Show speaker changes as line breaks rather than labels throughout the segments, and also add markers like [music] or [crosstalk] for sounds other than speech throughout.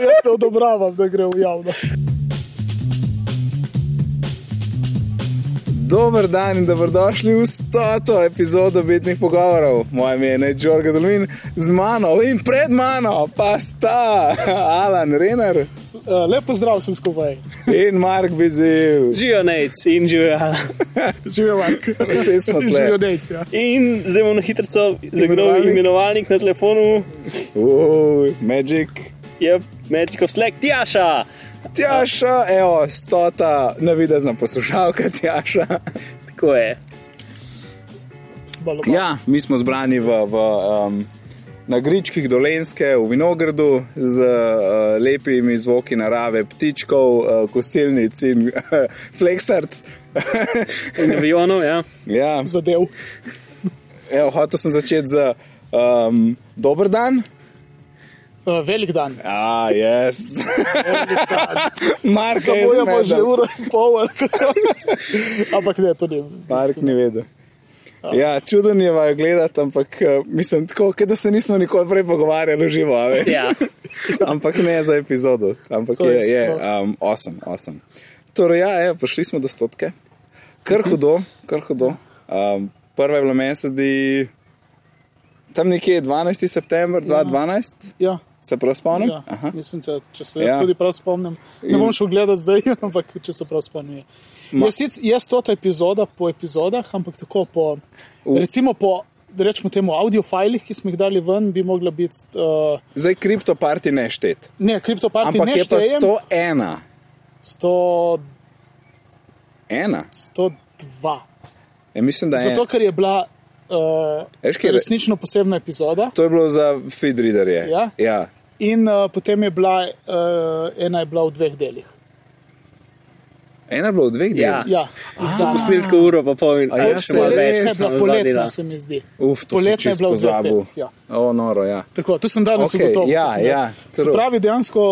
jaz ne odobravam, da gre v javnost.
Dober dan in dobrodošli v 100. epizodo Betnih pogovorov. Moje ime je Ned Jorge Dolmin, z mano in pred mano pa sta Alan Renner
Eh, Lepo zdrav vsem skupaj.
in Mark Bizil.
Živijo nec in živijo.
Živijo Mark.
Vse smo tle.
Živijo ja. Necija.
In zdaj bom na hitro zagnal
Imenovalnik.
imenovalnik na telefonu,
Uuu, Magic.
je Magic of Slack, Tjaša.
Tjaša, evo, stota, navidezna poslušalka Tjaša.
Tako je.
Ja, mi smo zbrani v, v, um, na gričkih dolenske, v vinogradu, z uh, lepimi zvoki narave, ptičkov, uh, kosilnic in [laughs] uh, fleksarc.
In avionov, ja.
[laughs] ja,
Zadev.
evo, hotel sem začeti z um, dober dan.
Eh, Velik dan.
A, jaz. [laughs] Mark,
Samo je pa že
uro.
uro in pol. ali kako. Ampak ne, to ni.
Mark ni vedel. Ja, čuden je vaju gledati, ampak eh, mislim tako, kot da se nismo nikoli prej pogovarjali v živo. a veš.
ja.
ampak ne za epizodo, ampak
To
je,
je
je
sploh.
um, osem, osem. Torej, ja, evo, prišli smo do stotke, kar hudo, kar hudo. Um, prva je bila meni, se zdi, tam nekje 12. september 2012,
Ja.
se prav spomnim.
Ja,
Aha.
mislim, da, če se jaz
Ja.
ja. tudi prav spomnim, ne bom šel gledati zdaj, [laughs] ampak če se prav spomnim. je. Jaz, sic- jaz to ta epizoda po epizodah, ampak tako po,
V-
recimo po, da rečemo temu, audiofilih, ki smo jih dali ven, bi mogla biti, uh,
Zdaj kriptoparti ne štet,
ne, kriptoparti
ampak
ne
je pa
štejem,
101.
100,
Ena.
102.
E, mislim, da je
Zato,
ena.
ker je bila uh,
Veš, kje je-
resnično posebna epizoda.
To je bilo za feedreaderje.
Ja?
ja.
In uh, potem je bila, uh, ena je bila v dveh delih.
Ena je bila v dveh delih.
Ja,
Ja.
Ah,
za,
Posnel tako uro, pa pol in
A ja,
pol, še malo
se
več.
res?
je bila
samo dva dela.
poletna, se mi zdi.
Uf, to sem
Poletna je
čisto
bila v dveh
pozabil.
delih, ja.
O, noro, ja.
Tako, tu sem danes
Okej,
okay, ugotovil.
ja,
to sem
ja,
dal- Se
true.
pravi, dejansko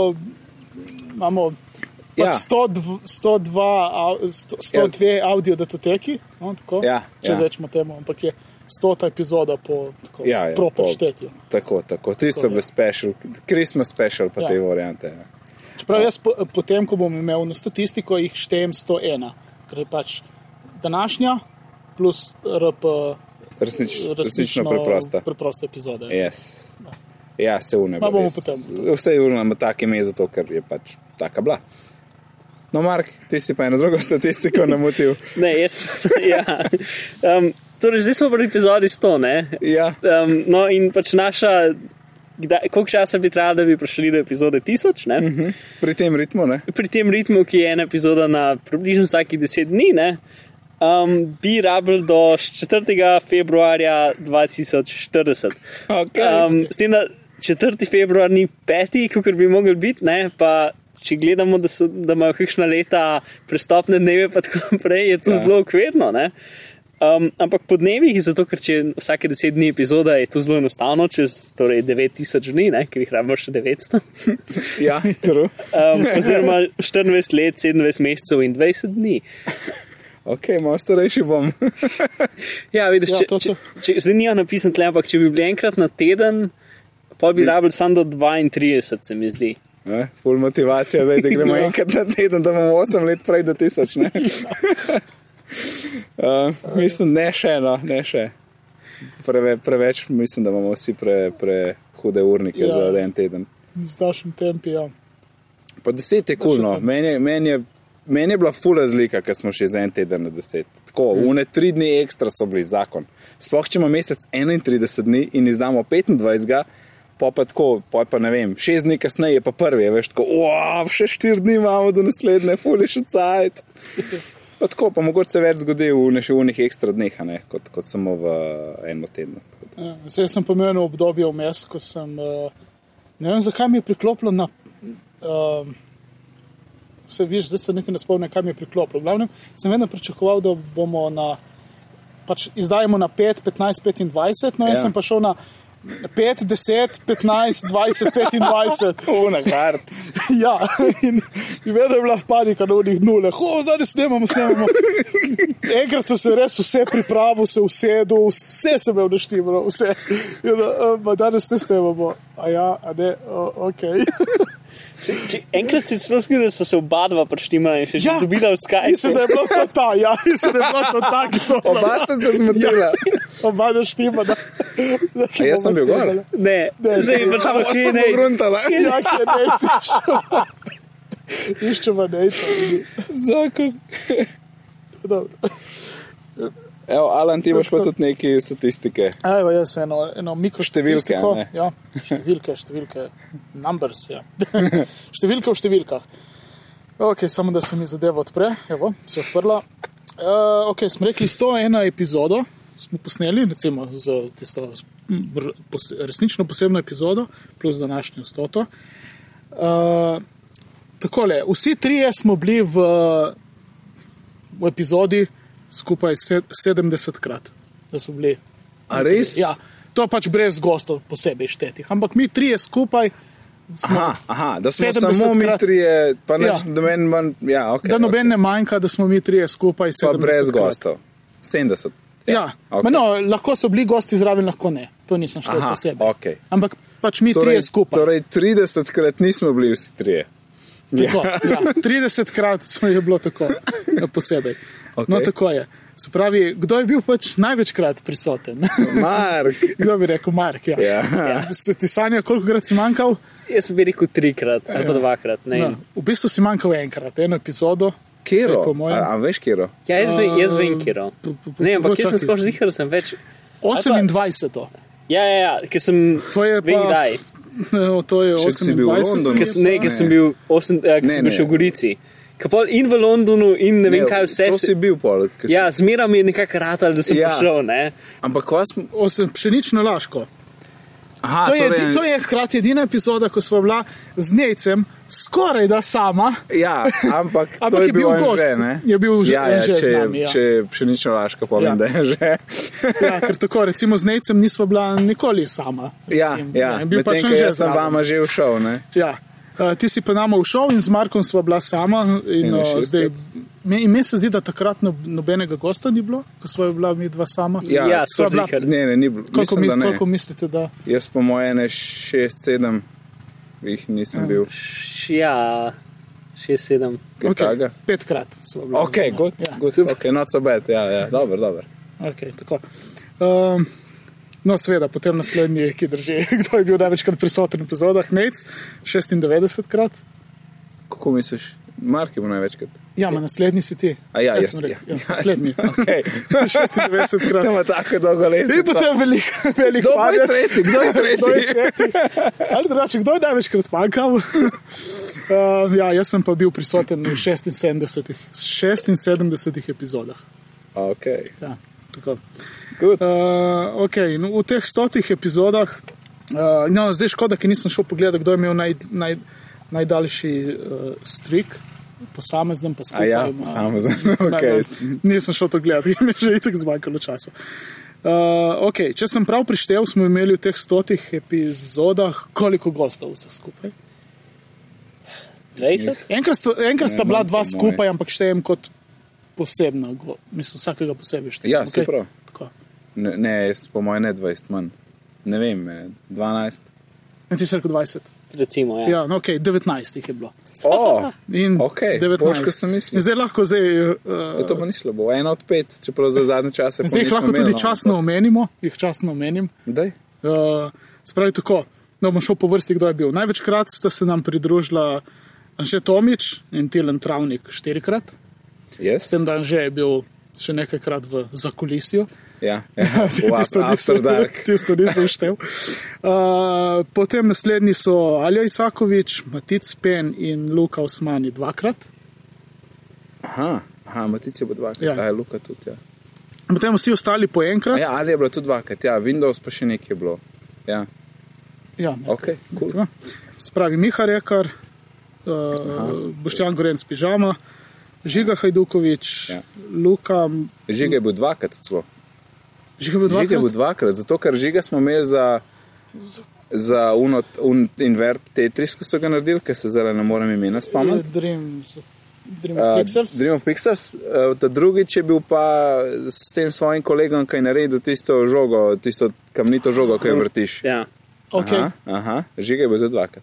imamo
Ja.
ja. 102, 102 ja. audio datoteki, no, tako,
Ja,
če
ja.
rečemo temu, ampak je 100 epizoda po tako,
Ja, ja,
proper
po-
štetju.
Tako, tako. Ti so
je.
bili special, Christmas special, pa ja.
Ja.
te variante. ja.
Čeprav jaz po, potem, ko bom imel na statistiko, jih štejem 101, ker je pač današnja plus RP
Resnič, resnično, resnično
resnično
preprosta.
preprosta epizoda. Ja.
Yes. Ja, se une.
Ma
bo
bomo
res.
potem.
Vse je urno, ima tako ime, zato ker je pač taka bila. No, Mark, ti si pa eno drugo [laughs] statistiko namotil.
Ne, jaz. [laughs] Ja. Um, torej, zdaj smo pri epizodi 100, ne?
Ja,
Um, no, in pač naša. Kdaj, koliko časa bi trajalo, da bi prišli do epizode 1000? Ne?
hm, pri tem ritmu,
[laughs]
ne?
pri tem ritmu, ki je ena epizoda na približno vsakih 10 dni, ne, um, bi rabili do 4. februarja 2040.
Okay. Um,
Um, s tem, da 4. februar ni 5., kot bi mogel biti, ne, pa če gledamo, da, so, da imajo kakšna leta prestopne dneve, pa tako naprej, je to
Ja.
ja. zelo ukvirno. ne. Um, ampak po dnevih, zato ker če je vsake 10 dni epizoda je to zelo enostavno, čez torej 9000 dni, ne, ker jih rabimo še 900.
ja, true.
[laughs]
Um, oziroma 24 let, 27 mesecev in 20 dni.
Ok, malo starejši bom.
Ja, vidiš,
Ja,
če,
to-
če, če, zdaj ni napisan tle, ampak če bi bili enkrat na teden, pa bi rabili samo do 32, se mi zdi.
Ne, Ful motivacija, zdaj, da
[laughs]
gremo
Ja.
enkrat na teden, da imamo 8 let prej do
[laughs]
1000. ne.
Ja.
[laughs] uh, mislim, ne še, no, ne še. Preve, preveč mislim, da imamo vsi pre, pre hude urnike ja.
Ja.
za en teden.
Z ja. našim tempijem.
Pa 10 je kulno, cool, no. meni, je- meni, je- meni je bila ful razlika, ker smo še za en teden na 10. Tako, mm. une tri dni ekstra so bili zakon. Sploh če ima mesec 31 dni in izdamo 25. Pa pa tako, pa, pa ne vem, šest dni kasneje je pa prvi, a veš, tako, wow, še štiri dni imamo do naslednje, fulje še cajt. Pa tako, pa mogoče se več zgodi v ne še v nekih ekstra dneh, a ne, kot, kot samo v eh, enem tednu. Tako da-
Ja, Zdaj sem pomenil obdobje vmes, ko sem. eh, Ne vem, zakaj mi je priklopilo na. Um, vse viš, zdaj se niti ne spomnim, kaj mi je priklopilo. V Glavnem, sem vedno pričakoval, da bomo na. Pač izdajemo na 5, 15, 25, no jaz
Ja.
ja. sem pa šel na 5, 10, 15, 20, 25.
Una kart.
[laughs] Ja, in, in vedno je bila panika na unih nulah, oh, danes snemamo, snemamo. Enkrat sem se res vse pripravil, se usedel, vse sem imel naštimano, eh,
[laughs]
vse. In, uh, danes ne snemamo, a ja, a ne, uh, ok.
Se, če, enkrat si celo zgledal, da so se oba dva preštimala in se že
Ja.
dobila v Skype.
Mislim, da je bilo to ta, ja, mislim, da je bilo to ta, ki so
Oba sta se zmotila.
Oba ne štima, da, da
A jaz sem bil gor?
Ne,
Ne,
zdaj
[laughs]
je pač
Oba
tako,
sta
kje ne.
pogruntala.
Ja,
[laughs]
ki je nec, iščeva. Iščeva nec.
Zakon.
Dobro.
Evo, Alan, ti imaš pa tudi neke statistike.
A, Evo, jaz eno, eno
Številke,
mikroštevilko.
ne?
Ja, številke, številke. Numbers,
[laughs]
ja. številke v številkah. Ok, samo da se mi zadeva odpre. Evo, se je odprla. Uh, ok, smo rekli 101 epizodo, smo posneli, recimo za tisto mm, r- pos- resnično posebno epizodo, plus današnjo stoto. Uh, takole, vsi trije smo bili v, v epizodi skupaj se- 70krat, da smo bili
A res?
Ja, to pač brez gostov posebej štetih. Ampak mi trije skupaj,
Aha, aha, da smo
70
samo mi
krat.
trije, pa ne,
Ja.
da meni manj, ja, ok.
da noben ne manjka, da smo mi trije skupaj.
Pa
70
brez
krat.
gostov. 70.
Ja,
ok.
okay. no, lahko so bili gosti zraven, lahko ne. To nisem šel
Aha,
posebej.
okej.
Ampak pač mi torej, trije
Torej,
skupaj. Torej,
torej 30 krat nismo bili vsi trije.
tako, [laughs] ja. 30 krat smo je bilo tako eh, posebej.
Okej.
No, tako je. Se pravi, kdo je bil pač največkrat prisoten? [laughs]
Mark.
kdo bi rekel, Mark? Ja.
Ja.
Ja. Se ti sanja, koliko krat si manjkal?
Jaz bi rekel trikrat ali pa
Ja.
dvakrat. Ne.
No, v bistvu si manjkal enkrat, eno epizodo.
Kero?
Vsaj po mojem.
A, a veš, kero?
Ja, jaz, ve, jaz vem,
Um,
kje je.
p- p-
Ne, ampak jaz
počakaj.
sem skoraj zihar, sem več.
28.
Ja, ja, ja, ker sem.
To je
Vem
pa- [laughs]
kdaj.
No, to je
Še ko si bil v
28.
Londonu.
Ker sem- Ne, ker sem bil, osem, ja, ker
Ne,
sem bil
ne.
še v Gorici. Ker pol in v Londonu, in ne vem, kaj vse.
To si bil pol. ko si-
Ja, zmeraj mi je nekako ratal, da sem
Ja.
ja. prišel. Ne?
Ampak ko smo...
Osem, pšenično laško.
Aha,
To je,
torej,
edi- to je hkrati edina epizoda, ko smo bila z Nejcem skoraj da
[laughs]
sama.
Ja, ampak,
[laughs] Ampak
to
je bil
Anže,
gost.
ne?
Je bil že-
ja, ja,
Anže z
če,
nami, ja.
Če pšenično laško
Ja.
povem, ja. da je že.
Ja, ker tako recimo z Nejcem nismo bila nikoli sama.
Ja,
recimo,
ja.
ne, Bil
Medtem,
pač
ko
že
jaz sem
zraven.
vama že všel, ne?
Ja. Uh, ti si pa nama ušel in z Markom sva bila sama. In,
In je
uh,
šestkrat.
zdaj, me, in meni se zdi, da takrat no, nobenega gosta ni bilo, ko sva bila mi dva sama.
Ja,
Ja,
sva
bila-
soziher.
Ne, ne, ni bilo.
Koliko,
Mislim,
mi,
da ne.
koliko mislite, da?
Jaz po moje ne 6-7 jih nisem bil.
Š- Ja, šest, sedem.
Kaj takega?
petkrat sva bila.
Ok,
zunaj.
good,
Ja.
good. ok, not so bad, ja, ja. dobro, dobro.
Okay, tako. um, no, seveda, potem naslednji, ki drži, [laughs] kdo je bil največkrat prisoten v epizodah, Nec, 96krat.
Kako misliš, Mark je bil največkrat?
Ja, ma naslednji si ti.
A ja, jaz,
sem
ja.
rekel, ja,
[laughs]
naslednji. [laughs]
Okay. [laughs]
96krat.
Imamo tako dolgo leto.
In potem veliko, veliko
Kdo je tretji? Kdo je tretji?
Ali drugače, kdo je največkrat manjkal? [laughs] um, ja, jaz sem pa bil prisoten v 76, 76 epizodah.
ok,
Ja, tako.
good.
Uh, okay, no, v teh stotih epizodah, uh, no, zdaj škoda, ker nisem šel pogledat, kdo je imel naj, naj, najdaljši uh, strik, posameznem pa
A
skupaj.
ja,
ima-
samo
[laughs]
za okay.
Najbolj- Nisem šel to gledati, ker mi [laughs] je že itek zmanjkalo časa. Uh, okay, če sem prav prištel, smo imeli v teh stotih epizodah koliko gostov vse skupaj.
20?
Enkrat, sta- enkrat
Ne,
sta bila
manj
dva
po moje.
skupaj, ampak štejem kot posebna, go- mislim, vsakega posebej štejem.
Ja, saj prav.
Tako.
Ne, ne, jaz po moje ne 20 manj. Ne vem, eh, 12.
In Ja, ti si rekel 20.
Recimo, ja.
Ja, no, okay, 19 jih je bilo.
O, oh,
In
Okej, boljše, kot sem mislil.
In Zdaj lahko, zdaj,
to
uh,
pa ni slabo. En od pet, čeprav za zadnje čase. pa
zdaj jih
nismo
lahko
imeli,
tudi
no,
časno omenimo, jih časno omenim.
Daj.
Uh, spravi tako, da bom šel po vrsti, kdo je bil. Največkrat sta se nam pridružila Anže Tomič in Tilen Travnik štirikrat, s
Jaz?
tem da Anže je bil še nekajkrat v zakulisju. [laughs]
Ja, ja. Tisto nisem dark.
tisto nisem štev. Uh, potem naslednji so Alja Isakovič, Matic Pen in Luka Osmani dvakrat.
Aha, aha Matice bo dvakrat.
Ja.
Ja. Aj, Luka tudi. Ja.
Potem vsi ostali po
A
enkrat.
ja, ali je bilo tudi dvakrat, ja, Windows pa še nekaj je bilo. Ja,
Ja, ne.
ok, cool.
Ja. Spravi Miha Rekar, uh, Boštjan Gorenc Pižama, Žiga Hajdukovič, ja.
Ja.
Luka.
Žiga je bil dvakrat celo.
Žiga je bil
Žiga je
dvakrat.
bil dvakrat, zato ker žiga smo imeli za, za uno, un, invert Tetris, ko so ga naredili, ker se zdaj ne morem imena spomniti.
Eh, Dream, Dream
Uh,
Pixels.
Dream of Pixels, uh, ta drugič je bil pa s tem svojim kolegom, ki je naredil tisto žogo, tisto
Mhm.
kamnito žogo, ki jo vrtiš.
ja.
Okay,
Aha, aha, žiga je bil tudi dvakrat.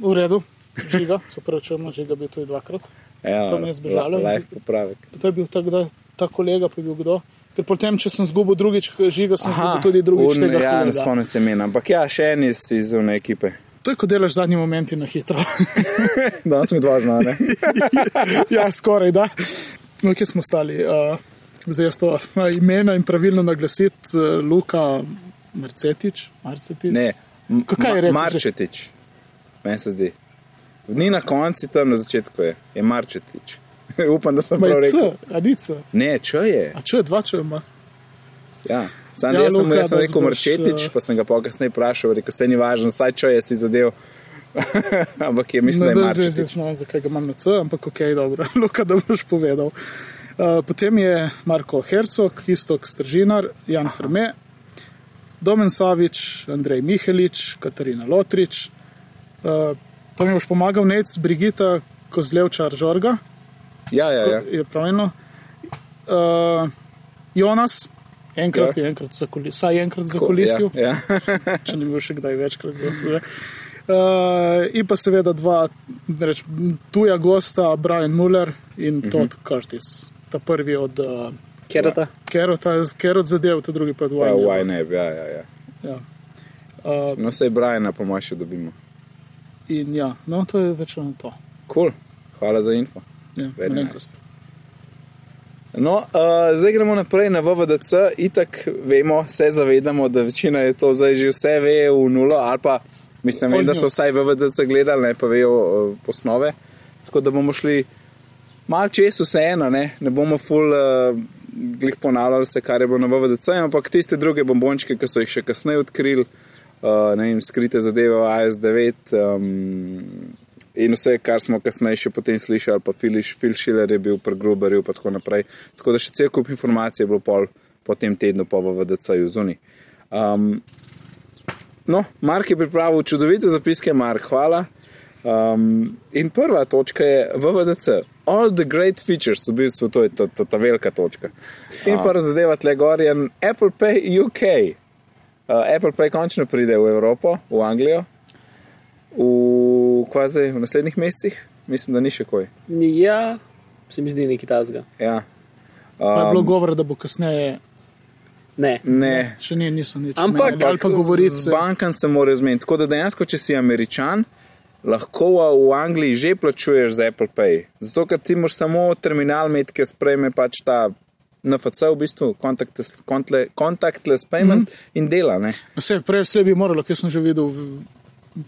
v redu. žiga, se pravi, če imamo žiga, bil tudi dvakrat.
Ja,
To mi je zbežalo.
Lajf popravek.
To je bil tak, da, ta kolega, pa je bil kdo. Ker potem, če sem zgubil drugič žiga, sem zgubil tudi drugič
un-
tega.
ja, ne
kolega.
spomnim se imena, ampak ja, še en iz, iz one ekipe. [laughs]
to je, ko delaš zadnji momenti na hitro.
Danes mi dva
[laughs]
znane.
ja, skoraj da. No, kje smo stali? Uh, zdaj jaz to a, imena in pravilno naglasiti, uh, Luka Mercetič. Marcetič.
Ne, M-
Kaj je rekel že?
Marčetič, meni se zdi. Ni na koncu, tam na začetku je, je Marčetič. [laughs] Upam, da sem
Ma
prav
je C,
rekel.
a ni C.
Ne, če je.
A če je dva, če ima.
Ja. Sam
Ja,
ja, jaz sem,
Luka,
jaz sem
da
rekel
zboš,
Marčetič,
eh,
pa sem ga pa kasneje vprašal, rekel se ni važno, saj če je si zadev. [laughs] Ampak je, mislim,
Ne,
no, da je
da zdaj
Marčetič.
zdaj znam, zakaj ga imam na C, ampak ok, dobro, [laughs] Luka, da boš povedal. Uh, potem je Marko Hercog, Istok Stržinar, Jan Frme, Domen Savič, Andrej Mihelič, Katarina Lotrič. Uh, to mi boš pomagal, Nec, Brigita Kozlevčar Žorga,
Ja, ja, ja.
je pravilno. Uh, Jonas, enkrat
Ja.
ja. je enkrat za kulisil, vsaj enkrat za kulisil
Ja, ja.
če ne bi bil še kdaj večkrat gost. Uh, in pa seveda dva reč, tuja gosta, Brian Muller in
Mhm.
Todd uh -huh. Curtis. Ta prvi od uh,
Kerata.
Kerota, Kerot zadev, ta drugi pa od
[laughs] Pa, why
Wine.
ne, ja, ja, ja.
Ja. Uh,
No, sej Briana po mojem še dobimo.
in ja, no to je večino to.
Cool. Hvala za info.
Ja,
Very
malenkost.
No, uh, zdaj gremo naprej na VVDC, itak vemo, se zavedamo, da večina je to zdaj že vse ve v nulo, ali pa mislim, vem, da so vsaj VVDC gledali, ne pa vejo uh, osnove. Tako da bomo šli mal čez vseeno, ne, ne bomo full uh, glih ponavljali vse, kar je bilo na VVDC, ampak tiste druge bombončke, ki so jih še kasneje odkrili, uh, ne vem, skrite zadeve v AS9. Um, In vse, kar smo kasneje še potem slišali, pa Filiš, Phil Schiller je bil pri Gruberju in tako naprej. Tako da še cel kup informacij je bilo pol, po tem tednu, pa v VDC-ju zunaj. Um, no, Mark je pripravil čudovite zapiske, Mark, hvala. Um, in prva točka je VVDC. All the great features, v bistvu to je ta, ta, ta velika točka. In prva zadeva tle gor je Apple Pay UK. Uh, Apple Pay končno pride v Evropo, v Anglijo, v, kva zdaj, v naslednjih mesecih, mislim, da ni še koj.
Ja, se mi zdi nekaj tazga.
Ja.
Pa je bilo
Um,
govora, da bo kasneje,
Ne.
ne,
še ni, niso nič.
Ampak-
omenili, ali pa govoriti
Z bankom se morajo zmeniti. Tako da dejansko, če si američan, lahko v Angliji že plačuješ z Apple Pay. Zato, ker ti moraš samo terminal imeti, ki sprejme pač ta NFC, v bistvu contactless, contle- contactless payment mm -hmm. in dela. Ne?
Vse, prej vse bi moralo, ker sem že videl v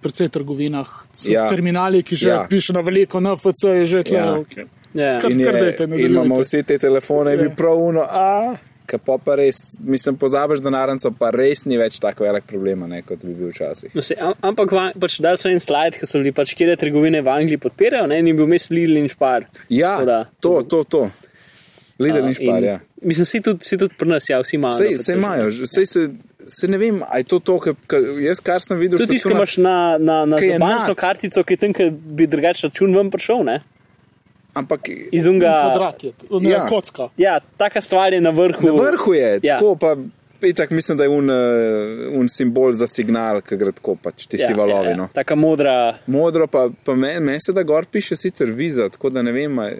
precej trgovinah, so
Ja.
ja. terminali, ki že
Ja.
ja. piše na veliko, NFC je že tle.
Ja.
Ja. Okay.
Ja.
Kar-
In
kar
je,
dajte,
in
nadaljujte.
imamo vsi te telefone, in
Ja.
bi prav uno, a, ki pa pa res, mislim, pozabiš denarnico, pa res ni več tako velik problema, ne, kot bi bil včasih.
No, se, am, ampak va- pač dal sem en slajd, ki so bili pač, kje trgovine v Angliji podpirajo, ne, in je bil mes Lidl in Špar. Tako
Ja,
da-
to, to, to. Lidl in špar, ja.
Mislim, si tudi, si tudi pri nas, ja, vsi imajo.
Sej,
na
sej
PC.
ja.
imajo, že- sej se, se ne vem, ali je to to, kar jaz kar sem videl.
Tudi tisti, ki
štacuna-
imaš na, na, na
Ki je
za bančno
nad.
kartico, ki je tam, ki bi drugače račun ven prišel, ne?
Ampak
Iz unga.
Kvadrat je, ne,
Ja.
ja. kocka.
Ja, taka stvar je na vrhu.
na vrhu je,
Ja.
ja. tako pa. Itak mislim, da je un, eh, un simbol za signal, ki gre tako pač tisti ja, valovi. Ja, ja. No.
Taka modra.
Modro pa, pa meni men se da gor piše sicer viza, tako da ne vem, a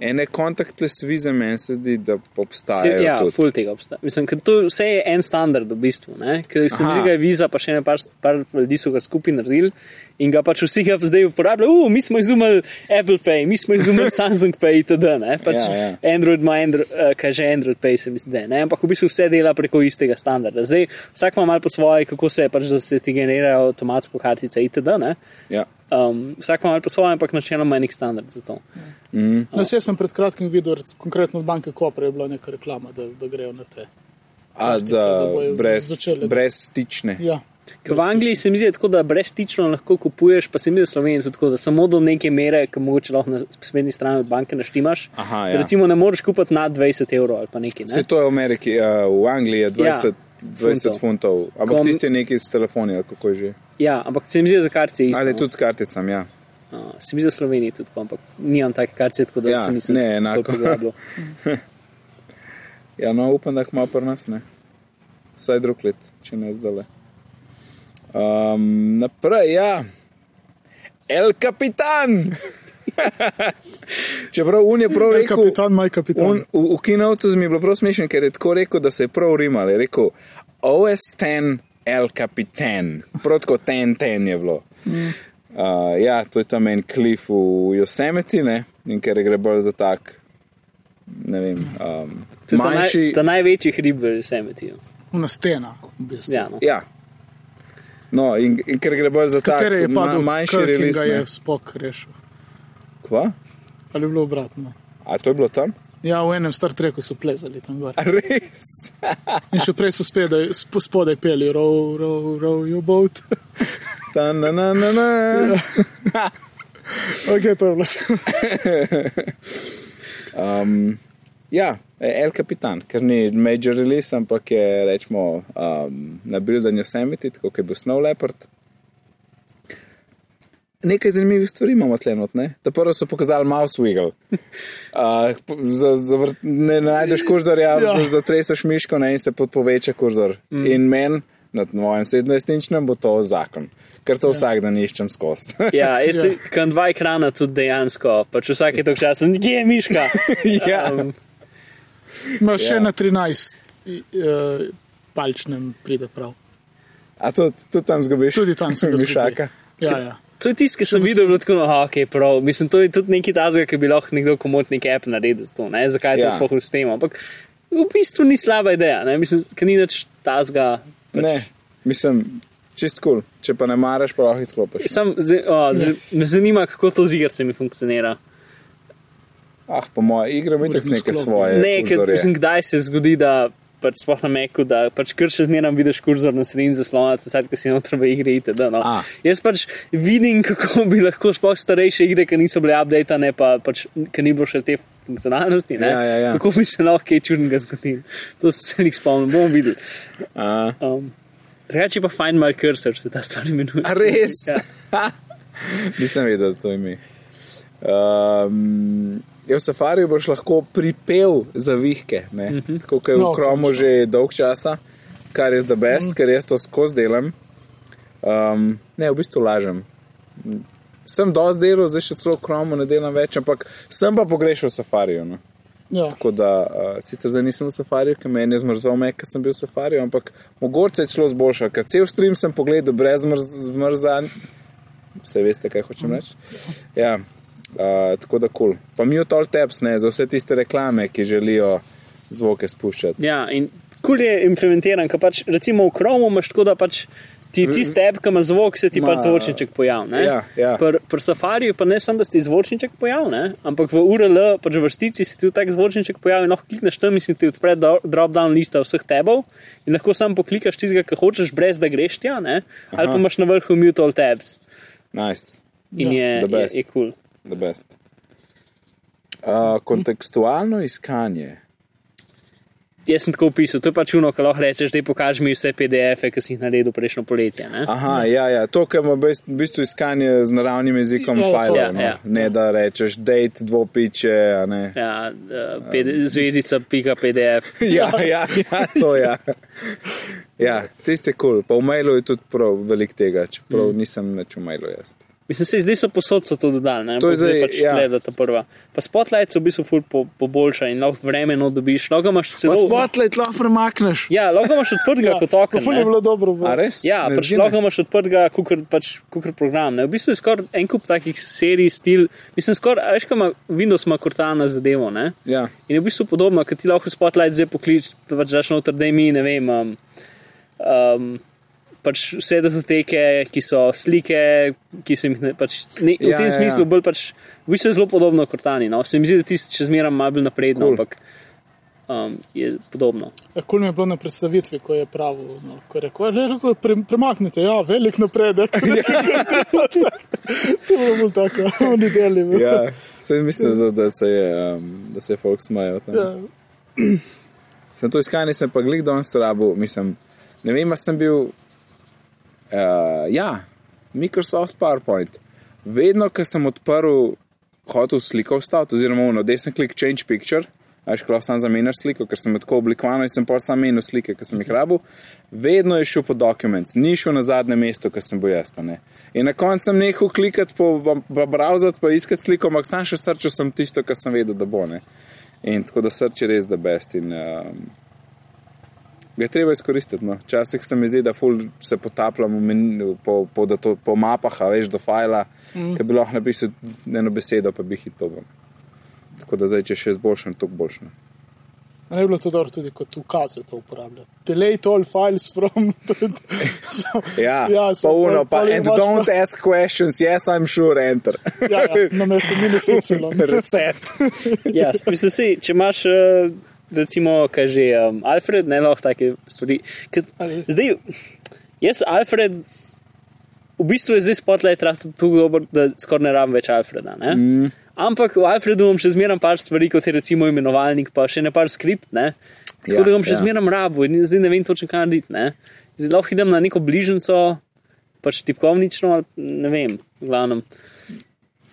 ene kontaktless vize meni se zdi, da obstajajo.
Ja,
tudi.
ful tega obstaja. Mislim, ker to vse je en standard v bistvu, ne? Ker se mi
Aha.
zdi, da je viza, pa še ne par, par ljudi so ga skupaj naredili in ga pač vsi ga zdaj uporabljajo. U, mi smo izumili Apple Pay, mi smo izumili
[laughs]
Samsung Pay itd. Ne? Pač
Ja, ja.
Android ima, Andro, eh, kaj že Android Pay se mi zdi, da je, ne? Ampak v bistvu vse dela preko istega standarda. Zdaj, vsak ima malo po svoje, kako se pač, da se ti generirajo avtomatsko kartice itd. Ne?
Ja.
Um, vsak ima malo po svoje, ampak načeloma je nek standard za to.
No, jaz sem pred kratkim videl, rec- konkretno od banke Kopra je bila neka reklama, da, da grejo na te.
A
Kartice,
da
da bojo z-
brez,
začele.
brez stične.
Ja.
Ker v Angliji se mi zdi tako, da brezstično lahko kupuješ, pa se mi zdi v Sloveniji tudi tako, da samo do neke mere, ki mogoče lahko na spletni strani od banke naštimaš.
Aha, ja.
Recimo ne moreš kupiti nad 20 evrov ali pa nekaj.
Vse
Ne?
to je v Ameriki, uh, v Angliji je 20, ja, 20
funtov.
funtov, ampak
Kom-
tisti je neki s telefoni, ali kako je že.
Ja, ampak se mi zdi, da za kartice je isto.
Ali je
no.
tudi s karticami, ja.
Uh, se mi zdi v Sloveniji tudi tako, ampak nimam take kartice, tako da
Ja,
se nisem
ne, enako. [laughs]
toliko pogledal.
Ja, no, upam, da jih ima pri nas, ne. Vsaj drug let, če ne zdaj le. Um, naprej, ja. El Capitan! [laughs] Čeprav un je prav
Moj
rekel,
kapitan, moj kapitan.
On, v v keynote mi je bilo prav smešno, ker je tako rekel, da se je prav rimal. Je rekel OS 10 El Capitan, protko 10-10 je bilo. Uh, ja, to je tam en klif v Yosemiti ne? in ker gre bolj za tak, ne vem, um,
To je ta,
manjši.
naj, ta največji hrib v Yosemitiju.
Una stena, v bistvu.
Ja, no.
Ja. No, in, in ker gre bolj
Z
za tak,
katere je
ma,
padel
manjši
Kirk in
release.
ga
ne.
je spok rešil.
Kva?
Ali je bilo obratno?
A to je bilo tam? [laughs]
Ja, v enem Star Treku so plezali tam gor.
A Res.
In še prej so spedaj, sp spodaj peli, row, row, row your boat. [laughs]
Ta na na na na.
ok, to je bilo vse.
Um, ja, El Capitan, ker ni major release, ampak je rečemo um, na Buildan Yosemite, tako kot je bil Snow Leopard. Nekaj zanimivih stvari imamo tlenot, ne? Ta prvo so pokazali Mouse Wiggle.
[laughs]
Uh, za, za vrt, ne najdeš kurzorja,
[laughs] Ja.
ja. za, zatreseš miško ne, in se podpoveča kurzor. Mm. In meni, na mojem 17-inčnem, bo to zakon. Ker to ja. vsak dan iščem skozi. [laughs]
Ja, jaz
Ja.
ja. kam dva ekrana tudi dejansko, pač vsake tok časa, kje je miška.
[laughs] Ja.
Um,
No, še
Ja.
na 13 uh, palčnem pride prav.
A tudi, tudi tam zgubiš?
Tudi tam
[laughs]
se ga zgubi.
mišaka.
Ja, ja.
to je tisto, ki sem videl, bilo tako, no, ok, prav. Mislim, to je tudi neki tazga, ki bi lahko nekdo komotnik app naredil za to, ne, zakaj je
Ja.
to sploh v sistemu. Ampak v bistvu ni slaba ideja, ne, mislim, ker ni nič tazga.
Ne, mislim, čist kul. Cool. Če pa ne maraš, pa lahko izklopiš.
Sam, z, o, z, me zanima, kako to z igrcami funkcionira.
Ah, po moje, igramo in tako
Uredno
neke
sklop.
svoje.
Ne, ker
vzorje.
mislim, kdaj se zgodi, da pač sploh na meku, da pač kar še zmeraj vidiš kurzor na sredini zaslona, vsaj ko si noter v igri itd. No.
A.
Jaz pač vidim, kako bi lahko sploh starejše igre, ki niso bile update, ne pa pač, ki ni bilo še te funkcionalnosti, ne,
Ja, ja, ja.
kako bi se lahko kaj čudnega zgodilo. To se jih spomnim, bomo videli.
A,
Um, Reči pa Find My Cursor se ta stvar imenuje.
A res?
Ja.
nisem vedel, da to ime. Um, je v safariju boš lahko pripel za vihke, mm -hmm. tako kot je
No,
v Kromu že dolg časa, kar je the best, mm -hmm. ker jaz to skozi delam. Um, ne, v bistvu lažem. Sem dosti delal, zdaj še celo v Kromu ne delam več, ampak sem pa pogrešal safarijo. No.
ja.
Tako da uh, sicer zdaj nisem v safariju, ker meni je zmrzal me, ker sem bil v safariju, ampak mogoče je celo zboljšal, ker cel stream sem pogledal brez zmrz- zmrzan. Vse veste, kaj
Mm.
hočem reči. Ja, uh, tako da kul. Cool. Pa mi od all taps, ne, za vse tiste reklame, ki želijo zvoke spuščati.
Ja, in kul je implementiran, ker pač recimo v Chromu imaš tako, da pač ti tisti app, ki ima zvok, se ti
Ma-
pač zvočniček pojavi. ne.
Ja, ja.
Pri pr Safariju pa ne samo, da se ti zvočniček pojavi, ne, ampak v URL, pač v vrstici se ti v tak zvočniček pojavi, in lahko klikneš tam in se ti odpre do- drop-down lista vseh tebov in lahko sam poklikaš tistega, ki hočeš, brez da greš tja, ne, ali pa
Aha.
imaš na vrhu mute all tabs
Nice,
in
Ja.
The
je je
best.
je kul. Cool.
the best. Uh, kontekstualno iskanje.
Jaz sem tako opisal, to je pač uno, ki lahko rečeš, da pokaži mi vse PDF-e, ki si jih naredil prejšnjo poletje. Ne?
Aha, ja, ja. to, kar ima best- v bistvu iskanje z naravnim jezikom
Ja, ja, to.
fajla.
Ja,
no.
ja.
Ne, da rečeš date, dvopiče, a ne.
Ja, eh, ped- zvezdica, pika, PDF.
[laughs] ja, ja, ja, to je. Ja. Ja, tisti je kul, cool. pa v mailu je tudi prav velik tega, čeprav mm. nisem več v mailu jaz.
Mislim, se zdaj so posod so to dodali, ne?
To je
Ampak zdaj
zdaj,
pač
ja.
ja. gleda ta prva. Pa spotlight so v bistvu ful po, poboljša in lahko vremeno dobiš, lahko ga imaš
Pa
celo.
spotlight lahko premakneš.
Ja, lahko ga imaš odprtega kot oken.
Ful je
ne.
bilo dobro. bo.
A res?
Ja,
Ne
pač
zgine?
lahko imaš odprtega, kukor, pač, kukor program. Ne? V bistvu je skoraj en kup takih serij, stil. Mislim, skoraj, a veš, kaj ima Windows, ima kortana zadevo, ne?
Ja,
In je v bistvu podobno, ker ti lahko spotlight zdaj pokličeš, pač daš noter, da mi ne vem. Um, um, pač vse datoteke, ki so slike, ki sem jih ne, pač, ne, v
Ja,
tem
ja,
smislu
ja.
bolj pač, v bistvu je zelo podobno Cortani. No? Se mi zdi, da tisti še zmeraj malo bolj napredno,
Cool.
cool. ampak um, je podobno.
Ja, Kul mi je bilo na predstavitvi, ko je pravil, no, ko je rekel, "Ja, lahko pre, premaknete, ja, velik napredek.
[laughs]
to je bilo bolj tako, [laughs] oni deli.
ja. Sem mislil, da, da se je, um, da se je folk smajal. tam.
Ja.
Sem to iskanje, sem pa glik don srabu, mislim, ne vem, a sem bil, uh, ja, Microsoft PowerPoint. Vedno, ko sem odprl, hotel sliko vstaviti, oziroma ono, desen klik Change Picture, ajš klo sam zamenjaš sliko, ker sem jo tako oblikovano in sem pa sam menil slike, ki sem jih rabil, vedno je šel po documents, ni šel na zadnje mesto, ki sem bil jaz. a ne. In na koncu sem nehal klikati, pa, pa browsati, pa iskati sliko, ampak sam še srčil sem tisto, kar sem vedel, da bo. Ne? In tako da srce res da best. In, um, ga je treba izkoristiti. No. Včasih se mi zdi, da ful se potapljamo meni- po, po, po, po mapah, a veš do fajla, mm. ki bi lahko napisal eno besedo, pa bi hitoval. Tako da zdaj, če še izboljšam, no. to boljšam.
A Ne bi bilo to dobro tudi kot ukaze to uporabljati. Delete all files from. [laughs] so,
Ja, ja pa
so
uno, pa
pol
and
imaš
don't ask questions, yes, I'm sure, enter.
Ja,
[laughs]
ja, na mestu minus Y.
Reset.
Ja, mislim si, če imaš, eh, recimo, kaj že um, Alfred, ne lahko take stvari. Ker
Ali-
Zdaj, jaz Alfred, v bistvu je zdaj spotlight rahto tako dober, da skoraj ne rabim več Alfreda. Ne? Mm. Ampak v Alfredu imam še zmeraj par stvari, kot je recimo imenovalnik, pa še ne par skript, ne? Tako
Ja,
ja, da bom še
ja.
ja. zmeraj rabu in zdaj ne vem točno, kaj narediti. ne. Zdaj lahko idem na neko bližnjico, pač tipkovnično, ali ne vem, v glavnem.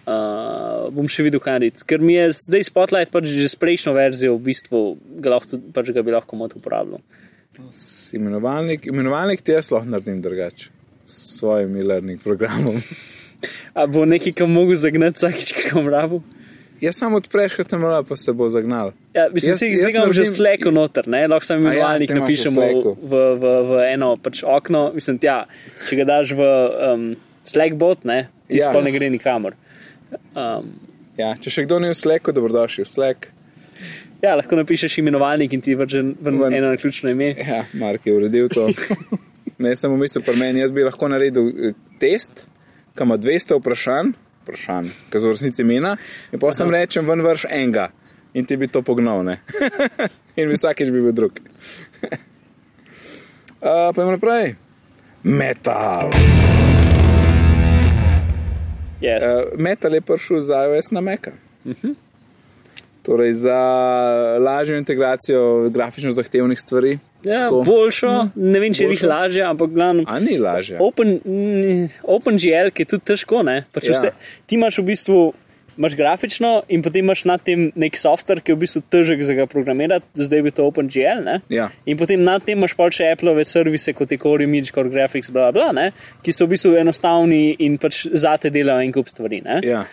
Uh, bom še videl, kaj narediti. Ker mi je zdaj Spotlight pač že s prejšnjo verzijo, v bistvu ga, lahko, tudi- pač ga bi lahko mod uporabljal.
S Imenovalnik, imenovalnik ti jaz lahko naredim drugače. S svojim e-learning programom. [laughs]
A bo nekaj, kam mogel zagnati vsakič, ki ga rabu?
Jaz samo odpreš, kot tam mala, pa se bo zagnal.
Ja, mislim,
Jaz-
jaz,
jaz
jaz imam že
naredim-
sleko noter, ne? lahko
A
sam
ja,
imenovalnik
saj imaš v
ja, napišemo v,
Slacku.
v, v, v eno pač okno, mislim, tja, če ga daš v um, Slackbot, ne, ti
Ja.
ja. sploh ne gre nikamor. Um,
Ja, če še kdo ni v Slacku, dobrodošli v Slack.
ja, lahko napišeš imenovalnik in ti vrže ven
Ven.
eno ključno ime.
Ja, Mark je uredil to. Ne, samo mislim, pri meni, jaz bi lahko naredil eh, test, ki ima 200 vprašanj, vprašanj, ki so v resnici imena, in pa sem rečem, ven vrš enega in ti bi to pognal, ne. [laughs] in bi vsakeč bi bil drug. [laughs] Uh, pa jim naprej. Metal.
Yes. Uh,
Uh, metal je prišel za iOS na Meka. Uh -huh. Torej za lažjo integracijo grafično zahtevnih stvari.
ja,
tako.
boljšo, ne vem, če je jih
boljšo.
lažje, ampak glavno.
A ni lažje.
Open, mm, OpenGL, ki je tudi težko. ne. Pač
Ja.
vse, ti imaš v bistvu imaš grafično in potem imaš na tem nek software, ki je v bistvu težek za ga programirati, zdaj bi to OpenGL. Ne?
Ja.
In potem na tem imaš pač še Appleove servise, kot je Core Image, Core Graphics, bla, bla, ne? ki so v bistvu enostavni in pač zate delajo en kup stvari. ne.
Ja.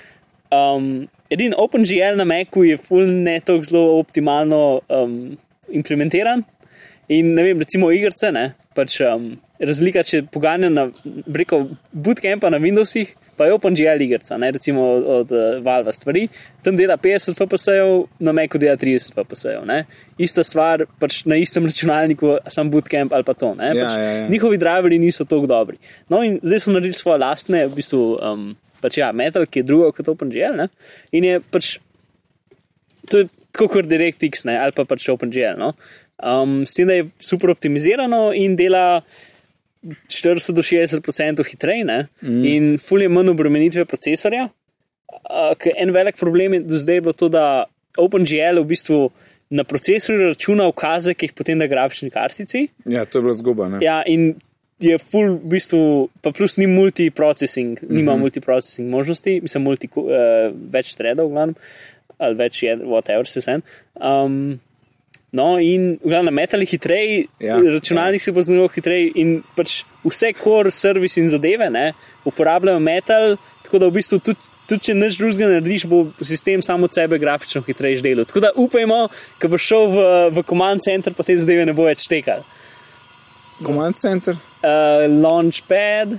Um, Edini OpenGL na Macu je full ne tako zelo optimalno um, implementiran. In ne vem, recimo igrice, ne. Pač, um, razlika, če poganja na breko bootcampa na Windowsih, pa je OpenGL igrica, ne recimo od, od uh, Valve stvari, tam dela 50 FPS-ev, na Macu dela 30 FPS-ev. ne. Ista stvar, pač na istem računalniku, sam bootcamp ali pa to. ne.
Ja,
pač,
ja, ja.
Njihovi driverji niso tako dobri. No, in zdaj so naredili svoje lastne, v bistvu, um, pač ja, metal, ki je drugo kot OpenGL. Ne? In je pač to je tako kot DirectX ne? ali pa pač OpenGL. No? Um, s tem, da je super optimizirano in dela 40 do 60% hitreje, mm. in fulje manj obremenitve procesorja. Uh, ker en velik problem je do zdaj bilo to, da OpenGL v bistvu na procesorju računa ukaze, ki jih potem da grafični kartici.
ja, to je bila zguba. Ne?
Ja, in je full, v bistvu, pa plus ni multiprocessing, nima
Mhm.
mm -hmm. multiprocessing možnosti, mislim, multi, uh, več threadov, glavno, ali več je, whatever, se vsem. Um, no, in glavno, metal je hitrej,
Ja,
ja, računalnik ja. se bo zelo hitrej in pač vse core servis in zadeve ne, uporabljajo metal, tako da v bistvu tudi. Tudi če nič drugega narediš, bo sistem samo od sebe grafično hitreje delal. Tako da upajmo, ko bo šel v, v command center, pa te zadeve ne bo več tekal.
Command center,
Uh, launchpad,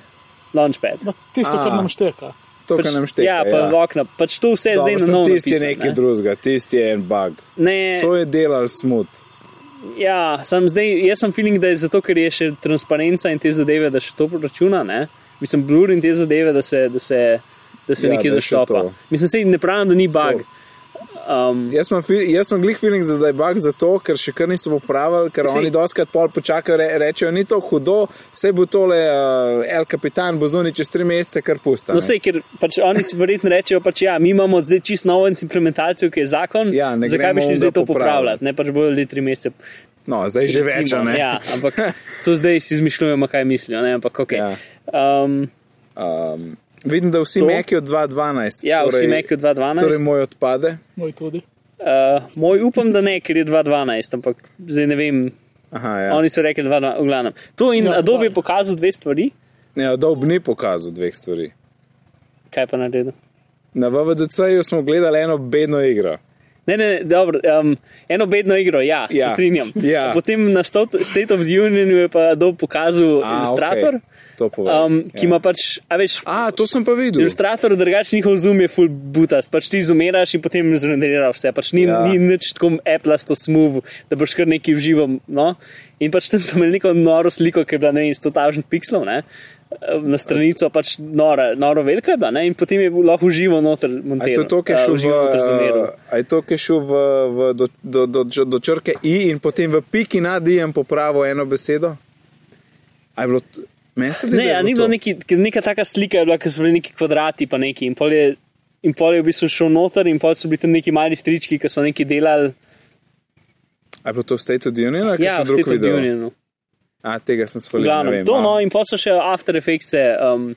launchpad.
Ma Tisto,
A.
kar nam šteka.
No, to, kar nam šteje.
ja, pa ja. okna, pač to vse je zdaj na novo.
Tisti je
napisano,
nekaj drugega, tisti je en bug.
ne,
To je delal smut.
ja, sem zdaj, jaz sem feeling, da je zato, ker je še transparenca in te zadeve, da še to računa, ne? mislim, blur in te zadeve, da se, da se, da se
Ja,
ja, nekaj
da je še
zaštopa.
to. Ja,
Mislim, se ne pravim, da ni bug. Um,
Jaz imam fi- jaz imam glih feeling, da je bug zato, ker še kar niso popravili, ker
Saj-
oni doskrat pol počakajo, re, rečejo, ni to hudo, se bo tole uh, El Capitan bo zunaj čez tri mesece kar pusta.
No,
ne.
vse, ker pač oni si verjetno rečejo, pač ja, mi imamo zdaj čisto novo implementacijo, ki je zakon.
Ja, ne
zakaj bi
gremo
šli
ga
zdaj to
popravljati.
popravljati? Ne, pač bojo ljudje tri mesece
no zdaj že več, a
Recimo,
ne.
Ja, ampak to zdaj si izmišljujemo, kaj mislijo. Ne? Ampak, okay.
Ja.
ja. Um,
um, vidim, da vsi
To?
meki od 2012.
ja, torej, vsi Mac 2012.
Torej
Torej,
moj odpade.
Moj No, tudi.
uh, moj upam, da ne, ker je 2012, ampak zdaj ne vem.
Aha, ja.
Ja. Oni so rekli, da je v glavnem. To in
Ja,
ja, Adobe
dva.
je pokazal dve stvari.
Ne, Adobe Ja, ni pokazal dveh stvari.
Kaj pa naredil?
Na VVDC-ju smo gledali eno bedno igro.
Ne, ne, ne, dobro, um, eno bedno igro, ja, ja.
Ja,
se strinjam.
[laughs] ja.
Potem na Stot- State of the Union je pa do pokazal
A,
ilustrator,
okej, to povem,
um, ki
ja.
ima pač, a veš,
A, to sem pa videl.
ilustrator drugače njihov zoom je full butast, pač ti zumiraš in potem zrenderiraš vse, pač ni, ja.
Ja.
ni nič tako eplasto smooth, da boš kar neki uživam, no. In pač tam sem imel neko noro sliko, ki je bila, ne vem, 100.000 pikslov, ne. Na stranico pač nora, noro velika, da ne, in potem je bil lahko uživo noter
A je
montiral.
to to, ki je
a,
šel v, eh,
uživo noter zuniral.
a je to, ki je šel v, v, do, do, do, do, do črke I in potem v piki nad I in popravil eno besedo? A je bilo, t- meni se zdi,
Ne,
da
ja,
je
ni
bilo
bilo
to.
neki, ker neka taka slika, je bila, ker so bili neki kvadrati, pa neki in pol je, in pol je v bistvu šel noter, in pol so bili tam neki mali strički, ki so neki delali.
A je bilo to v State of the Union ali
Ja,
kaj
v State of the
drugega?
Unionu.
A, tega sem
V
svalil. ne
glavnem,
vem,
to
a.
no, in pol so še After Effects um,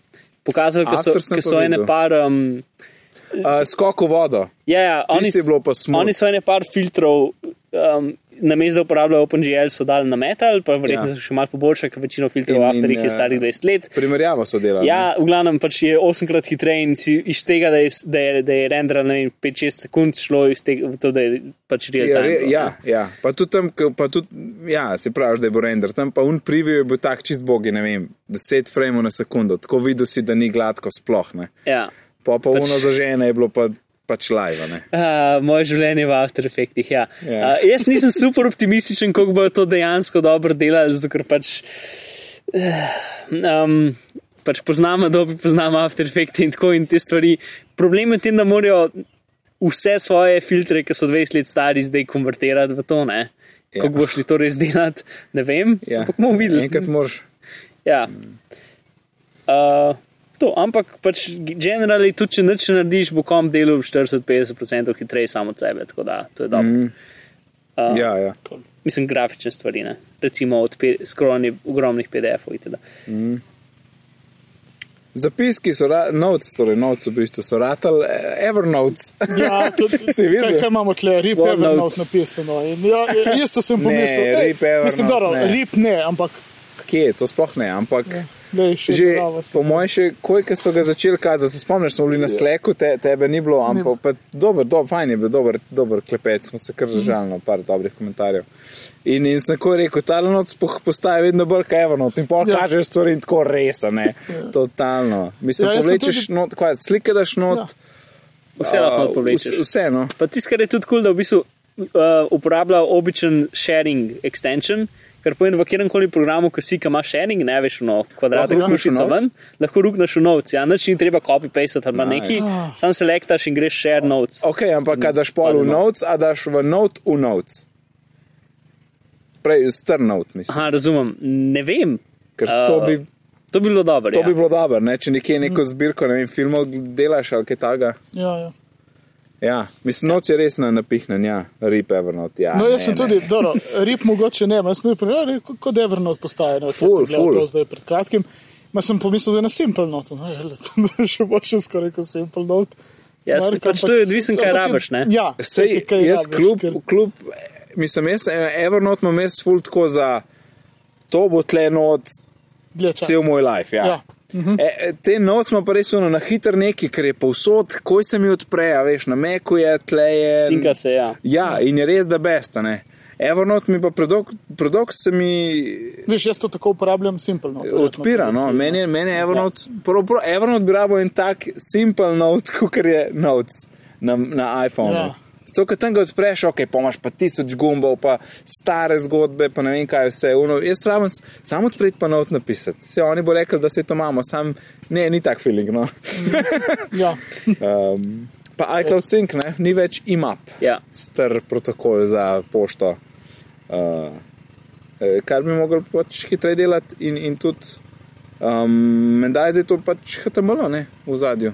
pokazali, ker so,
After sem
ker
pa
so ene
videl.
par. Um,
A, Skok v vodo.
ja, ja,
Tisto
oni, s-
je bilo pa smooth.
oni so ene par filtrov. Um, na mesto uporabljajo OpenGL, so dali na metal, pa
Ja.
verjetno ja. so še malo poboljšali, ker večino filtrov
In-
After
in,
Effects je
eh,
starih 20 let.
Primerjavo so delali.
Ja, v glavnem pač je osemkrat hitreje in si iz tega, da je, s- da je, da je render 5-6 sekund šlo iz tega, v to, da je pač real
Ja,
time.
re,
bilo,
ja, ja, pa tudi tam, ko- pa tudi, ja, se pravi, da je bil render, tam pa un preview je bil tak čist bogi, ne vem, 10 frameov na sekundo, tako videl si, da ni gladko sploh, ne.
ne. ja.
Pa pa
Pač-
uno zažene je bilo pa, pač live, ne.
[laughs] Uh, moje življenje v After Effectih. Ja.
Ja.
Uh, jaz nisem super optimističen, kako bodo to dejansko dobro delali, zato ker pač, uh, um, pač poznam Adobe, poznam After Effects in tako in te stvari. Problem je v tem, da morajo vse svoje filtre, ki so 20 let stari, zdaj konvertirati v to. Ne?
Ja.
Kako boš li to res delati, ne vem.
Ja.
Ampak bomo videli.
Enkrat moraš.
Ja.
Mm.
Uh, to, ampak pač generali, tudi če nič ne narediš, bo kom delal 40-50% hitreje samo od sebe, tako da to je dobro. Mm.
Uh, ja, ja.
Mislim, grafične stvari, ne? recimo od skroni ogromnih PDF-ov itd.
Zapiski so, ra- notes, torej notes v bistvu so ratal, eh, Evernotes. [laughs]
Ja, tudi
Si videl?
Kaj, kaj imamo tle, rip
One
je vrnot
notes.
napisano. In ja, ja, isto sem pomislil. ej,
rip Evernote
Mislim, dobro,
ne.
rip ne, ampak
Kje, to sploh ne, ampak.
Ja.
lej, še
Že,
glava se-
po mojem, še kojke so ga začeli kazati, se spomniš, smo
Ja.
bili na sleku, te, tebe ni bilo, ampak pa, dober, dober, fajn je bil, dober, dober klepet, smo se kar
Mhm.
držali, no, par dobrih komentarjev. In, in sem tako rekel, ta noč postaje vedno bolj kevno, in pol
Ja.
ja. kažeš stvari in tako res, a ne, totalno. Mislim,
Ja,
ja,
jaz sem
povlečeš
tudi-
not, kaj, slike daš
Ja.
not,
Vse
a,
lahko
vse- no.
povečeš.
Vseeno.
Pa tisto, kar je tudi kul, cool, da v bistvu uh, uporablja običajen sharing extension. Ker pomeni, v katerem koli programu, ko si, ki imaš sharing, ne veš, no, kvadratek
Lahko rukneš v
ključico
notes?
ven, lahko rukneš v notes, ja, nič ni treba copy-paste ali nice.
Nice.
neki, sam selektaš in greš share notes.
Ok, ampak
Mm,
a daš pol v
no.
Pardon.
notes, a daš v note v notes. Prej str note, mislim.
Aha, razumem, ne vem.
Ker to
Eh,
bi
To bi bilo dobro.
To
ja.
bi bilo dobro, ne? če
Mhm.
nekje neko zbirko ne vem, filmov delaš ali kaj takega.
Ja, ja.
Ja, mislim, noč je res na napihnen, ja, rip Evernote. Ja,
No, jaz
ne,
sem
ne.
tudi, dobro, rip mogoče ne, jaz sem tudi primerjal, kot Evernote postaje, ne,
Ful,
sem gledal
ful.
to zdaj pred kratkim. Ma sem pomislil, da je na Simple Note, no, je to [laughs] še boljše skoraj kot Simple Note.
Ja, sem-
Mark,
pač
ampak
to je odvisno,
s-
kaj
ampak je-
rabiš, ne.
Ja,
Sej,
tudi kaj
jaz
rabiš,
kljub,
ker-
kljub, mislim, jaz eh, Evernote imam jaz ful tako za to bo tle not
dlje časa.
cel moj life. Ja.
Ja,
Ja. E, e, te noč smo pa res ono, na hiter neki, ker je povsod, koj se mi odpre, a veš, na meku je, tle je.
Sinka se, ja.
Ja, in je res da besta, ne. Evernote mi pa predolg, predolg se mi
Veš, jaz to tako uporabljam Simple Note. verjetno
Odpira,
tudi
no,
ti,
meni, je- meni je Evernote, prav, prav, Evernote bi rabo en tak simpel note, [laughs] kot je Notes na, na iPhonu.
Ja.
Ja. Zato, ker tam ga odpreš, ok, pa imaš pa tisoč gumbov, pa stare zgodbe, pa ne vem kaj vse. Uno, jaz rabim s- samo odpreti pa not napisati. Se oni bo rekli, da se to imamo, sam ne, ni tak feeling. No.
Ja,
Um, pa iCloud Sync, ne, ni več imap
ja.
star protokol za pošto, uh, eh, kar bi mogli pač hitreje delati, in, in tudi, um, menda je zdaj to pač HTML ne, v zadju.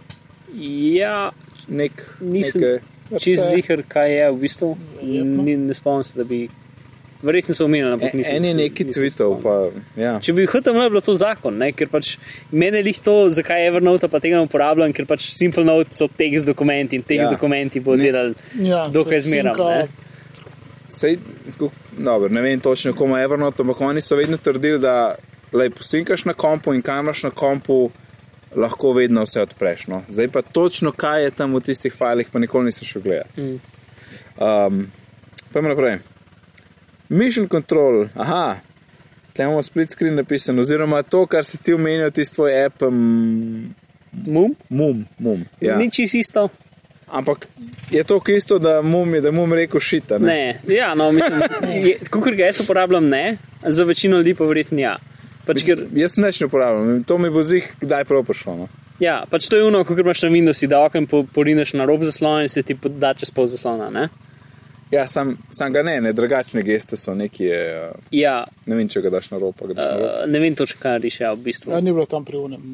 ja
Nek,
Nisem
neke vrste-
čist zihar, kaj je v bistvu.
Verjetno.
Ni, ne spomnim se, da bi. Verjetno so omenili, ampak
E-
eh, nisem.
En je
se-
neki
nisem se
tweetov,
spomnil.
pa ja.
Če bi hotel, je bilo to zakon, ne? ker pač meni je to, zakaj Evernote pa tega ne uporabljam, ker pač Simple Note so tekst dokumenti in tekst ja.
Ja.
dokumenti bodo delali
ja,
dokaj
se
zmeram.
sinka-
ne.
Sej, tako, dobro, ne vem točno, kako ima Evernote, ampak oni so vedno trdili, da lej, posinkaš na kompu in kaj imaš na kompu, lahko vedno vse odpreš. No. Zdaj pa točno kaj je tam v tistih fajlih, pa nikoli nisi šel gledati.
Mm.
Um, Pojmo naprej. Mission control, aha, tam imamo split screen napisan, oziroma to, kar si ti omenil, tisto tvoj app, um,
Mum,
mum, mum.
ja.
Ja.
ni čisto isto.
Ampak je to isto, da mum je, da mum reko šita. Ne?
Ne, ja, no,
[laughs]
mislim, kot ga jaz uporabljam, ne, za večino ljudi pa verjetno ja. Pač, ker,
Mislim, Jaz neč ne uporabljam, to mi bo zih kdaj prav prišlo. No?
ja, pač to je uno, ko imaš na Windowsi, da okem po, porineš na rob zaslona in se ti da čez pol zaslona. Ne?
Ja, sam, sam ga ne, ne drugačne geste so neki, eh,
Ja,
ne vem, če ga daš na ropa. Uh,
uh, ne vem točno, kaj riše ja, v bistvu.
Ja, ni bilo tam pri unem.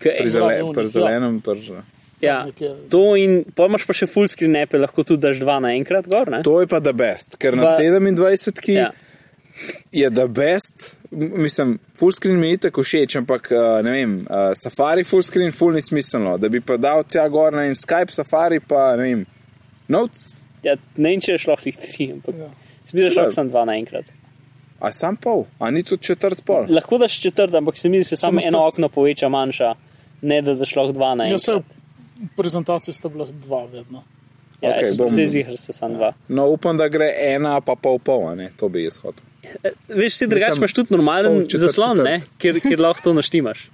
Kaj,
pri
zraven
zele,
onih,
pri
ja.
zelenem, pri.
ja,
nekje.
to in pomaš pa še full screen app, lahko tudi daš dva naenkrat gor. Ne?
To je pa da best, ker na
Pa-
27 ki
Ja.
ja. je da best, m- mislim, full screen mi je tako všeč, ampak eh, ne vem, eh, safari full screen full ni smiselno, da bi pa dal tja gor, ne vem, Skype, safari pa ne vem, notes,
Ja, ne vem, če je šlo jih tri, ampak
Ja.
se mi zdi, da je šlo
Seveda.
samo dva naenkrat.
a sam pol, a ni tudi četrt pol.
Lahko daš četrt, ampak se mi zdi, da se samo
Samo
eno
sto-
okno poveča manjša, ne da daš lahko dva
Ja, vse
naenkrat.
v prezentaciji sta bila dva vedno.
Ja,
Okej,
jaz
bom-
sem zihar, se samo dva.
No, upam, da gre ena, pa pol pol, a ne, to bi jaz hotel.
E, Veš, si drugače
Mislim, oh,
imaš tudi normalen
pol četrt,
zaslon, ne,
četrt.
kjer, kjer lahko to naštimaš.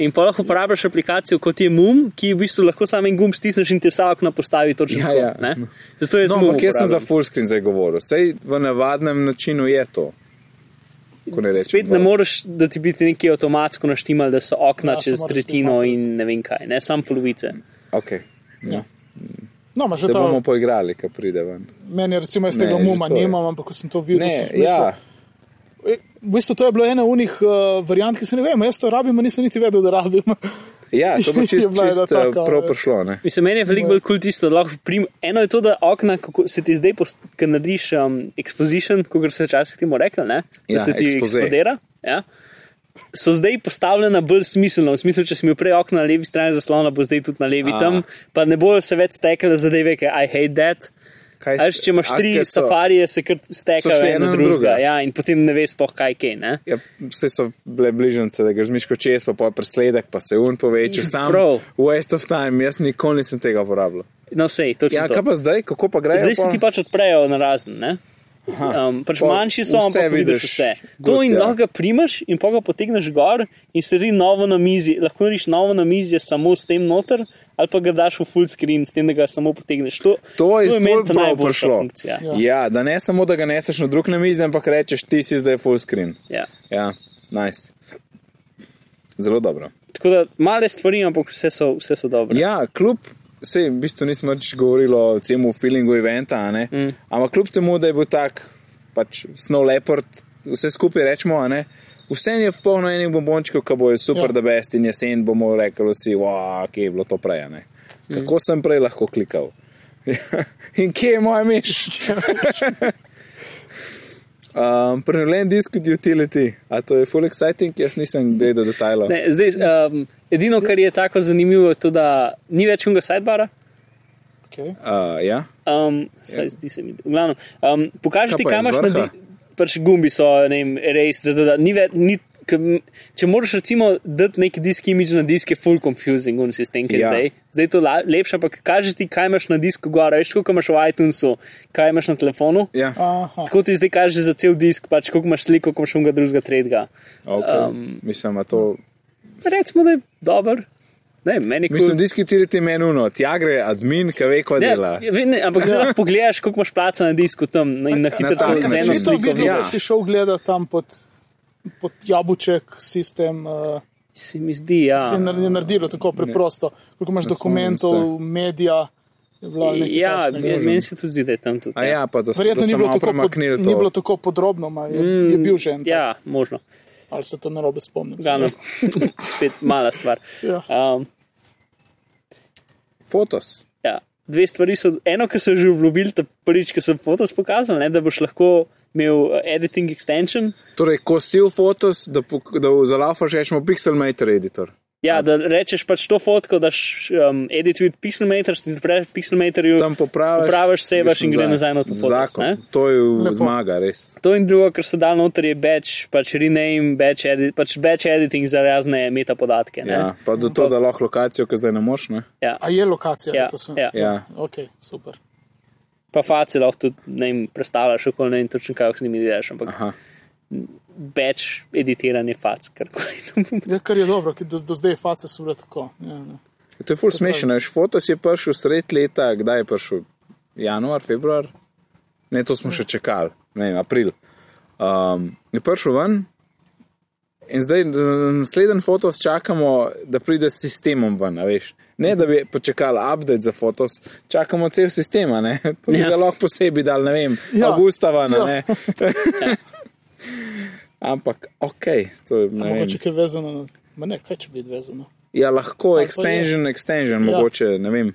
In pa lahko uporabljaš aplikacijo kot je MUM, ki v bistvu lahko samo en gumb stisneš in ti vsa okna postavi točno
Ja,
tako.
ja.
ne. Zato jaz
No,
MUM
ampak jaz sem za
uporabljam.
full screen zdaj govoril, sej v navadnem načinu je to. ko Ne rečem, no.
Spet ne
bolj.
moreš, da ti biti neki avtomatsko naštimal, da so okna
Ja,
ja,
se
čez
moraš
tretjino
snimati.
in ne vem kaj, ne samo polovice.
Okay. Ja.
No, ma, že
Se
ta,
bomo poigrali, ko pride ven.
meni je recimo, jaz
Ne,
tega
že
muma
to je.
nimam, ampak ko sem to videl,
Ne,
sem mislil,
ja,
E, V bistvu to je bilo ena unih uh, variant, ki se ne vem, jaz to rabim, a nisem niti vedel, da rabim. [laughs]
ja, to
[laughs]
bo
Je
čisto
bila ena
čist, eh,
taka,
prav
ne.
prišlo. Ne?
Mislim, meni je veliko bolj kul cool tisto, da lahko prim. Eno je to, da okna, kako se ti zdaj, post- ko narediš um, exposition, kot se včasih temu rekel, ne? da
Ja,
se ti
expose.
eksplodira. Ja? So zdaj postavljena bolj smiselno, v smislu, če si imel prej okno na levi strani zaslona, bo zdaj tudi na levi
A.
tam, pa ne bojo se več stekale zadeve, ki I hate that.
Kaj
Až, če imaš
a,
tri
ker so-
safarije, se kar
so
stekajo
šli
ena
ena na
na drugega,
drugo.
ja, in potem ne veš, spoh kaj kaj. Ne?
Ja, vse so bile bližnjice, da greš miško čez, pa pojdi presledek, pa se un poveča. Sam
Prav.
waste of time, jaz nikoli nisem tega uporabljal.
No, sej, točno.
Ja,
to.
kaj pa zdaj, kako pa grejo?
Zdaj se
pol?
ti pač odprejo na razen. ne. Um, pač
pa
manjši so,
vse
ampak vidiš
vidiš,
vse. To
good,
in
ja.
lahko ga primaš, in pa ga potegneš gor, in se redi novo na mizi. Lahko rediš novo na mizi samo s tem noter, ali pa ga daš v full screen, s tem, da ga samo potegneš. To,
To je
meni
zelo
ta
prav
najboljša
prišlo.
funkcija.
Ja.
Ja. ja, da ne samo, da ga neseš na drug na mizi, ampak rečeš, ti si zdaj full screen.
Ja.
Ja, nice. Zelo dobro.
Tako da male stvari, ampak vse so, vse so dobre.
Ja, kljub, se v bistvu nismo več govorili o cemu feelingu eventa, mm. ampak kljub temu, da je bil tak, pač Snow Leopard, vse skupaj rečemo, a ne, vse je polno enih bombončkov, ki bojo
Ja.
super, ja. da best in jesen bomo rekli vsi, wow, kje je bilo to prej, a ne. Kako mm. sem prej lahko klikal? [laughs] in kje je moja miš? um, Prenovljen disk od utility, a to je full exciting, jaz nisem gledal detajlov.
Ne, zdaj, um, edino, kar je tako zanimivo, je to, da ni več unga sidebara.
Okay.
Uh, ja.
Um, saj zdi se mi, v glavnem. Um, pokaži
Kaj
ti,
pa je
kam
z
imaš na
vrha?
di- pač gumbi so, ne vem, res, da, da, da ni več. Ni, k- m, Če moraš recimo dati neki disk imidž na disk, je full confusing, un sistem, ki je
Ja.
ja. zdaj. Zdaj je to la, lepše, ampak kaže ti, kaj imaš na disku gor, veš, koliko imaš v iTunesu, kaj imaš na telefonu.
ja.
Aha,
Tako ti zdaj kaže za cel disk, pač koliko imaš slik, koliko imaš unga drugega, tretjega.
Okay.
Um,
Um, mislim, a to.
Recimo, da je dober. Ne, vem, meni je
Mislim,
kul.
diskutirati meni uno, tja gre admin, ki ve, kaj
Ne,
dela.
ve- ne,
Ja.
ampak zdaj lahko pogledaš, koliko imaš placa na disku tam in na hitro
tak
to z
način.
eno
Če si to
sliko.
videl,
ja.
ja. si šel gledati tam pod, pod jabuček sistem, uh,
Se mi zdi, ja.
se je nar- je naredilo tako preprosto, koliko imaš
Ne
dokumentov,
spomnim
medija. je bila nekaj
Ja,
takšnega.
me- meni se tudi zdi, da je tam tudi.
A ja, pa da se
Verjetno ni bilo, tako pod,
premaknili
ni
to.
bilo tako podrobno, ma, je, mm, je bil že en. Ja.
Ja, no. možno.
Ali se to narobe spomnim?
Glavno, [laughs] spet mala stvar.
Ja.
Um,
Fotos.
ja. Dve stvari so. Eno, ki so že obljubili, ta prvič, ki sem fotos pokazal, ne, da boš lahko imel eh, editing extension.
Torej, ko si v fotos, da, pok- da zalafaš, rečemo Pixelmator editor.
Ja, da rečeš pač to fotko, daš um, edit with pixelmator, si odpreš pixelmatorju,
Tam popraviš,
popraviš sevaš in gre nazaj na to fotko.
Zakon,
ne?
to je
Lepo.
Lepo. zmaga, res.
To in drugo, kar so dal noter, je batch, pač rename, batch, edit, pač batch editing za razne metapodatke. ne.
Ja, pa do to, da lahko lokacijo, ki zdaj ne moš, ne?
Ja.
A je lokacija?
Ja,
to sem-
ja.
Ja,
Ok, super.
Pa faci lahko tudi ne vem, predstavljaš, kako ne vem točno, kaj z njimi delaš, ampak
aha.
batch editiranje fac, karkoli. [laughs] No, to bo.
Ja, kar je dobro, ker do, do zdaj face so bile tako. Ja, ja.
To je ful smešno, veš, fotos je prišel sred leta, kdaj je prišel? Januar, februar? Ne, to smo še čakali, ne vem, april. Um, je prišel ven in zdaj mm, naslednji fotos čakamo, da pride s sistemom ven, a veš. Ne, da bi počakali update za fotos, čakamo cel sistem, a ne. [laughs] To bi
Ja.
ja. lahko posebej dal, ne vem,
Ja.
ja. avgusta ven,
Ja.
ja. ne. [laughs] Ampak, ok, to je, ne vem.
Mogoče je vezano na. Ma ne, kaj če bi bilo [laughs] vezano?
Ja, lahko
Ali pa
extension, extension, ja. mogoče, ne vem.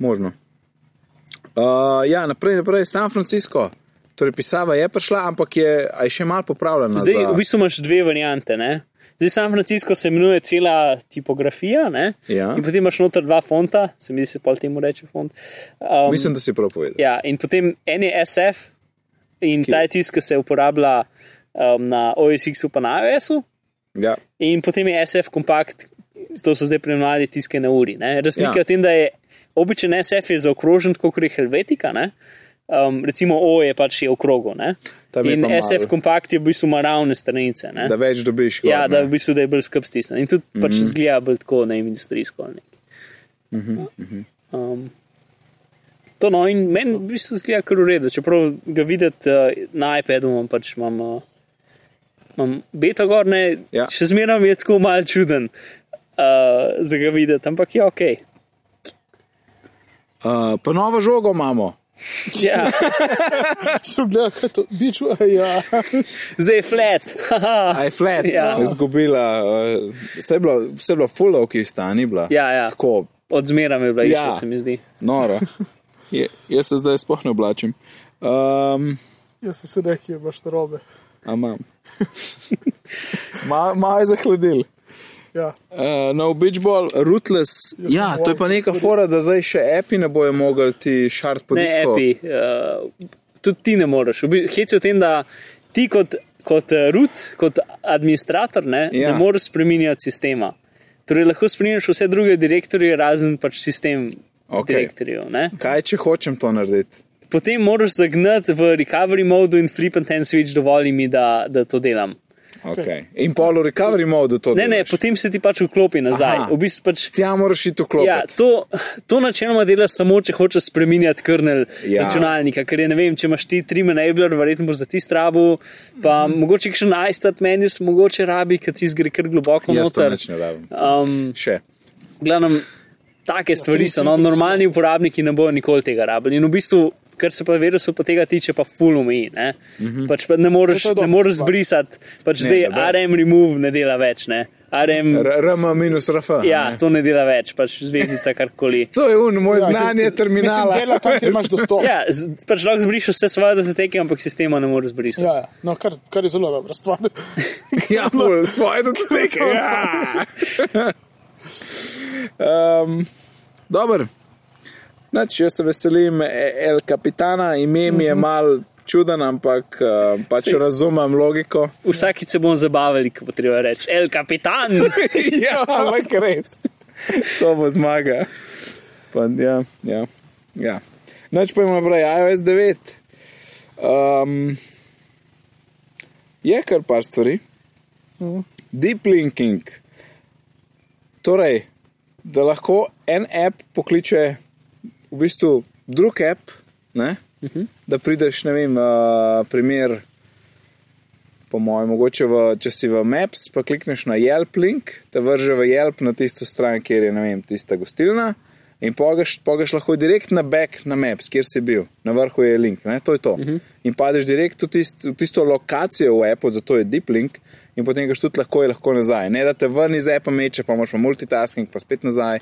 Možno. Uh, ja, naprej, naprej, San Francisco. Torej, pisava je prišla, ampak je, a je še malo popravljena.
Zdaj,
za...
v bistvu imaš dve variante. Ne? Zdaj, San Francisco se imenuje cela tipografija, ne?
Ja.
in potem imaš noter dva fonta, se mi zdi, se pol temu reče font. Um,
Mislim, da si prav povedal.
ja, in potem en je SF, in Ki? ta je tisk, ki se uporablja um, na OSX-u, pa na iOS-u,
Ja.
in potem je SF kompakt, to so zdaj preimenovali tiske na uri. Ne? Razlika ja.
Ja.
je v tem, da je običajen SF je zaokrožen, kot je Helvetika. Ne? Um, recimo O je pač je okrogo. ne.
Tam je
In
pa malo.
SF kompakt je v bistvu ima ravne stranice. Ne?
Da več dobiš.
Ja,
gor, ne.
da v bistvu da je bolj skrb stisnjen. In tudi pač
Mhm.
zgleda bolj tako, ne vem, industrijsko ali nekaj.
Mhm,
Um, to no, in meni v bistvu zgleda kar ureda, čeprav ga videti uh, na iPadu, imam pač imam, uh, imam beta gor, ne, ja.
Ja.
še zmeraj mi je tako mal čuden uh, za ga videti, ampak je
[laughs]
ok.
Uh, pa novo žogo imamo.
Ja,
Ja, Sem gledal, kaj to biču, a [laughs] ja.
zdaj je flat. [laughs]
A je flat,
Ja.
ja. izgubila. Uh, vse je bilo, vse je bilo fulov, ki je stani bila.
ja, ja.
Tako,
Od zmeraj mi je bila
Ja.
ista, se mi zdi.
noro. Je, jaz se zdaj sploh ne oblačim. Um,
Jaz sem se rekel, imaš narobe.
A
[laughs]
imam. Malo ma je zahladil.
Ja.
Uh, no, beachball, rootless.
Jaz
Ja,
sem
to je pa
wild,
neka fora, da zdaj še api ne bojo mogli ti šart po
Ne,
disku.
epi, uh, tudi ti ne moreš. Hec je v tem, da ti kot, kot eh, root, kot administrator, ne, ja.
Ja.
ne moreš spremenjati sistema. Torej, lahko spremeniš vse druge direktorje, razen pač sistem
Okej.
okay. direktorjev. Ne.
Kaj, če hočem to narediti?
Potem moraš zagnati v recovery modu in flip and ten switch dovoli mi, da, da to delam.
Okay. In pol v recovery modu to.
Ne, ne,
delaš.
potem se ti pač vklopi nazaj.
Aha.
Aha. V bistvu pač
Tja moraš iti
Ja,
vklopiti.
to, to načeloma delaš samo, če hočeš spremenjati krnil ja.
Ja.
računalnika, ker je ne vem, če imaš ti tri enabler, verjetno boš za ti strabo, pa
Mhm.
mm. mogoče še na iStat menus, mogoče rabi, ker ti zgre kar globoko
Jaz to
noter.
nič ne rabim.
Um,
Še.
glavnem,
Ja,
take stvari so, no, normalni uporabniki ne bojo nikoli tega rabili. In v bistvu, kar se pa virusu pa tega tiče, pa full omeji. Ne? Pač pa ne moreš,
To je dobra
ne moreš
stvar.
zbrisati, pač
Mhm. Ne,
zdaj
da best.
RM remove ne dela več, ne. RM,
R- RM minus RF.
ja,
ne?
to ne dela več, pač zvezdica karkoli.
To je un, moj ja,
mislim,
znanje mislim, terminala.
Mislim, dela tam, kjer imaš dostop.
[laughs] Ja, z- pač lahko zbrišeš vse svoje datoteke, ampak sistema ne moreš zbrisati.
Ja, ja. No, kar, kar je zelo dobra stvar. [laughs]
[laughs] Ja, bolj svoje dotleke. Ja. Um, Dobro. Nač, jaz se veselim E- El Capitana, ime mi je mal čuden, ampak uh, pač razumem logiko.
Vsakič se bomo zabavali, ko bo treba reči. El
[laughs]
kapitan!
ja, ampak res. To bo zmaga. Pa, ja, ja, ja. Nač pa imamo prej ja, iOS 9. Um, je kar par stvari. Deep linking. Torej, da lahko en app pokliče v bistvu drug app, ne? uh -huh. da prideš, ne vem, uh, primer po mojem, mogoče v, če si v Maps, pa klikneš na Yelp link, te vrže v Yelp na tisto stran, kjer je, ne vem, tista gostilna. In pogaš, pogaš lahko direkt na back na Maps, kjer si bil, na vrhu je link, ne? to je to. Uh -huh. In padeš direkt v, tist, v tisto lokacijo v Apple, zato je deep link, in potem gaš tudi lahko, je lahko nazaj. Ne da te vrni iz Apple meče, pa imaš pa multitasking, pa spet nazaj.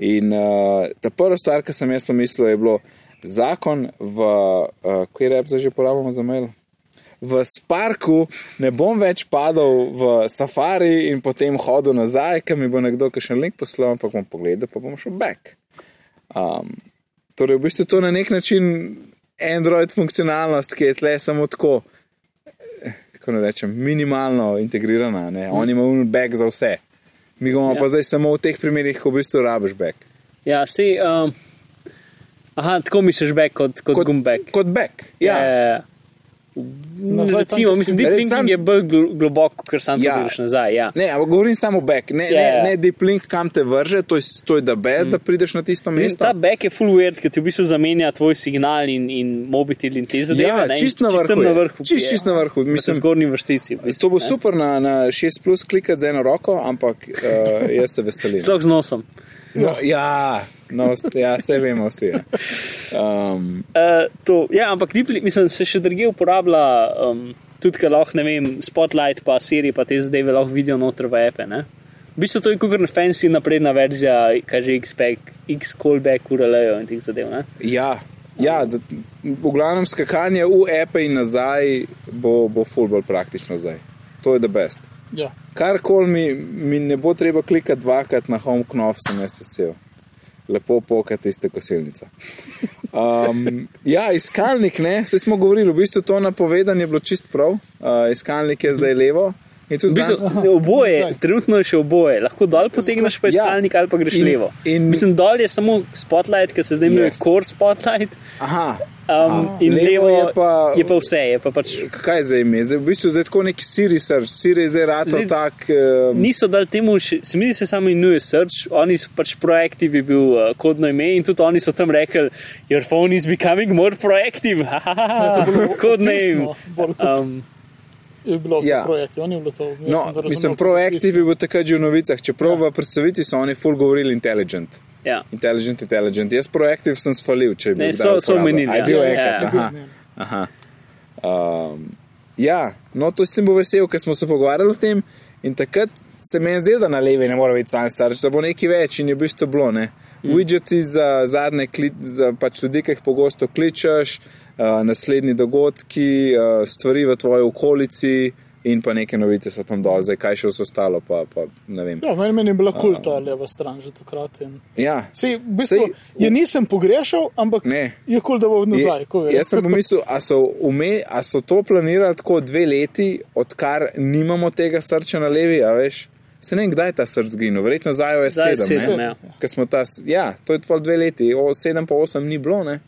In uh, ta prva stvar, ki sem jaz eh, pomislil, je bilo zakon v, uh, kje rep zdaj že uporabljamo za mail? v Sparku, ne bom več padal v safari in potem hodil nazaj, ker mi bo nekdo še en link poslal, ampak bom pogledal, pa bom šel back. Um, torej, v bistvu to na nek način Android funkcionalnost, ki je tle samo tako, eh, kako ne rečem, minimalno integrirana. Ne? Oni imajo un back za vse. Mi ga imamo
Mm.
ja.
Ja.
pa zdaj samo v teh primerih, ko v bistvu rabiš back.
Ja, si. Um, aha, tako misliš back kot, kot, kot gumbek.
Kot back. Ja.
Ja,
Yeah.
ja, ja.
Nazaj tam,
Recimo,
kjer si
mislim,
bil.
deep
Res
linking
sam-
je bolj gl- globok, ker sam ja.
Ja.
ti greš nazaj. Ja.
Ne, ampak govorim samo back, ne,
Ja, ja.
yeah. ne, ne deep link, kam te vrže, to je, to je da bez, mm. da prideš na tisto
In
mesto.
ta back je full weird, ker ti v bistvu zamenja tvoj signal in, in mobitel in te zadeve.
Ja,
ne, in
čist na
čistem
vrhu je.
na vrhu ja.
Čist,
je.
čist na vrhu,
Na
mislim.
zgornji vrstici. v bistvu,
To bo
ne.
super na, na 6 plus klikati z eno roko, ampak uh, jaz se veselim.
[laughs] Sploh z nosom.
No, ja, no, s- ja, vse vemo, vsi. Ja. Um,
Uh, to, ja, ampak deep, link- mislim, se še druge uporablja, um, tudi ker lahko, ne vem, Spotlight, pa Siri, pa te zadeve lahko vidijo noter v epe. Ne? V bistvu to je kot fancy napredna verzija, kaže X-Pack, X-Callback, URL-jo in teh zadev. Ne?
ja, ja da, v glavnem skakanje v epe in nazaj bo, bo fulbol praktično zdaj. To je the best.
Ja.
Kar koli mi, mi ne bo treba klikati dvakrat na home knof, sem jaz vesel. Lepo poka tiste kosilnice. Um, [laughs] ja, iskalnik ne, se smo govorili, v bistvu to napovedanje je bilo čist prav. Uh, iskalnik je zdaj levo. In tudi
V bistvu,
zanj-
oboje,
Nazaj.
trenutno je še oboje. Lahko dol potegneš pa
Ja.
iskalnik ali pa greš
In-
levo.
in-
Mislim, dol je samo spotlight, ki se zdaj imenuje yes.
Yes.
core spotlight.
aha,
Um, in
levo
levo, levo
je pa-
je pa vse, je pa pač.
kaj je zdaj ime? Zdaj, v bistvu zdaj tako neki siri, sir, siri je zdaj rato
Zdaj-
tak. Um,
Niso dal temu, še- se mi zdi, se samo imenuje Search, oni so pač proaktiv, je bil uh, kodno ime in tudi oni so tam rekli, your phone is becoming more proactive. [laughs]
to je [laughs] bilo
Kodno
opisno,
ime.
bolj kot-
Um,
Je bilo
Ja.
ja. projekt, on je bilo to. Mislim,
No,
da razumel
mislim,
kot
proaktiv
opisno.
je bil takrat že v novicah, čeprav v predstavitvi so oni full govorili intelligent.
ja.
Intelligent, intelligent. Jaz proaktiv sem sfalil, če bi
Ne,
bil
so-
kdaj
so
uporabljen.
omenili,
A je
ja.
bil
Ja,
enkrat.
ja.
Aha. Aha. Um, ja, no to sem bil vesel, ker smo se pogovarjali o tem in takrat se mi je zdelo, da na levi ne more biti sam starš, da bo nekaj več in je v bistvu bilo. Ne? Mm. Widgeti za zadnje, kli, za pač ljudi, ki jih pogosto kličeš, uh, naslednji dogodki, uh, stvari v tvoji okolici in pa neke novice so tam dol, zdaj kaj še vse ostalo, pa, pa ne vem.
Ja, meni, meni je
Um,
bila kul ta leva stran že takrat. In...
Ja.
Sej, v bistvu,
Saj-
Sej, je nisem pogrešal, ampak
Ne.
je kul, da bo nazaj. ko
Je,
verjamem.
jaz sem pomislil, a so, ume, a so to planirali tako dve leti, odkar nimamo tega srca na levi, a veš. Se ne vem, kdaj je ta src zginil, verjetno za jo je
Za iOS
sedem. ne?
7, ja.
Ker smo ta, s- ja, to je tvoj dve leti, o, sedem pa osem ni bilo, ne?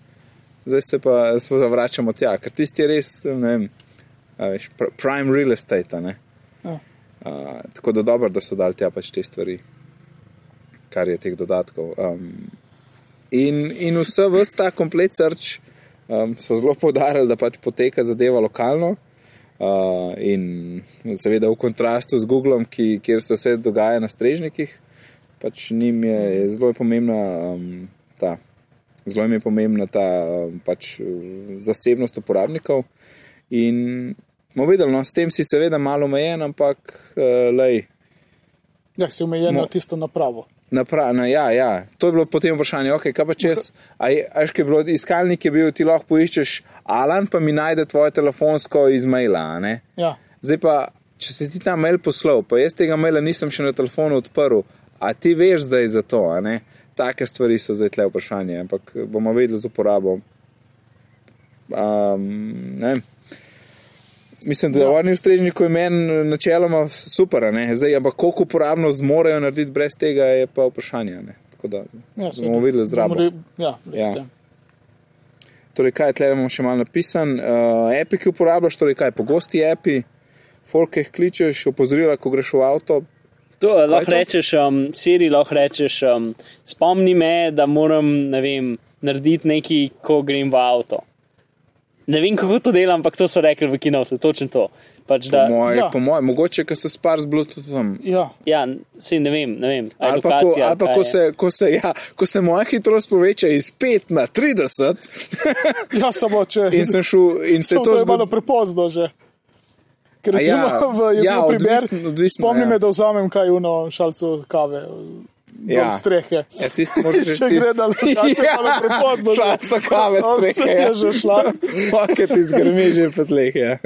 zdaj se pa se zavračamo tja, ker tisti je res, ne vem, a veš, pr prime real estate. a Ne?
Ja.
Uh, tako da dobro, da so dali tja pač te stvari, kar je teh dodatkov. Um, in, in vse vse ta komplet srč um, so zelo podarili, da pač poteka zadeva lokalno. Uh, in seveda v kontrastu z Googlom, ki, kjer se vse dogaja na strežnikih, pač njim je, je zelo pomembna um, ta. Zelo jim je pomembna ta um, pač, uh, zasebnost uporabnikov, in bomo videli, no, s tem si seveda malo omejen, ampak uh, lej,
[laughs] Ja, si omejen na
Mo-
tisto napravo.
Napra, no, ja, ja, to je bilo potem vprašanje, okay, kaj pa če jaz, ajš, ki je bilo iskalnik, je bil ti lahko poiščeš Alan, pa mi najde tvoje telefonsko iz maila. a ne?
Ja.
Zdaj pa, če si ti ta mail poslal, pa jaz tega maila nisem še na telefonu odprl, a ti veš, da je za to, a ne? Take stvari so zdaj tle vprašanje, ampak bomo vedeli z uporabo. Um, ne vem. Mislim, da je varni ustrežnik imen načeloma super, a ne? zdaj, ampak koliko uporabno zmorejo narediti brez tega, je pa vprašanje. a ne. Tako da
Ja,
bomo videli z rabo.
Re, ja,
Ja.
ja.
Torej, kaj tle imamo še malo napisan, uh, api, ki uporabljaš, torej kaj pogosti api, folk jih kličeš, opozorila, ko greš v avto.
To eh, lahko
to?
rečeš, um, Siri, lahko rečeš, um, spomni me, da moram ne vem, narediti nekaj, ko grem v avto. Ne vem, kako to delam, ampak to so rekli v kinotu, točno to. Pač,
Po
da,
moje,
Ja.
ja. po moje, mogoče, ker se spar z Bluetoothom.
ja.
ja, sej ne vem, ne vem. a
Ali pa, ko,
edukacija,
ali pa
kaj
ko,
je.
se, ko, se, ja, ko se moja hitrost poveča iz 5 na 30,
ja, samo če.
in sem šel, in se je
Samo [laughs] to
to
je malo
zgodilo.
prepozno že. Ker
A ja,
recimo, [laughs] ja, v, je
ja,
ja, primer,
odvisno- odvisno,
spomni
ja.
me, da vzamem kaj uno šalcu kave. ja. strehe.
Ja, tisti
[laughs]
moraš že
Če gre na
[laughs]
lokacijo, ja. malo prepozno. že.
Praca kave ja.
Ovce
strehe.
je že
[laughs]
šla.
Paket izgrmi že po tleh. Ja. [laughs]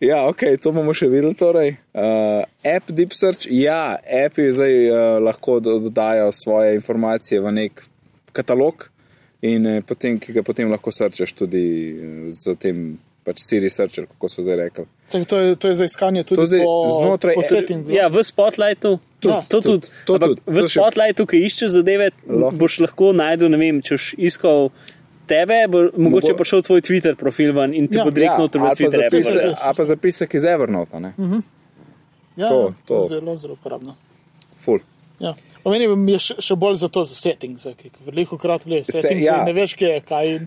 ja, ok, to bomo še videli. Torej. Uh, app Deep Search, ja, appi zdaj uh, lahko do- dodajo svoje informacije v nek katalog, in eh, potem, ki ga potem lahko srčeš tudi eh, z tem. Pač Siri Searcher, kako so zdaj rekli.
Tako, to, je, to je za iskanje tudi
To zdaj
po,
znotraj-
po settingu.
Ja, v spotlightu.
no. Tudi,
no, to
tudi,
tudi.
to
Ampak
tudi,
V
to še-
spotlightu, ki iščeš zadeve,
Lahko.
lahko. boš lahko najdel, ne vem, če boš iskal tebe, bo, mogoče
Mogo-
pa šel tvoj Twitter profil ven in ti
Ja,
bo direktno v tvoj
ali pa
Twitter app.
zapisek-
vrzel.
ali pa zapisek iz Evernota, ne?
Mhm.
Mm -hmm.
ja,
to, to.
Zelo, zelo uporabno.
Full.
Ja. Omenim je še, še bolj za to, za setting, za ki veliko krat le
Se-
setting,
ja.
ja. ne veš, kje je kaj. In,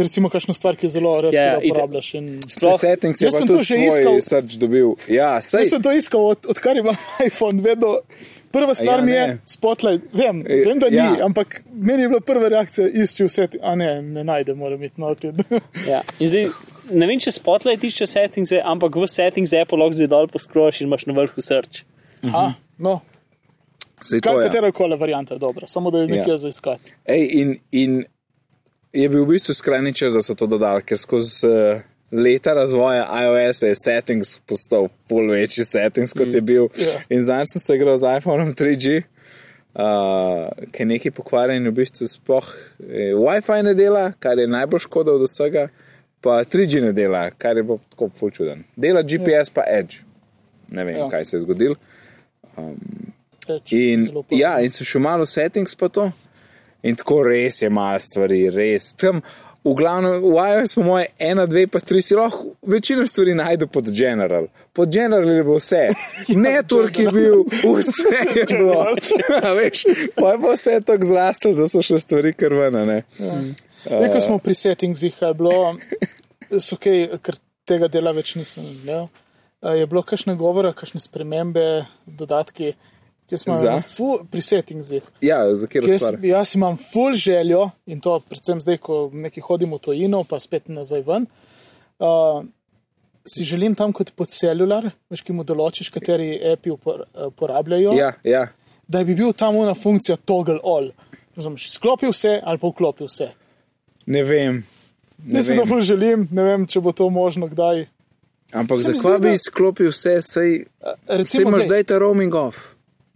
recimo, kakšno stvar, ki jo zelo redko ja,
Ja, ide-
uporabljaš. In...
Sploh, settings je
Jaz
pa
sem
tudi
to že
svoj
iskal.
Search dobil. Ja, sej,
Jaz sem to iskal, od, odkar imam [laughs] iPhone, vedno. Prva stvar ja,
Ja,
mi je
ne.
spotlight, vem,
E,
vem da ni,
ja.
ja. ampak meni je bila prva reakcija, išči vse, te- a ne, ne najdem, moram iti [laughs] noter.
Ja. In zdaj, ne vem, če spotlight išče settings, ampak v settings Apple lahko zdaj dol poskroš in imaš na vrhu search.
A, no,
sej to,
Kaj,
ja.
katera koli varianta je dobra, samo da je nekje
Ja.
ja. za iskati.
Ej, in, in je bil v bistvu skrajni čas, da so to dodali, ker skozi uh, leta razvoja iOS je settings postal pol večji settings, kot je bil.
Ja.
In zdaj sem se igral z iPhoneom 3G. Uh, ki je neki pokvarjen, in v bistvu sploh eh, WiFi ne dela, kar je najbolj škoda od vsega, pa 3G ne dela, kar je bilo tako fulčuden. Dela GPS, pa Edge. Ne vem,
Ja.
ja. kaj se je zgodilo.
Eč,
In,
zelo podobno.
ja, in so še malo settings pa to. In tako res je malo stvari, res. Tam, v glavnem, v iOS, po moje, ena, dve, pa tri si lahko večino stvari najdu pod general. Pod general je bilo
[laughs]
vse.
Ja,
Network je bil, vse je bilo. [laughs] Veš, pa je pa vse tako zrastel, da so še stvari krvene.
Zdaj,
eh,
ko smo pri settingsih, a je bilo, so kaj, ker tega dela več nisem imel, a je bilo kakšne govora, kakšne spremembe, dodatki, ki smo
Za?
jih imeli pri settingsih.
Ja, za kjer
Jaz,
stvar.
jaz imam full željo in to predvsem zdaj, ko neki hodimo v tojino, pa spet nazaj ven. Uh, si želim tam kot podcelular, veš, ki mu določiš, kateri api upor- eh, uporabljajo.
Ja, ja.
da bi bil tam ona funkcija toggle all. Razumeš, sklopil vse ali pa vklopil vse.
Ne vem. Ne
Ne si
vem.
dobro želim, ne vem, če bo to možno kdaj. Eh,
Ampak
Se mi
zakaj
zdi,
bi
da-
izklopil vse, sej, sej
Recimo,
imaš
glej,
dajta roaming off.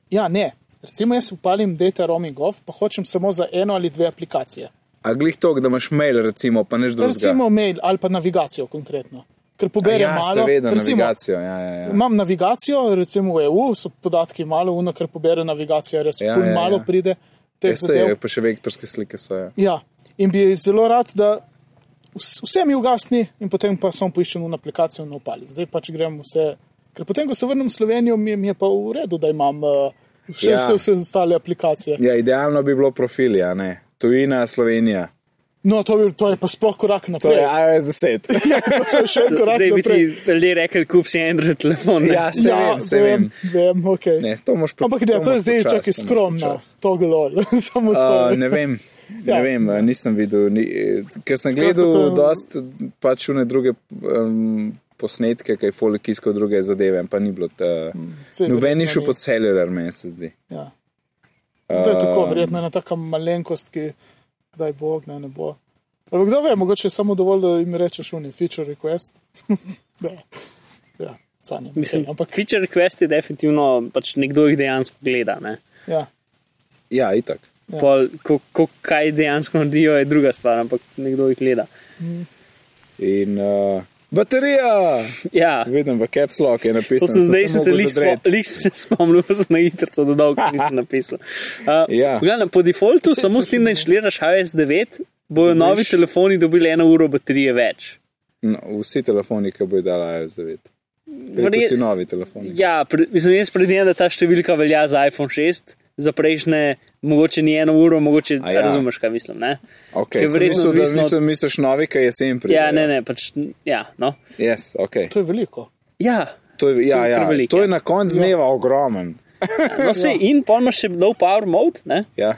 ja, ne. Recimo, jaz upalim data roaming off, pa hočem samo za eno ali dve aplikacije.
A glih to, da imaš mail, recimo, pa neš drugega.
Recimo mail ali pa navigacijo konkretno. Ker pobere
ja,
malo.
seveda,
recimo,
navigacijo. Ja, ja, ja.
Imam navigacijo, recimo v EU, so podatki malo, uno, ker pobere navigacija, res
Ja,
ja, ful
ja,
ja, malo
ja.
ja. pride. teh
Ja, sej,
zadev.
pa še vektorske slike so. Ja.
Ja, in bi zelo rad, da vs- vse mi ugasni, in potem pa samo poiščem eno aplikacijo in opali. Zdaj pač grem vse. Ker potem, ko se vrnem v Slovenijo, mi, je- mi je pa v redu, da imam uh, še
Ja.
ja. vse, vse ostale aplikacije.
ja, idealno bi bilo profili, a ne. Tujina, Slovenija.
No, to, bi, to je pa sploh korak
To je ja.
naprej.
iOS
[laughs]
10.
To je še
[laughs]
en korak
Zdaj bi ti
naprej.
ljudje rekli, kup si Android telefon. ne.
ja, se vem, se vem.
vem, vem okay.
Ne, to moš
Ampak ne, to je zdaj čakaj skromno, to glol. Samo
Uh,
[laughs] to.
ne vem, ne ja.
Ja.
vem, eh, nisem videl, ni, eh, ker sem
Skratka,
gledal
to je-
dost pač une druge um, posnetke, kaj folk iskal druge zadeve, pa ni bilo. ta-
saj
Noben ni
verjetno
šel
ni.
pod celular, meni se zdi.
Ja. No, To je tako,
Um,
verjetno ena taka malenkost, ki kdaj bo, kdaj ne bo. Ampak kdo ve, mogoče je samo dovolj, da jim rečeš unij, feature request. [laughs] da. Ja, sanjam.
Mislim, ampak
ampak
feature request je definitivno, pač nekdo jih dejansko gleda. Ne?
ja,
Ja, itak.
Ja.
Pol, ko, ko, kaj dejansko naredijo, je druga stvar, ampak nekdo jih gleda.
In uh, baterija,
Ja,
vidim v capslock je
to
napisano.
sem zdaj sem se
mogel
lih
zadreti.
spo- lih se spomnil, pa sem na internetu dodal, kar nisem [laughs] napisal. Uh,
Ja.
gledam, po [laughs] defaultu, samo s tem, da inštaliraš iOS 9, bojo
Dobiš-
novi telefoni dobili eno uro baterije več.
No, vsi telefoni, ki bojo dala iOS 9. Verjetno
Verje-
vsi novi telefoni.
Ja, pre, mislim, jaz predvidevam, da ta številka velja za iPhone 6, za prejšnje, mogoče ni eno uro, mogoče
A ja.
ja. razumeš, kaj mislim. Ne?
Okay,
Ker
sem
verjetno
mislil, da
odvisno od-
mislim, misliš novi, ki je sem prijel.
Ja, ne, ne, pač, ja, [laughs] no.
Yes, okay.
to je veliko.
Ja,
to, je, ja,
je
ja,
kar veliko,
to je
ja.
na koncu dneva ogromen.
no se, in pol imaš še low power mode, ne?
Ja.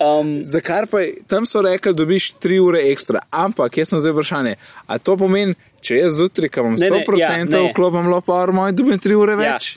Um,
Za kar pa je- tam so rekli, dobiš 3 ure ekstra, ampak jaz sem zdaj vprašanje. A to pomeni, če jaz zjutraj, ko imam
Ne, ne,
100%
ja, ne.
vklopim lopo armo in dobim 3 ure
Ja.
več?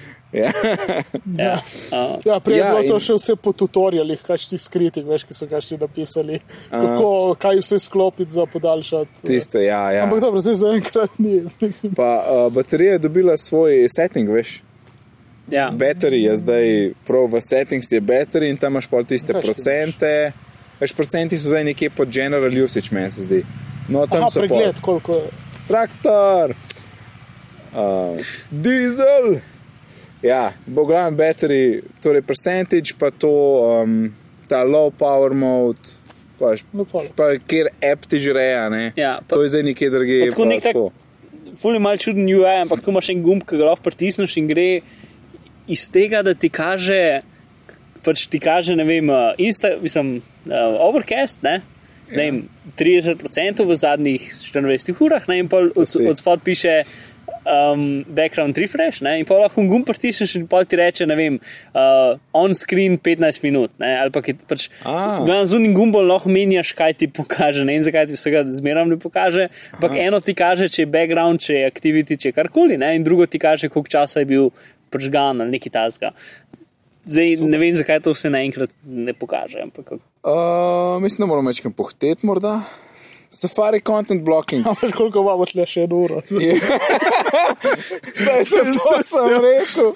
Ja, [laughs]
Ja. A,
Ja, prej je
Ja,
ja, bilo to
in-
še vse po tutorialih, kakšnih skritih, veš, ki so kašti napisali, kako, kaj vse sklopiti za podaljšati.
tiste, ja, ja.
Ampak dobro, zdaj zaenkrat ni. Mislim,
Pa uh, baterija je dobila svoj setting, veš.
ja.
Battery je zdaj, prav v settings je battery in tam imaš pol tiste
Kaj še
procente. Veš, procenti so zdaj nekje pod general usage, meni se zdi. No, tam
Aha,
so pol.
pregled, koliko [laughs] je.
traktor, uh, dizel. Ja, bo glavno battery, torej percentage, pa to, um, ta low power mode, pa, š-
No, pol.
pa kjer app ti žreja, ne.
Ja, pa-
to je zdaj nekje drugje.
pa tako
pa
nek tak-
tako.
Ful je mal čuden UI, ampak tu imaš en gumb, ki ga lahko pritisneš in gre iz tega, da ti kaže, pač ti kaže, ne vem, eh, insta, mislim, uh, overcast, ne. Ne vem, 30% v zadnjih 24 urah, ne, in pol od,
Pusti.
od spod piše um, background refresh, ne, in pol lahko gum pritisneš in pol ti reče, ne vem, uh, on screen 15 minut, ne, ali pa ki pač
A.
Na zunanjem gumbom lahko menjaš, kaj ti pokaže. Ne vem, zakaj ti vsega zmeraj ne pokaže. Ampak eno ti kaže, če je background, če je activity, če je karkoli, ne? in drugo ti kaže, koliko časa je bil pržgan ali neki tasga. Zdaj Super. ne vem, zakaj to vse naenkrat ne pokaže. Ampak,
Uh, mislim, da moramo večkrat pohteti morda. Safari content blocking.
Ampak koliko imamo tle še eno uro?
Je. Saj še to sem rekel.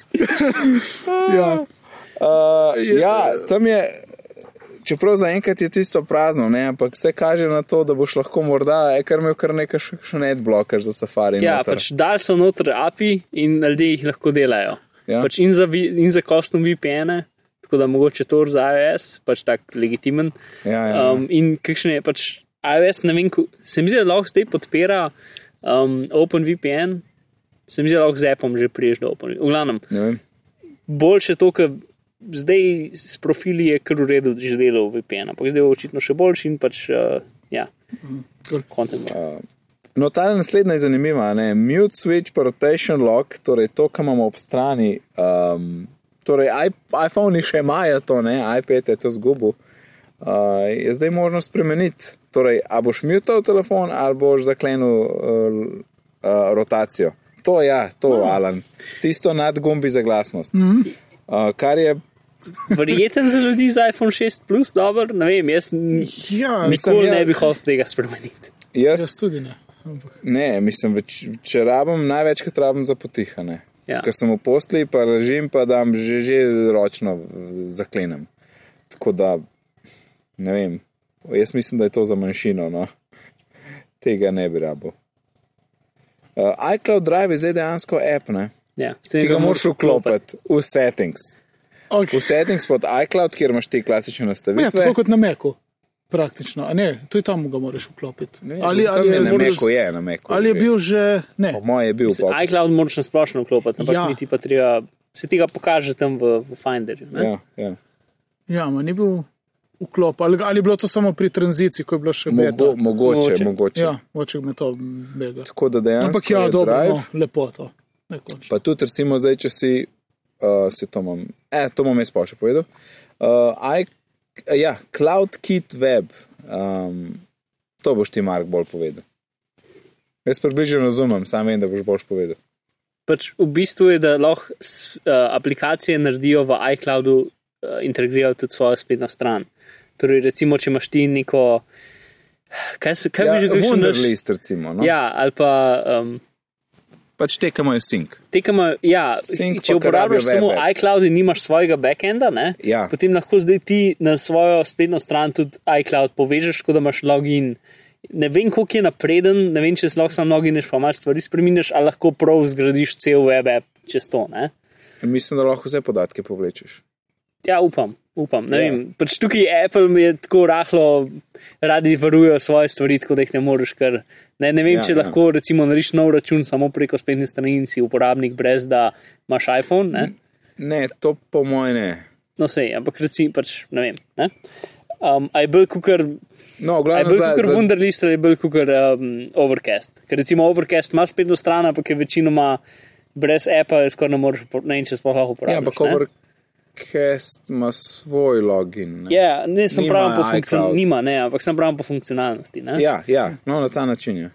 ja. Uh, ja, tam je, čeprav zaenkrat je tisto prazno, ne, ampak vse kaže na to, da boš lahko morda, eh, kar imel kar nekaj še, še net blokaž za safari.
ja,
noter.
pač dal so noter API in ljudje jih lahko delajo.
Ja.
Pač in za, vi- in za custom VPN-e, tako da mogoče to za iOS, pač tak legitimen.
ja, ja.
Um, in kakšen je pač iOS, ne vem, ko- se mi zdi, da lahko zdaj podpira um, OpenVPN, se mi zdi, da lahko z appom že priješ do OpenVPN. V glavnem,
ne vem.
boljše to, ker zdaj s profili je kar uredu že delal VPN, ampak zdaj je očitno še boljši in pač, uh, ja, content. Uh,
No, ta naslednja je zanimiva. Ne? Mute switch, pa rotation lock, torej to, kar imamo ob strani. Um, torej, i- iPhone še imajo to, ne? iPad je to zgubil. Uh, je zdaj možno spremeniti. Torej, a boš mutal telefon ali boš zaklenil uh, l- uh, rotacijo. To je, ja, to je, no. Alan. Tisto nad gumbi za glasnost. Mm -hmm. uh, kar je
Verjeten za ljudi z iPhone 6 Plus, dobro, ne vem, jaz n-
Ja,
nikoli
ja.
ne bi hotel tega spremeniti.
jaz
jaz Ja, tudi ne. Ampak,
Ne, mislim, več, če rabim, največkrat rabim za potihane.
Ja.
Ker sem v posli, pa ležim, pa dam že, že ročno eh, zaklenem. Tako da, ne vem, jaz mislim, da je to za manjšino, no. tega ne bi rabo. Uh, iCloud Drive je zdaj dejansko app, ne?
Ja, s tem
ki ga moraš vklopiti v settings. V
okay.
settings pod iCloud, kjer imaš te klasične
ja, tako
nastavitve.
kot na meku, praktično. A ne, tudi tam ga moraš vklopiti.
Ne,
Ali,
tam
ali,
je,
je,
na
moraš-
Macu je, na Macu
ali je
že.
bil že. Ne,
Po moje je bil. pa-
iCloud moraš na splošno vklopiti, ampak
Ja.
ja. ti pa treba, se tega pokaže tam v, v Finderju. ne?
Ja, ja.
ja, ma, ni bil vklop. Ali, ali je bilo to samo pri tranziciji, ko je bilo še beta?
Mogo, mogoče,
Mogoče.
mogoče. mogoče.
Ja, oček me to bega.
Tako da dejansko.
Ampak ja,
je
dobro,
drive,
no, lepo to. Nekončno.
Pa tudi, recimo, zdaj, če si, uh, si to imam, eh, to bom jaz pa še povedal. Uh, I, ja, CloudKit Web, um, to boš ti, Mark, bolj povedal. Jaz približno razumem, sam vem, da boš boš povedal.
Pač v bistvu je, da lahko s- eh, aplikacije naredijo v iCloudu, eh, integrirajo tudi svojo spletno stran. Torej, recimo, če imaš ti neko. Kaj, se- kaj bi že kakšen naš-
Ja, Wunderlist, recimo. No?
Ja, ali pa um,
Pač te, ki imajo sink.
tekama, ja,
Sync
če
pa
uporabljaš
uporablja
samo
web app.
iCloud in nimaš svojega backenda, ne,
Ja.
potem lahko zdaj ti na svojo spletno stran tudi iCloud povežeš, tako da imaš login. Ne vem, koliko je napreden, ne vem, če se lahko sam logineš, pa imaš stvari spremeniš, ali lahko prav zgradiš cel web app čez to. Ne?
Mislim, da lahko vse podatke povlečeš.
Ja, upam, upam. Ne
Ja.
ja. vem, pač tukaj Apple mi je tako rahlo, radi varujejo svoje stvari, tako da jih ne moreš kar. Ne, ne vem,
Ja,
ja, če
ja.
ja. lahko recimo narediš nov račun samo preko
Mhm.
spletne strani in si uporabnik brez da imaš iPhone. Ne?
Ne, to po mojem ne.
No, sej, ampak reci, pač, ne vem. Ne? Um, a je bil kukar,
No,
a je
glavno
bil
za,
kukar
za,
Wunderlist ali je bil kukar um, Overcast. Ker recimo Overcast ima spletno stran, ampak je večinoma brez appa, je skoraj ne moreš, upor- ne vem, če sploh lahko
ja,
uporabiš.
ampak
ne.
Overcast ima svoj login. ne.
Ja, ne, sem
Nima
pravim po
iCloud.
funkcionalnosti, nima, ne, ampak sem pravim po funkcionalnosti. Ne?
Ja, ja, no na ta način je.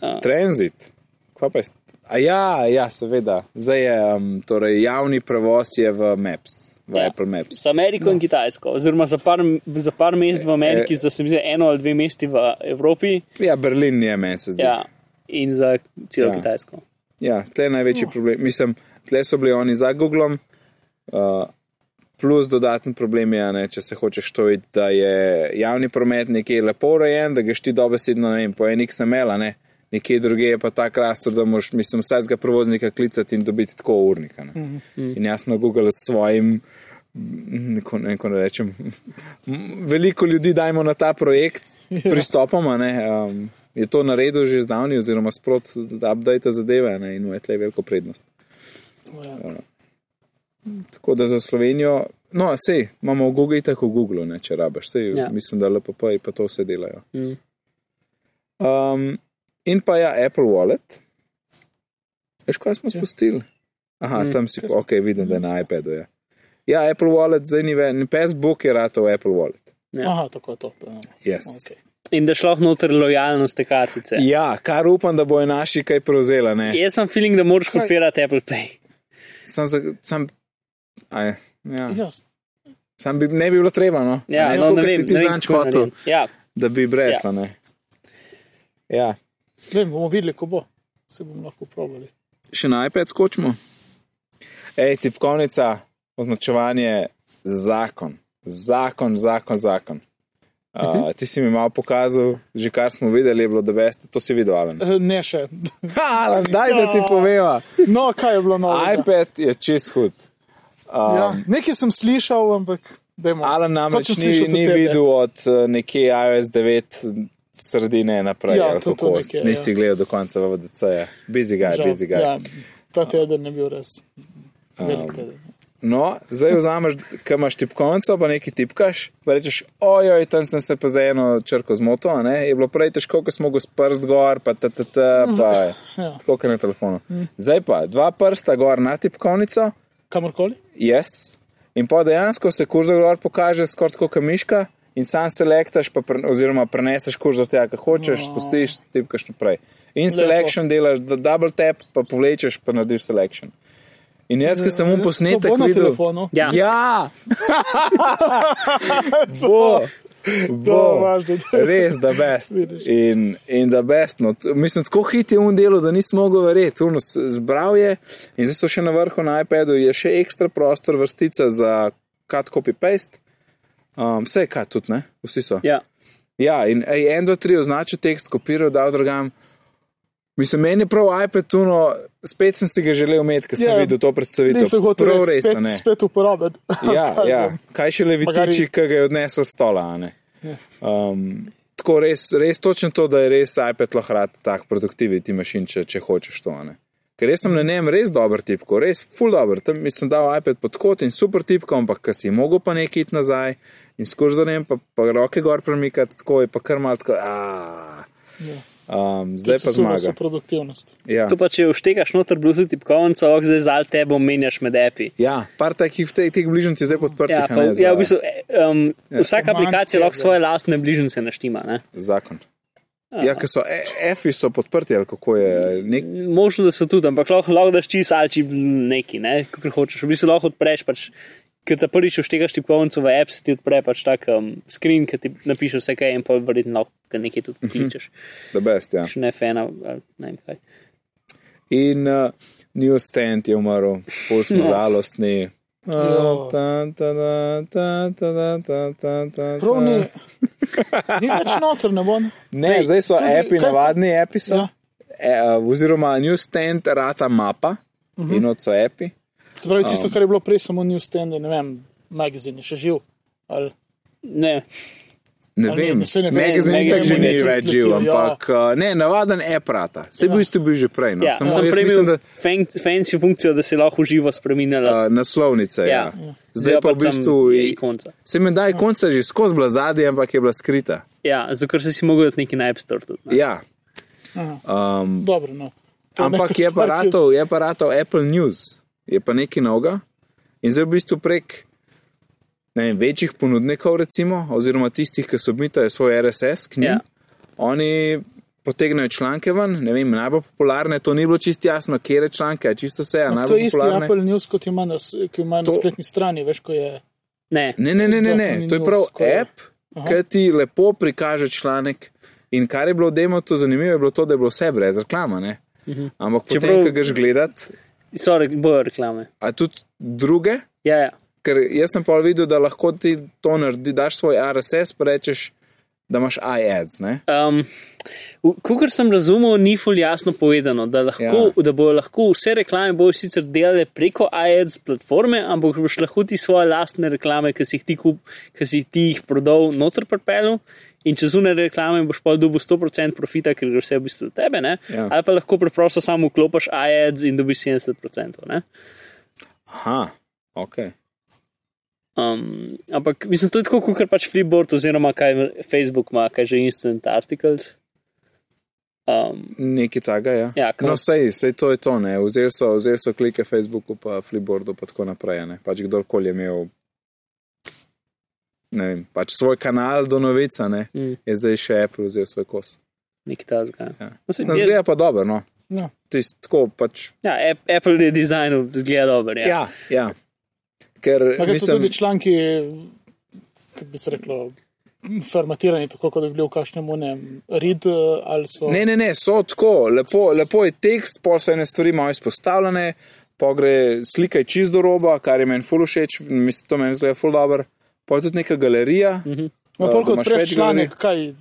A.
Transit, kva pa je? st- A ja, ja, seveda. Zdaj je um, torej javni prevoz je v Maps, v ja. Apple Maps.
Za Ameriko no. in Kitajsko, oziroma za par, za par mest v
E,
Ameriki, e, za se mi zdi eno ali dve mesti v Evropi
Ja, Berlin je meni se zdi.
ja, in za celo
Ja.
ja. Kitajsko.
Ja, tle je največji oh. problem. Mislim, tle so bili oni za Googlom. Uh, plus dodatni problem je, a ne, če se hočeš to videti, da je javni promet nekje lepo urejen, da greš ti dobesedno ne vem, po enik samela, ne. nekje druge je pa ta krastor, da moš, mislim, vsakega prevoznika klicati in dobiti tako urnika. Ne. Mm -hmm. In jasno, Google s svojim. Neko, neko ne rečem. Veliko ljudi dajmo na ta projekt, pristopoma. ne, Um, je to naredil že zdavni, oziroma sprot, da update zadeve ne, in mu je tle veliko prednost. Uh, Tako da za Slovenijo, no, sej imamo v Google, tako v Google, ne, če rabiš, sej ja.
Ja.
mislim, da LPP in pa to vse delajo.
Mm.
Um, in pa ja, Apple Wallet. Veš, kaj
Ja.
smo spustili? Aha, mm. tam si, ok, vidim, da je
Mm.
na iPadu. Ja, ja Apple Wallet, zdaj ni več, Facebook je ratov Apple Wallet.
Ja.
Aha, tako je to. ja.
Yes.
Ok.
In da šlo noter lojalnost te kartice. Ja.
Ja, kar upam, da bojo naši kaj prevzela. Ne?
Jaz sem feeling, da moraš podpirati Apple Pay.
Sam, za, sam, aj, ja.
Ja,
sam bi, ne bi bilo treba, no.
Ja,
A ne,
no,
tako,
ne
kot si
vem,
ti
ne vem,
zanj
kako
hotel,
naredim. Ja,
da bi brez.
Ja.
Ja. ja,
Vem, bomo videli, ko bo. Se bomo lahko probali.
še na iPad skočimo. Ej, tipkovnica, označevanje, zakon, zakon, zakon. zakon. Uh, uh
Mhm.
-huh. Ti si mi malo pokazal, že kar smo videli, je bilo da veste, to si videl. Alan.
Eh, Ne še. [laughs]
Ha, Alan, daj, da ti
Ja.
poveva.
No, kaj je bilo novega?
iPad je čist hud. Um,
Ja, nekaj sem slišal, ampak dajmo.
Alan namreč
Hočem
ni,
slišati
ni
tebe.
videl od eh, nekje iOS 9 sredine naprej,
Ja,
ja,
to- to
kako
nekje, ja.
nisi gledal do konca VDC-ja. Busy guy,
Žal,
busy guy.
Ja, ta teden je bil res. Velik teden.
No, zdaj vzameš, kaj imaš tipkovnico, pa nekaj tipkaš, pa rečeš, ojoj, tam sem se pa za eno črko zmotil, a ne? je bilo prej težko, ko smo mogli s prst gor, pa ttt, pa
[laughs] Ja.
tako kot na telefonu. Zdaj pa dva prsta gor na tipkovnico,
Kamorkoli?
Yes. In pa dejansko se kurzor gor pokaže skoraj tako kot miška in sam selektaš, pa pre, oziroma preneseš kurzor tega, kar hočeš, no. spustiš, tipkaš naprej. In Lepo. selection delaš, da double tap, pa povlečeš, pa narediš selection. In jaz, ki sem mu
Ja, To
posnetek
bo na
videl,
telefonu. [laughs]
Ja.
ja. bo.
To
Bo,
važno.
res, da best.
Vidiš.
In, in da best. No, t- mislim, tako hit je un delo, da nisem mogel verjeti. Uno s- Zbral je in zdaj so še na vrhu na iPadu, je še ekstra prostor, vrstica za cut, copy, paste. Um, vse je cut, tudi ne, vsi so.
ja.
Ja, in ej, en, dva, tri označil tekst, kopiral, dal drugam. Mislim, meni je prav iPad tuno, spet sem si ga želel imeti, ker sem
Ja,
yeah, videl to predstavitev.
Nisem hotel
prav
reči,
res, a
spet,
ne.
spet uporaben. [laughs]
[laughs]
Ja,
Kaj
ja.
znam.
kaj še levitiči,
Magari-
ki ga je odnesel s stola. a ne.
Ja.
Um, tako res, res točno to, da je res iPad lahko rad tak produktiviti mašin, če, če hočeš to. a Ne. Ker res sem na njem res dober tipko, res full dobro. Tam sem dal iPad pod kot in super tipko, ampak ki si mogel pa nekaj iti nazaj in s kurzorjem pa, pa roke gor premikati, tako je pa kar malo tako. aaa.
Ja.
Um,
To
zdaj
se
pa
suma so
zmaga.
produktivnost.
Ja.
To pa če vštekaš noter Bluetooth tipkovnico, lahko zdaj zal tebe menjaš med api.
ja, par takih teh, teh bližnjic je zdaj podprtih.
Ja,
a
pa,
ne, za
ja, v bistvu, eh, um, ja, vsaka
manj
aplikacija
tega.
lahko svoje lastne bližnjice naštima. Ne?
Zakon. Ja, ker so e- EFI so podprti, ali kako
Mm.
je. Nek,
Možno, da so tudi, ampak lahko, lahko daš čist ali či neki, ne, kakor hočeš. V bistvu lahko odpreš, pač, ker ta prvič vštegaš tipkovnico v app, se ti odpre pač tak um, screen, ki ti napiše vse, kaj je in pa verjetno lahko ga nekaj
Mhm.
tudi kličeš.
da best, ja.
Še ne fena, ali ne vem kaj.
In uh, New Stand je umrl, pol smo žalostni.
Ja. Jo. Prav
[laughs]
ni, ni več noter, ne bom.
Ne, zdaj so
Tudi-
api,
kaj pa-
navadni api so.
Ja.
Ja. E, uh, oziroma, New Stand rata mapa uh
Mhm.
-huh. in od so api.
Se pravi, tisto, kar je bilo prej, samo news stand, je, ne vem, magazin je še živ. Ali,
Ne,
Ne
Ali ne,
vem,
da se ne ja. ve.
Magazin
Ne,
itak že
Magazine
ni
nisem
več živ,
sletil,
ampak uh, ne, navaden e-prata. Se je bil isto bil že prej, no.
Ja,
samo
sem
jaz
prej
mislim,
imel
da
fan- fancy funkcijo, da si lahko živo spremenjala.
uh, naslovnice. Ja.
Ja.
Ja.
Ja.
Zdaj
Zdaj
pa
pa
v
sem
bistvu
je
i-
ikonca.
se mi da konca že skozi bila zadnja, ampak je bila skrita.
Ja, zato ker si si mogel dati nekaj na App Store. Tudi, ne.
Ja.
Dobro, no. To [laughs]
Ampak
neka
je
stvar,
pa
ki-
ratov, je pa ratov Apple News, je pa nekaj novega. In zdaj v bistvu prek ne vem, večjih ponudnikov, recimo, oziroma tistih, ki submitajo svoj RSS k njim,
Ja.
ja. oni potegnejo članke ven, ne vem, najbolj popularne, to ni bilo čisto jasno, kje je članke, a čisto vse, a
Ampak No, To je ja,
najbolj
isti
popularne.
Apple News, kot ima na, s- ki ima na
To-
spletni strani, veš, ko je.
Ne.
Ne, ne, ne, ne, ne.
Apple
to je
News,
prav
ko je.
app, ki ti lepo prikaže članek. In kar je bilo v Demotu zanimivo, je bilo to, da je bilo vse brez reklama. Ne? Ampak potem,
Čeprav-
ko greš gledat,
Sorry, bojo reklame.
a tudi druge,
Ja, ja.
ker jaz sem pa videl, da lahko ti to narediš, daš svoj RSS, pa rečeš, da imaš iAds. Ne?
Um, Kukor sem razumel, ni ful jasno povedano, da, lahko, ja. da bojo lahko vse reklame bojo sicer delale preko AEDS platforme, ampak boš lahko ti svoje lastne reklame, ki si jih ti, kup, ki si ti jih prodal, noter pripeljal. In če zunaj reklame boš pa dobil 100% profita, ker gre vse v bistvu do tebe, ne?
Ja.
ali pa lahko preprosto samo vklopiš AEDS in dobiš 70%. Ne?
Aha, ok.
Um, ampak mislim, to je tako, kot pač Freeboard oziroma kaj Facebook ima, kaj že Instant Articles. Um,
Nekaj takega, ja.
Ja, ko-
no, sej, sej to je to, ne. Vzeli so, vzel so klike Facebooku, pa Flipboardu, pa tako naprej, ne. Pač kdorkoli je imel, ne vem, pač svoj kanal do novica, ne.
Mm.
Je zdaj še Apple vzel svoj kos.
Nekaj tazga. Ja.
Ja.
No, saj
No,
je-
zgleda pa dobro, no.
No.
Tis, tako pač.
Ja, App- Apple je dizajnil, zgleda dober. Ja.
Ja, ja. Ker,
Ampak so
mislim,
tudi članki, ki bi se reklo, formatirani tako, kot bi bili v kakšnem unem read eh, ali so.
Ne, ne, ne, so tako, lepo, lepo je tekst, pol so ene stvari malo izpostavljene, pa gre slika čist do roba, kar je meni ful všeč, mislim, to meni zgleda ful dobro. Pa je tudi neka galerija,
Mhm.
uh -huh.
Ma
da
pol, ko
imaš več
odpreš članek, kaj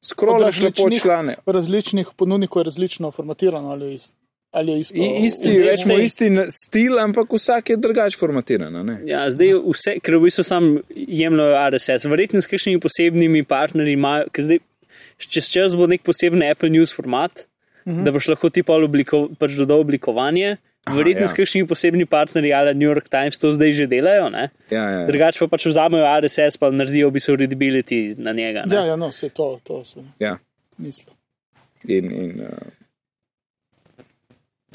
skrolaš lepo člane.
različnih ponudnikov je različno formatirano ali, ist, ali je isto. Ja,
I, isti,
Zdaj,
rečemo,
zdaj-
isti na- stil, ampak vsak je drugač formatiran. a ne?
Ja, zdaj vse, ker v bistvu sam jemljajo RSS, verjetno s kakšnimi posebnimi partnerji imajo, ker zdaj, če čez bo nek poseben Apple News format, mhm. da boš lahko ti pa obliko, pač dodal oblikovanje, verjetno
ja.
ja. s kakšnimi posebnimi partnerji ali New York Times to zdaj že delajo, ne?
Ja, ja, ja.
Drugače pa pač vzamejo RSS pa naredijo v bistvu readability na njega. ne.
Ja, ja, no, vse to, to sem
ja.
mislil.
In, in uh,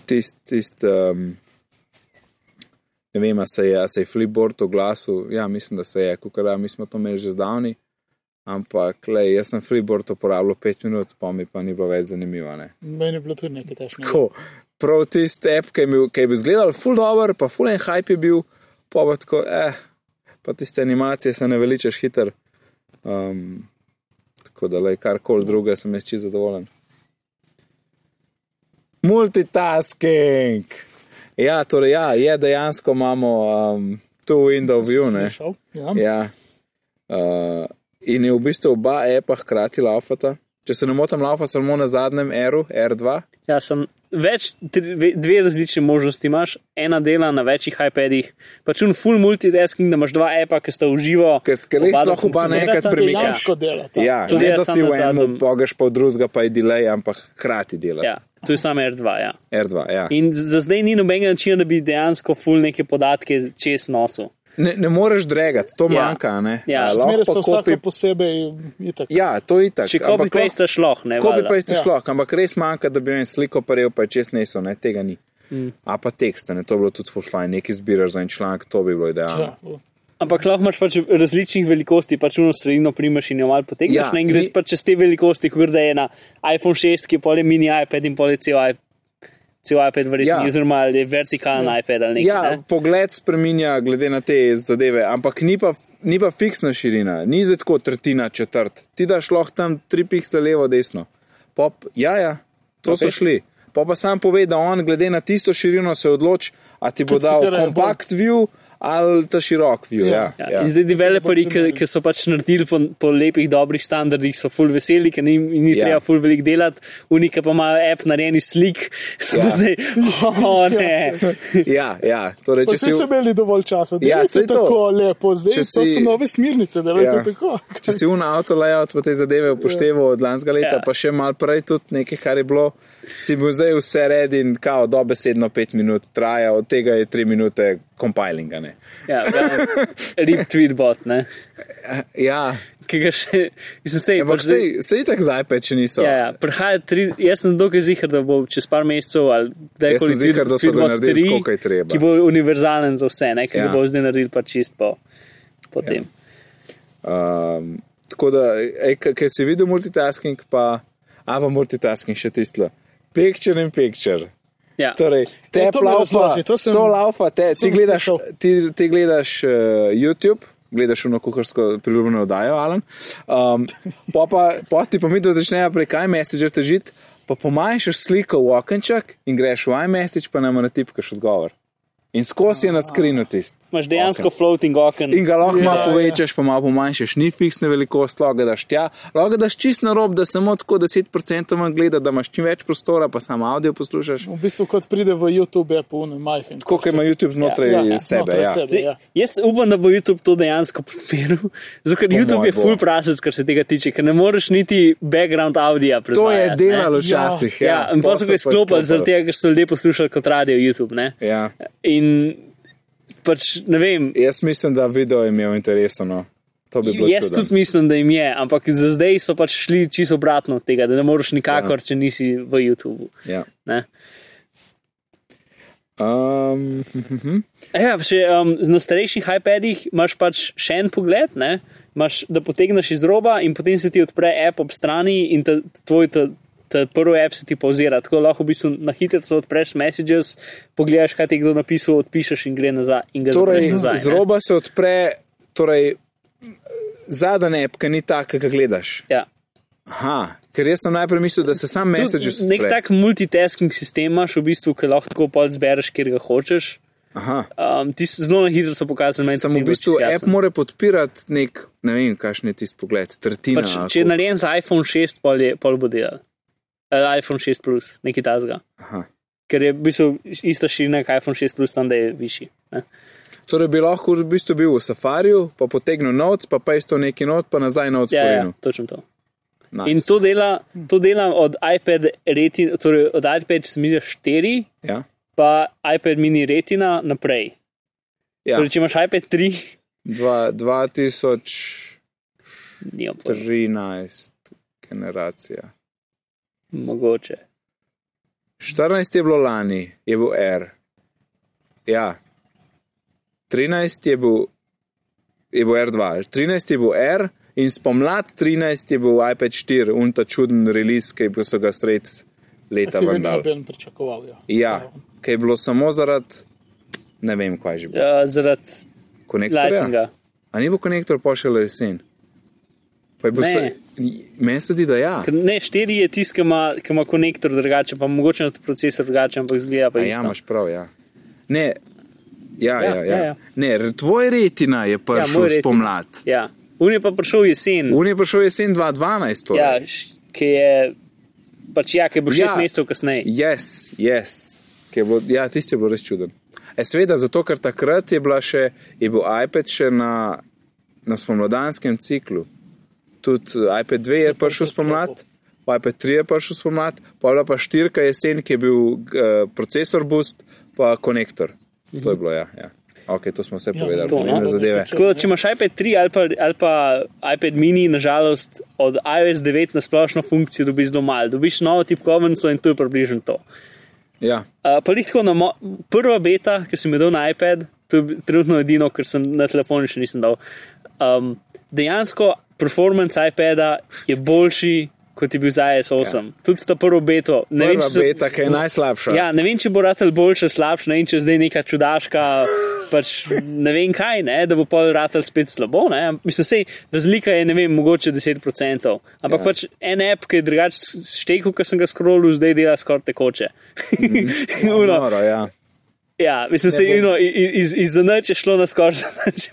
tist, tist um, ne vem, a se je, a se je Flipboard oglasil, ja, mislim, da se je, kukaj da, mi smo to imeli že zdavni, ampak, le, jaz sem Flipboard uporabljal pet minut, pa mi pa ni bilo več zanimivo, a ne.
Meni je bilo tudi nekaj težko.
Tako, prav tisti app, ki je bil, ki je bil zgledal, full dobro, pa full en hype je bil, pa pa tako, eh, pa tiste animacije se ne veličeš hiter. Um, tako da, lej, kar koli druga, sem jaz čisto zadovoljen. Multitasking. Ja, torej, ja, je dejansko imamo um, tu Windows View, ne.
Ja.
Ja. Uh, in je v bistvu oba appa hkrati laufata. Če se ne motim, laufa samo na zadnjem R-u, R2.
Ja, sem več, tri, ve- dve različni možnosti imaš. Ena dela na večjih iPadih, pač un full multitasking, da imaš dva appa, ki sta uživo.
Ker- ker res
oba
lahko oba
funkcionirata.
naenkrat premikaš.
Dejansko dela. ta.
Ja,
To
ne
dela
da
sam
si
na
v enem
zadnjem.
pogaš, pa v drugega pa je delay, ampak hkrati delaš.
Ja, to je samo R2. Ja.
R2, ja.
In z- za zdaj ni nobenega načina, da bi dejansko full neke podatke čez nosil.
Ne, ne moreš dregati, to ja.
Ja.
manjka, a ne?
Ja.
A
Zmeraj
Lahko
sta
pa
vsaka
kopi.
posebej itak.
Ja, to je tako.
Če kopi paste šloh, ne
Ko bi
valjda.
pa isti
Ja.
šlo, ampak res manjka, da bi en sliko paril, pa je čez neso, ne, tega ni. Mm. A pa tekste, ne, to bi bilo tudi full fajn, nekaj zbiraš za en članek, to bi bilo idealno.
Ja, v-
Ampak lahko imaš pač različnih velikosti, pač uno sredino primeš in jo malo potegneš.
Ja,
Ja, in greš
ni-
pa čez te velikosti, kot da je na iPhone 6, ki je pol je mini iPad in pol je cel iPad. Cel iPad, verjetno,
Ja.
ja. oziroma ali je vertikalen iPad ali nekaj.
Ja,
ne?
pogled spreminja glede na te zadeve, ampak ni pa, ni pa fiksna širina, ni zdaj tako tretjina, četrt. Ti daš lahko tam tri piksle levo, desno. Pop, ja, ja, to okay. so šli. Pa pa sam pove, da on glede na tisto širino se odloči, a ti bo
Tudi
dal
katera je bolj-
kompakt view, ali ta širok view. Ja,
Ja,
ja,
ja. In zdaj developerji, ki, ki so pač naredili po, po lepih, dobrih standardih, so full veseli, ker ni, ni
Ja.
ja. treba full velik delati, unika pa imajo app narejen iz slik, [laughs] so ja. zdaj, oh, ne.
ja, ja. Torej,
Pa
če
vsi
si,
so
v-
imeli dovolj časa, da
Ja,
ja,
saj
se
to.
tako lepo, zdaj
Če
si... so
si-
nove smernice, da je
Ja.
ja. tako.
če si un avto layout v te zadeve upošteval od lanskega leta,
Ja.
pa še mal prej tudi nekaj, kar je bilo, si bil zdaj vse red in kao dobesedno 5 minut traja, od tega je 3 minute compilinga. Ne.
Ja, ja, rip tweetbot, ne.
Ja,
Ki ga še, mislim, sej,
ampak
pač Eh, zdaj-
sej, sej tako zdaj peče niso.
Ja, ja, prihaja tri, jaz sem dokaj zihar, da bo čez par mesecev ali
Jaz sem
kdajkoli
ziher, da so ga
Tweetbot
naredili
3,
tako, kot je treba.
Ki bo univerzalen za vse, ne, ki
Ja.
ja. ga bo zdaj naredil pa čist po, po ja. tem.
Um, tako da, ej, k- kaj si videl multitasking, pa, a pa multitasking še tisto. Picture in picture.
Ja.
Torej, te
E, to mi
laufa,
razloži, to sem-
to laufa, te, ti
sem
gledaš,
slišal.
ti, ti gledaš uh, YouTube. Gledaš uno kuharsko priljubljeno oddajo, Alan. Um, po pa, po ti pa mi to začnejo prek iMessage težiti, pa pomanjšaš sliko v okenček in greš v iMessage, pa nam natipkaš odgovor. In skozi je na skrinu tisti.
Imaš dejansko okay. floating oken.
In ga lahko
Ja,
malo
ja.
povečaš, pa malo pomanjšaš, ni fiksna velikost, lahko ga daš tja, lahko ga daš čist na rob, da samo tako 10% manj gleda, da imaš čim več prostora, pa samo avdio poslušaš.
V bistvu, kot pride v YouTube, je polno majhen.
Tako kot ima YouTube znotraj ja,
Ja, ja,
ja, sebe.
znotraj
Ja.
sebe.
Zdaj,
Ja.
jaz upam, da bo YouTube to dejansko podporil, [laughs] zato ker
Po moje
YouTube je
bo.
full prasec, kar se tega tiče, ker ne moreš niti background audija
To
predvajati.
je delalo
ne.
včasih.
Ja, in
pol
pa so ga izklopili, zaradi tega, ker so ljudje poslušali kot radio YouTube. Ne?
Ja.
In pač ne vem,
Jaz mislim, da video je imel interesno. no. To bi bilo.
Jaz
čudno.
tudi mislim, da jim je, ampak za zdaj so pač šli čisto obratno od tega, da ne moreš nikakor, ja. če nisi v YouTubu.
Ja.
Ne? [laughs]
Um,
A Ja, še, um, na starejših iPadih imaš pač še en pogled, ne? Imaš, da potegneš iz roba in potem se ti odpre app ob strani in ta, tvoj ta, ta prvi app se ti pauzira. Tako lahko v bistvu na hitro odpreš messages, pogledaš, kaj ti je kdo napisal, odpišeš in gre nazaj. In ga
torej,
zapreš nazaj,
z roba se odpre, torej, zadnja app, ki ni ta, ki ga gledaš.
Ne? Ja.
Aha, ker jaz sem najprej mislil, da se sam
Tudi
messages.
Nek
odpre.
tak multitasking sistem imaš, v bistvu, ki lahko tako pol zbereš, kjer ga hočeš.
Aha.
Um, ti si zelo na hitro so pokazali, meni
Samo
ni
v
bilo
bistvu
čisto
app
jasno.
mora podpirati nek, ne vem, kakšen je tisti pogled, tretjina.
pač,
ali
Če je
koliko.
narejen za iPhone 6, pol, je, pol bo delal. Ali iPhone 6 Plus, nekaj tasga.
Aha.
Ker je v bistvu ista širina kot iPhone 6 Plus, samo da je višji. Ne?
Torej bi lahko v bistvu bil v safariju, pa potegnil noč, pa pa isto neki noč, pa nazaj na
Ja, ja,
odsporinu.
točno to.
Nice.
In to dela, to dela od iPad Retina, torej od iPad Mini 4,
Ja.
pa iPad Mini Retina naprej.
Ja.
Ja. Torej, če imaš iPad 3,
Dva- 2013
ni opor,
generacija.
mogoče.
14 je bilo lani, je bil R. Ja. 13 je bil, je bil R2, 13 je bil R in spomlad 13 je bil iPad 4, un ta čuden release, ki bi so ga sred leta
Ki bi
vendar.
noben pričakoval. Ja.
Ja, ki je bilo samo zaradi, ne vem, kaj je že bilo.
Uh, zaradi
Konektorja.
Lightninga.
A ni bo konektor pošiljal jesen? Pa je bil
Ne.
se, meni se zdi, da ja.
Ker Ne, štiri je tisti, ki ima- ki ima konektor drugače, pa mogoče tudi procesor drugače, ampak zgleda pa
A
isto.
ja, imaš prav, ja. Ne, ja, ja, ja, ja.
ja, ja.
Ne, r- tvoj retina je
Ja, moj
prišel ja,
retina.
spomlad.
Ja. Un je pa prišel jesen,
Un je prišel jesen 2012. Torej.
ja, š- ki je pač ja, ki bo šest
Ja.
ja. mesecev kasneje.
Yes, yes. Ki je Bilo, ja, tisti je bil res čuden. E, sveda, zato ker takrat je, bila še, je bil iPad še na, na spomladanskem ciklu. Tudi eh, iPad 2 je prišel spomlad, pa iPad 3 je prišel spomlad, pa je bila pa štirka jesen, ki je bil uh, procesor boost, pa konektor. To je bilo, ja. ja. Ok, to smo vse
Mhm. Ja,
povedali,
to,
pomembne
no.
zadeve.
Tako da, če imaš iPad 3 ali pa, ali pa iPad mini, nažalost, od iOS 9 na splošno funkcijo dobiš zelo malo. Dobiš novo tipkovnico in to je približno to.
Ja,
Uh, pa jih tako na mo- prva beta, ki sem jo dal na iPad, to je bi- trenutno edino, ker sem na telefonu še nisem dal. Um, dejansko performance iPada je boljši, kot je bil za iOS8. Ja. Tudi ta prvo beto. Ne
prva
če se-
beta, ki je najslabša.
Ja, ne vem, če bo ratelj boljši, slabši, ne vem, če je zdaj neka čudaška, pač ne vem kaj, ne, da bo pol ratelj spet slabo. Ne. Mislim, sej, razlika je, ne vem, mogoče 10%. Ampak ja. pač en app, ki je Mhm. [laughs] drugače štekel, ki sem ga scrollil, zdaj dela skoraj tekoče. Uno,
Noro, ja.
Ja, mislim, se,
Ne bom.
ino, iz, iz noč je šlo na skoraj noč.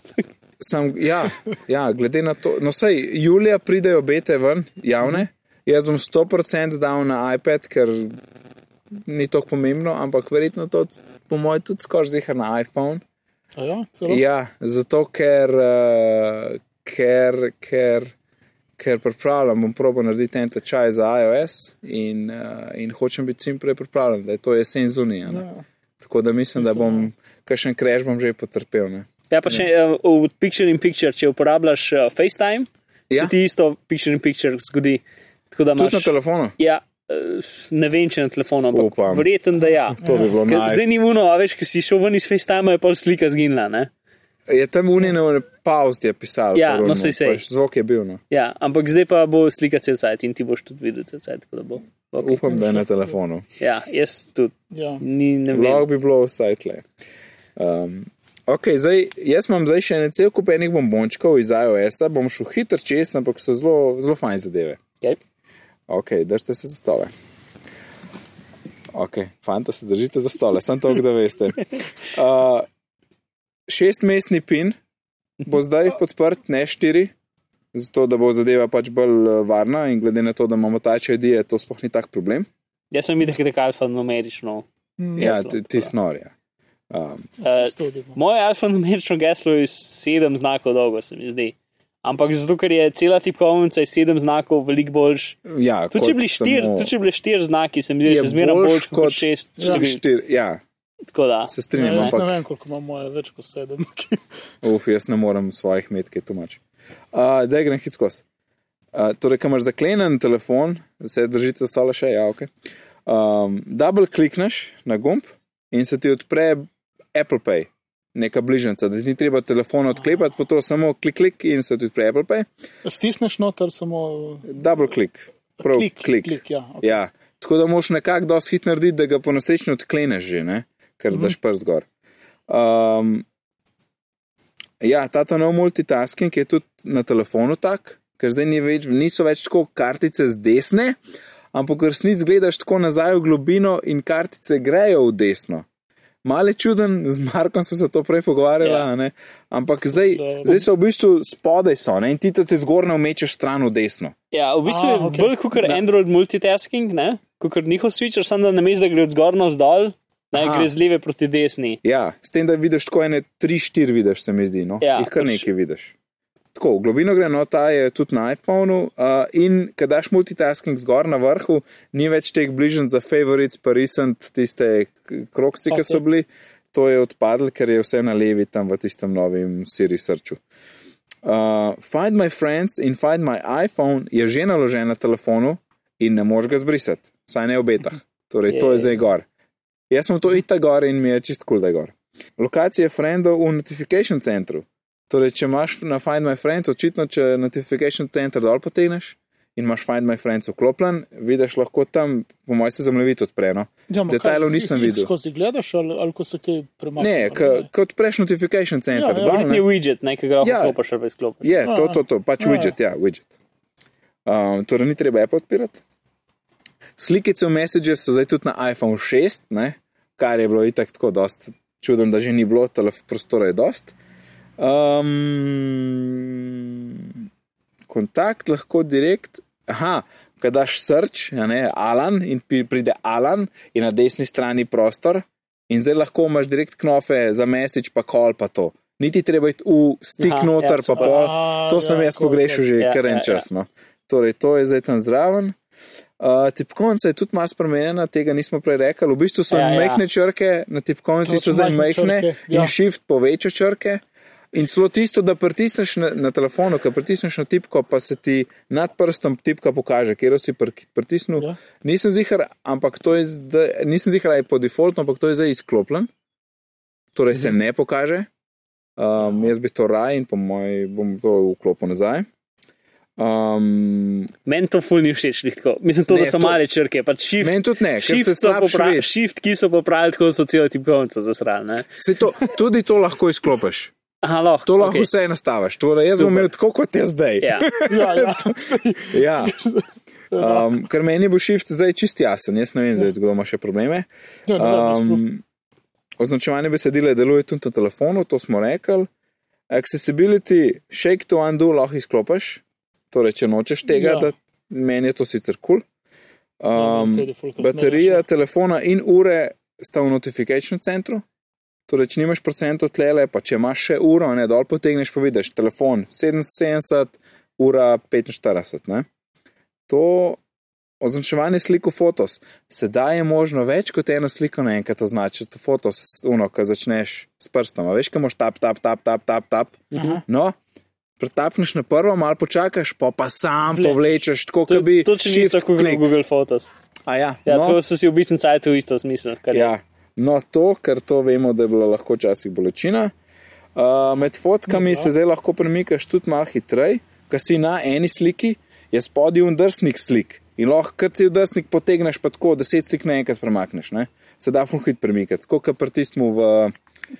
Sam, ja, ja, glede na to, no sej, julija pridejo bete ven, javne. Jaz bom 100% dal na iPad, ker ni tako pomembno, ampak verjetno to, po mojem, tudi skoraj zihar na iPhone.
A Ja, celo.
Ja, zato ker, uh, ker, ker, ker pripravljam, bom probo narediti en tečaj za iOS in, uh, in hočem biti čim prej pripravljen, da je to jesen zunija. Ja.
Ja.
Tako da mislim, da bom, kakšen kreš bom že potrpel. Ne?
Ja, pa še eh, v Picture in Picture, če uporabljaš eh, FaceTime, ja.
Ja.
se ti isto Picture in Picture zgodi. Tako da
Tudi na
imaš.
telefonu.
Ja, eh, ne vem, če na telefonu,
Upam.
ampak verjeten, da ja.
[laughs] To bi bilo
Ker Zdaj ni
najbolje.
muno, a veš, ki si šel ven iz FaceTime, je pol slika zginila. Ne?
Je tam unino pauzd je pisal.
Ja, no, saj, sej.
Zvok je bil. No.
Ja, ampak zdaj pa bo slika cel sajt in ti boš tudi videl cel sajt. tako da bo. Okay.
Upam, da je na telefonu.
Ja, jaz tudi
Ja.
ni, ne vem.
Lahko bi bilo vsaj tle. Um, ok, zdaj, jaz imam zdaj še en cel kup enih bombončkov iz iOS-a, bom šel hitro čez, ampak so zelo, zelo fajn zadeve.
Okay.
Ok, držite se za stole. Ok, fanta se držite za stole, sem to, da veste. Uh, šestmestni pin bo zdaj podprt, ne štiri, zato da bo zadeva pač bolj eh, varna in glede na to, da imamo tače ID, to sploh ni tak problem.
Jaz sem videl, da je alfanumerično.
Ja,
Mm, Jasno,
ti, ti snorja. Um,
no. Eh,
Studimo.
Moje alfanumerično geslo je sedem znakov dolgo, se mi zdi. Ampak zato, ker je cela tipkovnica iz sedem znakov veliko boljš.
ja,
Tudi če
kot
bili štiri,
samo-
tudi če bili štiri znaki, se mi zdi,
je
da je zmeraj
boljš
boljš kot šest.
Ja,
številk.
štiri, ja,
Tako da.
se
Ne,
strinjam,
Ja, jaz ne
ampak
vem, koliko imamo, moje, več kot sedem. [laughs]
Uf, jaz ne morem svojih metke tumačiti. Uh, da grem hitro skozi. Uh, torej, ko imaš zaklenjen telefon, se držite ostale še, ja, ok. Um, double klikneš na gumb in se ti odpre Apple Pay, neka bližnjica, da ti ni treba telefon odklepati, pa to samo klik, klik in se ti odpre Apple Pay.
Stisneš noter samo
Double klik, prav
klik.
klik. klik.
klik ja. okay.
Ja, tako da moš nekako dosti hitro narediti, da ga po nesreči odkleneš že, ne? ker daš prst gor. Um, ja, ta ta nov multitasking je tudi na telefonu tak, ker zdaj ni več, niso več tako kartice z desne, ampak v resnici gledaš tako nazaj v globino in kartice grejo v desno. Male čuden, z Markom so se to prej pogovarjali,
Ja.
ja. ampak zdaj,
Da-
zdaj so v bistvu spodaj so ne? in ti te zgornjo mečeš stran v desno.
Ja, v bistvu
A,
je
ok.
bolj kot
Ne.
Android multitasking, ne? kot njihov switcher, samo da na mestu, da gre od zgor na vzdolj, ne
Aha.
gre z leve proti desni.
Ja, s tem, da vidiš tako ene 3-4 vidiš, se mi zdi, no. Ja,
Ja,
Jih kar
pač-
nekaj vidiš. Tako, v globino gre, no, ta je tudi na iPhonu uh, in kad daš multitasking zgor na vrhu, ni več teh bližnj za favorites, pa recent tiste k- krokci, ki so
Ok.
bili, to je odpadlo, ker je vse na levi tam v tistem novem Siri srču. Uh, find my friends in find my iPhone je že naložen na telefonu in ne moreš ga zbrisati, vsaj ne v betah. Torej, to je
Je.
zdaj gor. Jaz sem to ita gor in mi je čist kul, cool, da je gor. Lokacije friendov v notification centru. Torej, če imaš na Find My Friends, očitno, če notification center dol potegneš in imaš Find My Friends vklopljen, vidiš lahko tam, po mojem, se zamljevit odpreno.
Ja, ampak
Detajlov
kaj,
nisem
jih- jih
videl.
Skozi gledaš ali, ali ko se kaj premakne?
Ne,
ali
kot preš notification
Ja,
center.
ja,
dol,
verjetno
ne.
Je widget, ne, ki ga lahko
Ja.
vklopiš ali pa izklopiš.
Je, to,
Ja.
to, to, pač
Ja, ja.
widget, ja, widget. Um, torej, ni treba Apple odpirati. Slikice v Messages so zdaj tudi na iPhone 6, ne? kar je bilo itak tako dost čudno, da že ni bilo, telef- prostora je dost. Um, kontakt lahko direkt. Aha, kaj daš srč, a ne, Alan, in pi- pride Alan, in na desni strani prostor, in zdaj lahko imaš direkt knofe za message, pa kol pa to. Niti treba iti v stik Aha,
Aha, ja,
noter, ja, pa
super.
pol.
A,
To sem
ja,
jaz
tako,
pogrešil že
ja,
kar
ja,
en
ja.
čas. No. Torej, to je zdaj tam zraven. Uh, tipkovnica je tudi malo spremenjena, tega nismo prej rekli. V bistvu so
Ja,
ja,
ja.
majhne ja. črke, na tipkovnici
To
so
so
zdaj
majhne
majhne
črke,
in
ja.
shift poveča črke. In celo tisto, da pritisneš na, na telefonu, ko pritisneš na tipko, pa se ti nad prstom tipka pokaže, kjer si pr, pritisnil. Ja.
Ja.
Nisem zihar, ampak to je zdaj, nisem zihar, ali je po defaultu, ampak to je zdaj izklopljen, torej se ne pokaže. Um, jaz bi to raj in po mojem bom to vklopil nazaj. Um,
Meni to ful ni všeč, glih tako. Mislim, to,
Ne,
ne, da so
to-
to... male črke, pač shift.
Meni tudi ne, ker se
Shift, so
slabše
popra-
vidi.
shift, ki so popravili, tako so celo tipkovnico zasrali.
se to, tudi to lahko izklopiš,
Aha, lahko.
to lahko okay.
okej.
vse nastaviš. Torej, jaz bom
Super.
imel tako kot jaz zdaj.
Ja.
[laughs]
Ja, ja. [laughs]
Ja. Um, ker
[laughs]
meni bo shift zdaj čist jasen, jaz ne vem, zdaj, kdo ima še probleme.
ja, ne, um,
Um, Označevanje besedila deluje tudi na telefonu, to smo rekli. Accessibility, shake to undo lahko izklopiš, torej če nočeš tega,
Ja.
ja. da meni je to sicer kul. Cool. Um,
to je defaultno
baterija
rešeno.
telefona in ure sta v notification centru. Torej, če nimaš procentov tlele, pa če imaš še uro, ne dol potegneš, pa vidiš telefon 77, ura 45. Ne? To označevanje slik v fotos. Sedaj je možno več kot eno sliko naenkrat označiti v fotos, uno, ko začneš s prstom. A veš, ko moš tap, tap, tap, tap, tap, tap.
Mhm.
Aha.
No, pretapneš na prvo, malo počakaš, pa pa sam
Vlečeš.
povlečeš, tako
To
kot bi.
je točno
shift
isto, kot gre
klik.
Google Photos.
A ja,
Ja,
no,
no. To so si v bistvu sajtu isto smisel. Ja.
Ja, no to, ker to vemo, da je bila lahko včasih bolečina. Uh, med fotkami se zdaj lahko premikaš tudi malo hitreje, ker si na eni sliki, je spodaj undrsnik slik. In lahko, ker si undrsnik potegneš, pa tako deset slik naenkrat premakneš. Ne? Se da funhit premikati, tako kot pri tistem v,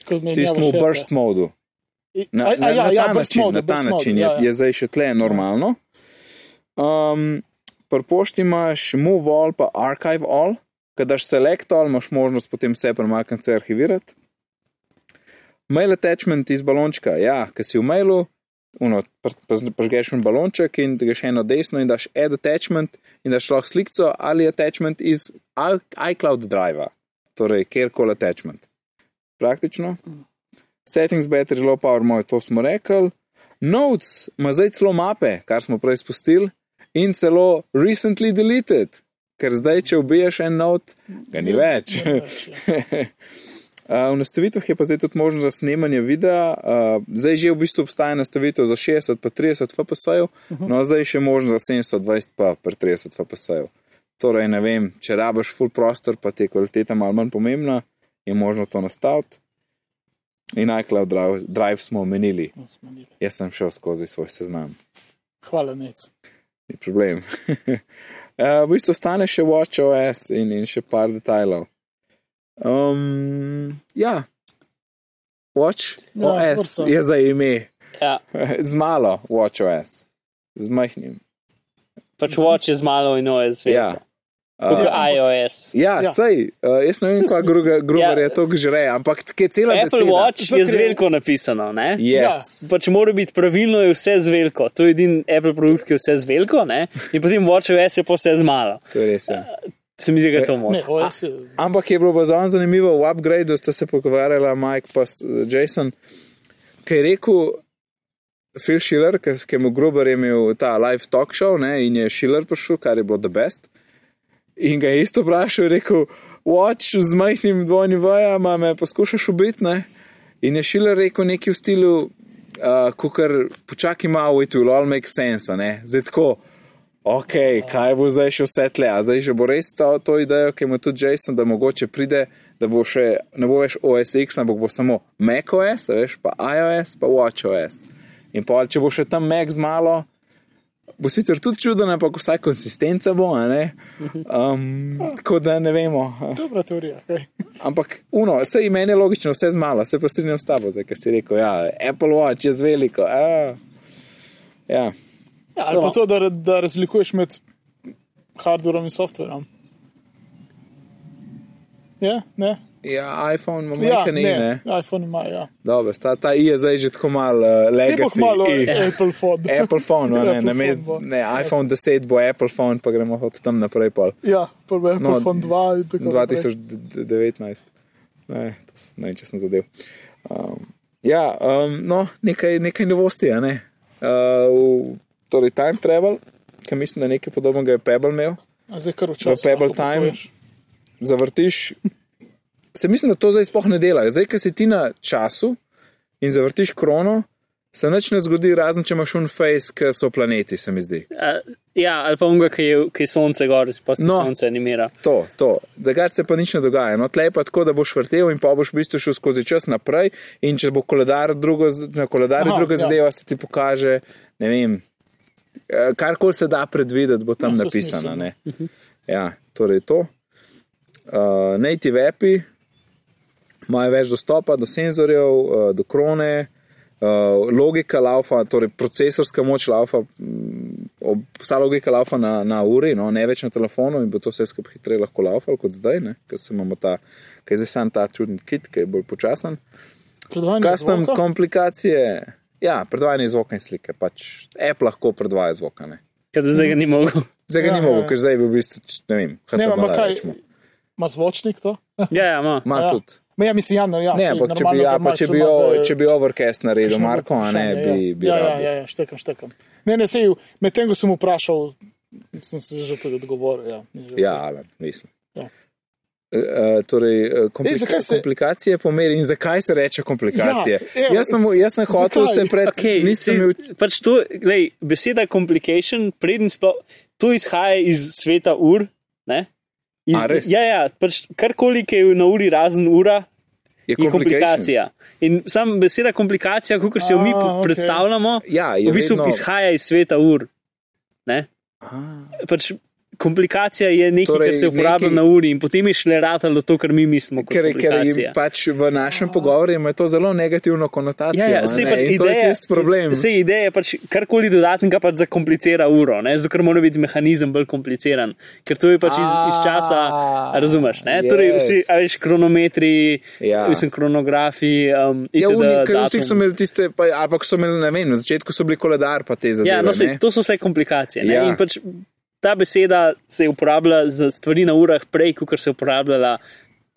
Ko menjava
tistem v
šepe.
burst modu.
I-
Na,
a-
na,
a ja,
na, ta
ja, brez
način,
mode,
na ta
brez mode,
način je,
ja, ja.
je zdaj še tle normalno. Um, Pri pošti imaš move all, pa archive all, kadaš select all, imaš možnost potem vse premakniti, arhivirati. Mail attachment iz balončka, ja, ki si v mailu, uno, pr- pr- prežgeš en balonček in ga še eno desno in daš add attachment in daš lahko slikco ali attachment iz i- iCloud drive, torej kjerkoli attachment. Praktično. Settings, battery, low power, moj, to smo rekli. Notes ima zdaj celo mape, kar smo prej spustili, in celo recently deleted, ker zdaj, če ubiješ en not, ga ni več. ja. [laughs] Uh, V nastavitvah je pa zdaj tudi možnost za snemanje videa, uh, zdaj že v bistvu obstaja nastavitev za 60 pa 30 FPS-jev, no zdaj je še možnost za 720 pa pri 30 FPS-jev. Torej, ne vem, če rabaš full prostor, pa ti je kvaliteta malo manj pomembna, je možno to nastaviti. In iCloud Drive, drive smo omenili, jaz sem šel skozi svoj seznam,
Hvala, nec.
ni problem. [laughs] uh, v bistvu ostane še WatchOS in, in še par detajlov. Um, ja, Watch
Ja,
ja, OS
dobro.
je za ime,
ja,
[laughs] z malo WatchOS, z majhnim.
pač watch je z malo in OS.
Ja.
Kot
Uh,
iOS.
ja,
Ja.
ja. sej, uh, jaz ne vem,
Saj
kaj
smisel.
Gruber
Ja.
ja. je to žre, ampak tako je cela
Apple
beseda.
Watch je z
Zato, ker je-
veliko napisano, ne?
Yes.
Pač mora biti pravilno, je vse z veliko. To je edini Apple produkt, ki je vse z veliko, ne? In potem WatchOS je pa vse z malo.
Ja. To je res. Ja.
Se mi zdi, da je to
Ne,
moč.
OS je.
Ampak je bilo pa zelo zanimivo, v upgradu sta se pogovarjala Mike pa s- Jason, ki je rekel, Phil Schiller, ki ki mu Gruber je imel ta live talk show ne, in je Schiller prišel, kar je bilo the best. In ga je isto vprašal, je rekel, watch z majhnim dvojnim vajem, a me poskušaš ubiti. Ne? In je Schiller rekel nekaj v stilu, uh, ko kar počakaj malo, it will all make sense, a ne, zdaj tako. Ok, kaj bo zdaj še vse tle, a zdaj že bo res to, to idejo, ki ima tudi Jason, da mogoče pride, da bo še, ne bo več OSX, ampak bo samo macOS, a veš, pa iOS, pa WatchOS. In pa, če bo še tam Mac z malo, bo sicer tudi čuden, ampak vsaj konsistenca bo, a ne? Um, tako da ne vemo.
Dobra teorija. kaj.
Ampak, uno, vse imen je logično, vse z malo, se pa strinjam s tabo, zdaj, ker si rekel, ja, Apple Watch je z veliko. A, ja.
Ja, [laughs] ali pa
No.
to, da, da razlikuješ med hardverom in softverom. Ja, ne.
Ja, iPhone ima
Ja,
nekaj, ne. ne.
iPhone ima, ja.
Dobro, ta, ta i je zdaj že tako malo uh,
Se bo
legacy.
malo
i.
Apple phone.
[laughs] Apple phone, no, ne,
Apple
ne, ne,
phone bo.
ne, iPhone 10 bo Apple phone, pa gremo od tam naprej, pol
Ja, prvo je Apple
No,
phone 2 in tako naprej.
2019. Ne, to s- ne, vem, če sem zadev. Um, ja, um, no, nekaj, nekaj novosti, a ne. Uh, v- torej, time travel, ki mislim, da je nekaj podobnega je Pebble imel.
A Zdaj kar včasih.
Pebble Time. zavrtiš. Se mislim, da to zdaj sploh ne dela. Zdaj, ki si ti na času in zavrtiš krono, se nič ne zgodi, razen če imaš unface, ki so planeti, se mi zdi.
A, Ja, ali pa unga, ki je, ki je sonce gor, pa se
No.
no. sonce animira.
To, to. Drugače se pa nič ne dogaja. No, tle je pa tako, da boš vrtel in pa boš v bistvu šel skozi čas naprej. In če bo koledar drugo, z- na koledarju
Aha,
druga
ja.
ja. zadeva, se ti pokaže, ne vem, eh, karkoli se da predvideti, bo tam
Ja,
no,
saj
napisano.
smiselno.
ne. Ja, torej to. Uh, native api imajo več dostopa do senzorjev, uh, do eh, krone, Uh, logika laufa, torej procesorska moč laufa, mm, ob, vsa logika laufa na, na uri, no, ne več na telefonu in bo to vse skupaj hitreje lahko laufal kot zdaj, ne, ker se imamo ta, ker je zdaj sam ta čudni kit, ki je bolj počasen.
Predvajanje
Custom
zvoka?
komplikacije, ja, predvajanje zvoka in slike, pač app lahko predvaja zvoka, ne.
Ker do zdaj ga ni
[laughs]
mogel.
Zdaj ga
Ja,
ja, ni mogel,
ja.
ker zdaj je bil v bistvu, č- ne vem,
Ne, ampak
hrta
kaj,
rečemo.
ima zvočnik to?
Ja, ja, ima.
Ma
Ja.
tudi.
Ma ja, mislim, ja, no, ja,
Ne,
saj
ampak če
normalno,
bi, ja,
da
pa
ima-
če bi,
ima
o-
za-
če bi overcast naredil,
kakšno
Marko, a ne,
vprašanje,
bi,
ja.
bi
ja, ja,
rabil.
ja, ja, štekam, štekam. Ne, ne, sej, medtem ko sem vprašal, sem se že tudi odgovoril. Ja, Že-
Ja, Alan, mislim.
Ja.
E, e, Torej, e, komplika
Ej, zakaj se-
komplikacije pomeri in zakaj se reče komplikacije?
Ja, evo,
jaz sem, jaz sem hotel
zakaj?
se pred
Okay,
nisem e, imel
pač to, glej, beseda complication, preden sploh to izhaja iz sveta ur. ne. Iz,
A, res?
ja, ja, pač karkoli, ki je na uri razen ura,
je
je
komplikacija.
komplikacija. In sam beseda komplikacija, kot se jo mi
A,
po-
okej.
predstavljamo,
Ja, je
v bistvu
vedno...
izhaja iz sveta ur. Ne?
Ah,
Pač komplikacija je nekaj, torej,
Torej,
kar se uporablja
nekaj-
neki... na uri in potem je šele ratalo to, kar mi mislimo. Kot
Ker, ker jim
komplikacija.
pač v našem pogovoru ima to zelo negativno konotacijo.
Ja, ja,
a
sej
ne,
pač
in to je
ideja,
tisti problem.
Sej ideja je pač karkoli dodatnega pač zakomplicira uro, ne? zato ker mora biti mehanizem bolj kompliciran, ker to je pač iz, iz časa,
A,
razumeš? Ne? Torej, vsi,
yes.
a veš, kronometri,
Ja.
mislim, kronografi. Um,
Ja,
itd.,
oni, ker vsi
datum.
so imeli tiste, pa, ali pa ko so imeli, ne vem, na začetku so bili koledar, pa te zadeve.
Ja, no,
ne.
sej, to so vse komplikacije. Ja.
Ja.
In pač ta beseda se uporablja za stvari na urah prej, kot se je uporabljala,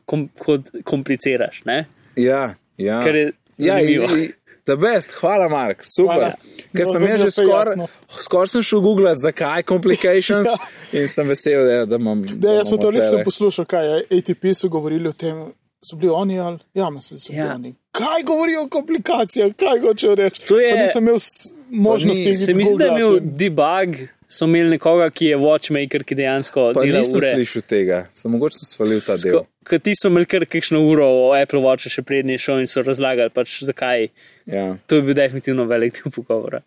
kom, kot kompliciraš. Ne?
Ja, ja.
Ker je
ja,
zanimivo.
Ta best, hvala, Mark,
Hvala.
super. Ker
No,
sem
zdaj mi
jaz
je
že
vse jasno.
skoraj skor sem šel googlati, zakaj
[laughs]
complications
Ja.
in sem vesel, da, da imam.
Ne, jaz sem to
rekel.
nisem poslušal, kaj je. ATP so govorili o tem, so bili oni ali ja, mislim, so bili
Ja.
ja. oni. Kaj govorijo o komplikacijah, kaj hočejo reči?
To je-
Pa nisem imel s- možnosti.
ni-
iti
Se mi zdi, da je imel
googlati.
debug, so imeli nekoga, ki je watchmaker, ki dejansko
Pa
dela
nisem
ure.
slišal tega, sem mogoče sem svalil ta del.
Ko- Ker ti so imeli kar kakšno uro o Apple Watchu še prednji šel in so razlagali, pač zakaj.
Ja,
To je bil definitivno velik del pogovora.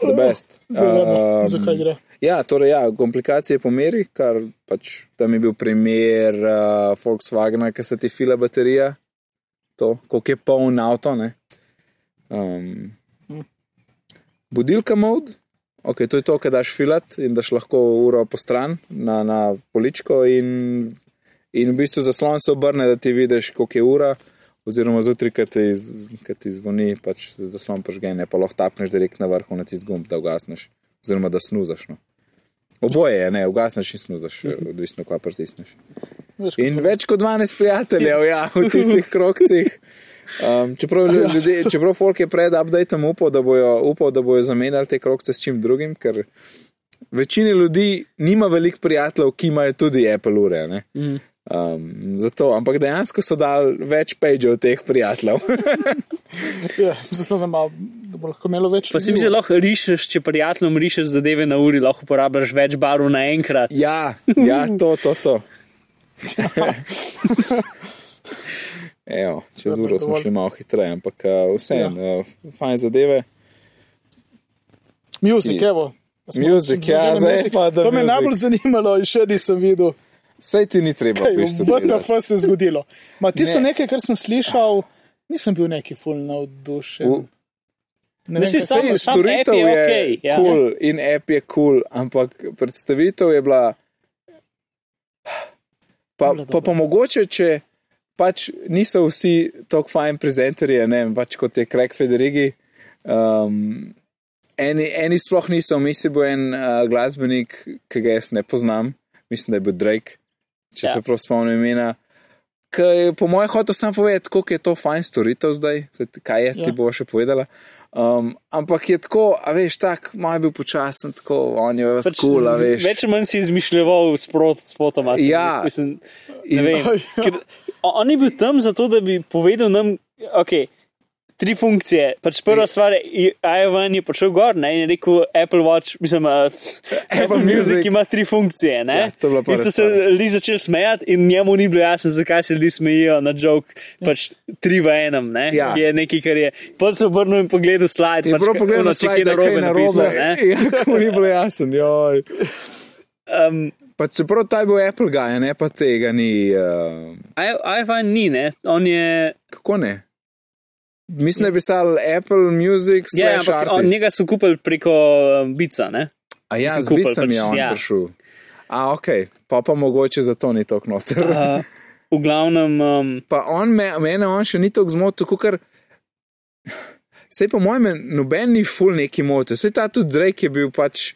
the best.
Zavedno,
Ehm,
zakaj gre.
Ja, torej, ja, komplikacije po meri, kar pač tam je bil primer uh, Volkswagena, ki se ti fila baterija, to, koliko je poln avto. ne. Um, budilka mod, ok, to je to, kar daš filat in daš lahko uro po stran na, na poličko in, in v bistvu zaslon se obrne, da ti vidiš, koliko je ura. Oziroma, zjutraj, ki ti, z- ko ti zvoni, pač zaslon požgene, pa lahko tapneš direkt na vrhu na tisti gumb, da ugasneš, oziroma da snuzaš. No. Oboje je, ne, ugasneš in snuzaš, eh, odvisno, kaj pritisneš.
Veš,
In
kako-
več kot 12 prijateljev, ja, v tistih krokcih. Um, čeprav ljudje, čeprav folk je pred updateom upal, da bojo, upal, da bojo zamenjali te krokce s čim drugim, ker večina ljudi nima veliko prijateljev, ki imajo tudi Apple ure. ne.
Mm.
Um, zato, ampak dejansko so dali več pageov teh prijateljev.
Ja, zato, da, ima, da bo lahko imelo več.
Pa si
No.
mi zelo lahko rišeš, če prijateljem rišeš zadeve na uri, lahko uporabljaš več barv naenkrat.
ja, ja, to, to, to. [laughs] Evo, čez
Dobro,
uro smo
dovolj.
šli malo hitreje, ampak uh, vseeno, ja. uh, fajn zadeve.
Muzik, evo. A smo-
Music,
smo
ja,
že na
zdaj
music?
pa da
To me je
music.
najbolj zanimalo in še nisem videl.
Saj ti ni treba,
Kaj,
v bistvu. delati.
VTF se je zgodilo. Ma, tisto
Ne.
ne. nekaj, kar sem slišal, nisem bil neki ful navdušen.
V-
Ne
Ne,
vem,
saj
kaj-
sam-
Sej,
samo app
storitev
je
je
okej, ja.
kul cool in app je kul, cool, ampak predstavitev je bila. Pa,
Bila dobra.
pa, pa mogoče, če pač niso vsi tako fajn prezenterji, ne vem, pač kot je Craig Federigi. Um, eni, eni sploh niso, mislim, bo en uh, glasbenik, ki ga jaz ne poznam, mislim, da je bil Drake, če
Ja.
ja. se prav spomnim imena. Ki je po mojem hotel sam povedati, koliko je to fajn storitev zdaj, Zdaj, kaj je, ja. ti
Ja.
bo še povedala. Um, ampak je tako, a veš, tako malo je bil počasen, tako on je vas kul, a
Pač z- z-
veš.
več ali manj si izmišljal sprot, spotoma. se mi-
Ja.
Mislim, ne
In- [laughs]
vem. Ker o- on je bil tam zato, da bi povedal nam, ok, tri funkcije. Pač prva stvar, Ivan je prišel gor ne, in je rekel, Apple Watch, mislim, uh, Apple, Apple Music, Music
Music.
ima tri funkcije. Ne?
Ja, to je bila pa
in so
res
se
stvar.
ljudje začeli smejati in njemu ni bilo jasno, zakaj se ljudje smejijo na jok, pač tri v enem, ne,
Ja.
ki je nekaj, kar je. Potem se obrnil in pogledal slajd,
Je
pač,
bilo
ka-
pogledano,
ono, če kaj narobe napisal. ne.
[laughs] Ja, ko ni bilo jasno, joj.
Um,
Pa čeprav ta je bil Apple guy, ne pa tega ni. Uh,
iPhone ni, ne? on je
kako ne? Mislim, da je pisal Apple Music,
Ja,
slash
ampak on,
artist.
njega so kupili preko um, bica, ne?
A ja,
Mislim,
z
kupili
bicami je
pač,
on
ja.
prišel. A ok, pa pa mogoče zato ni tako noter.
Uh, v glavnem, um,
pa on me, mene on še ni tako zmotil, kot kar. Sej po mojem, me noben ni ful neki motil. Sej ta tudi Drake je bil pač.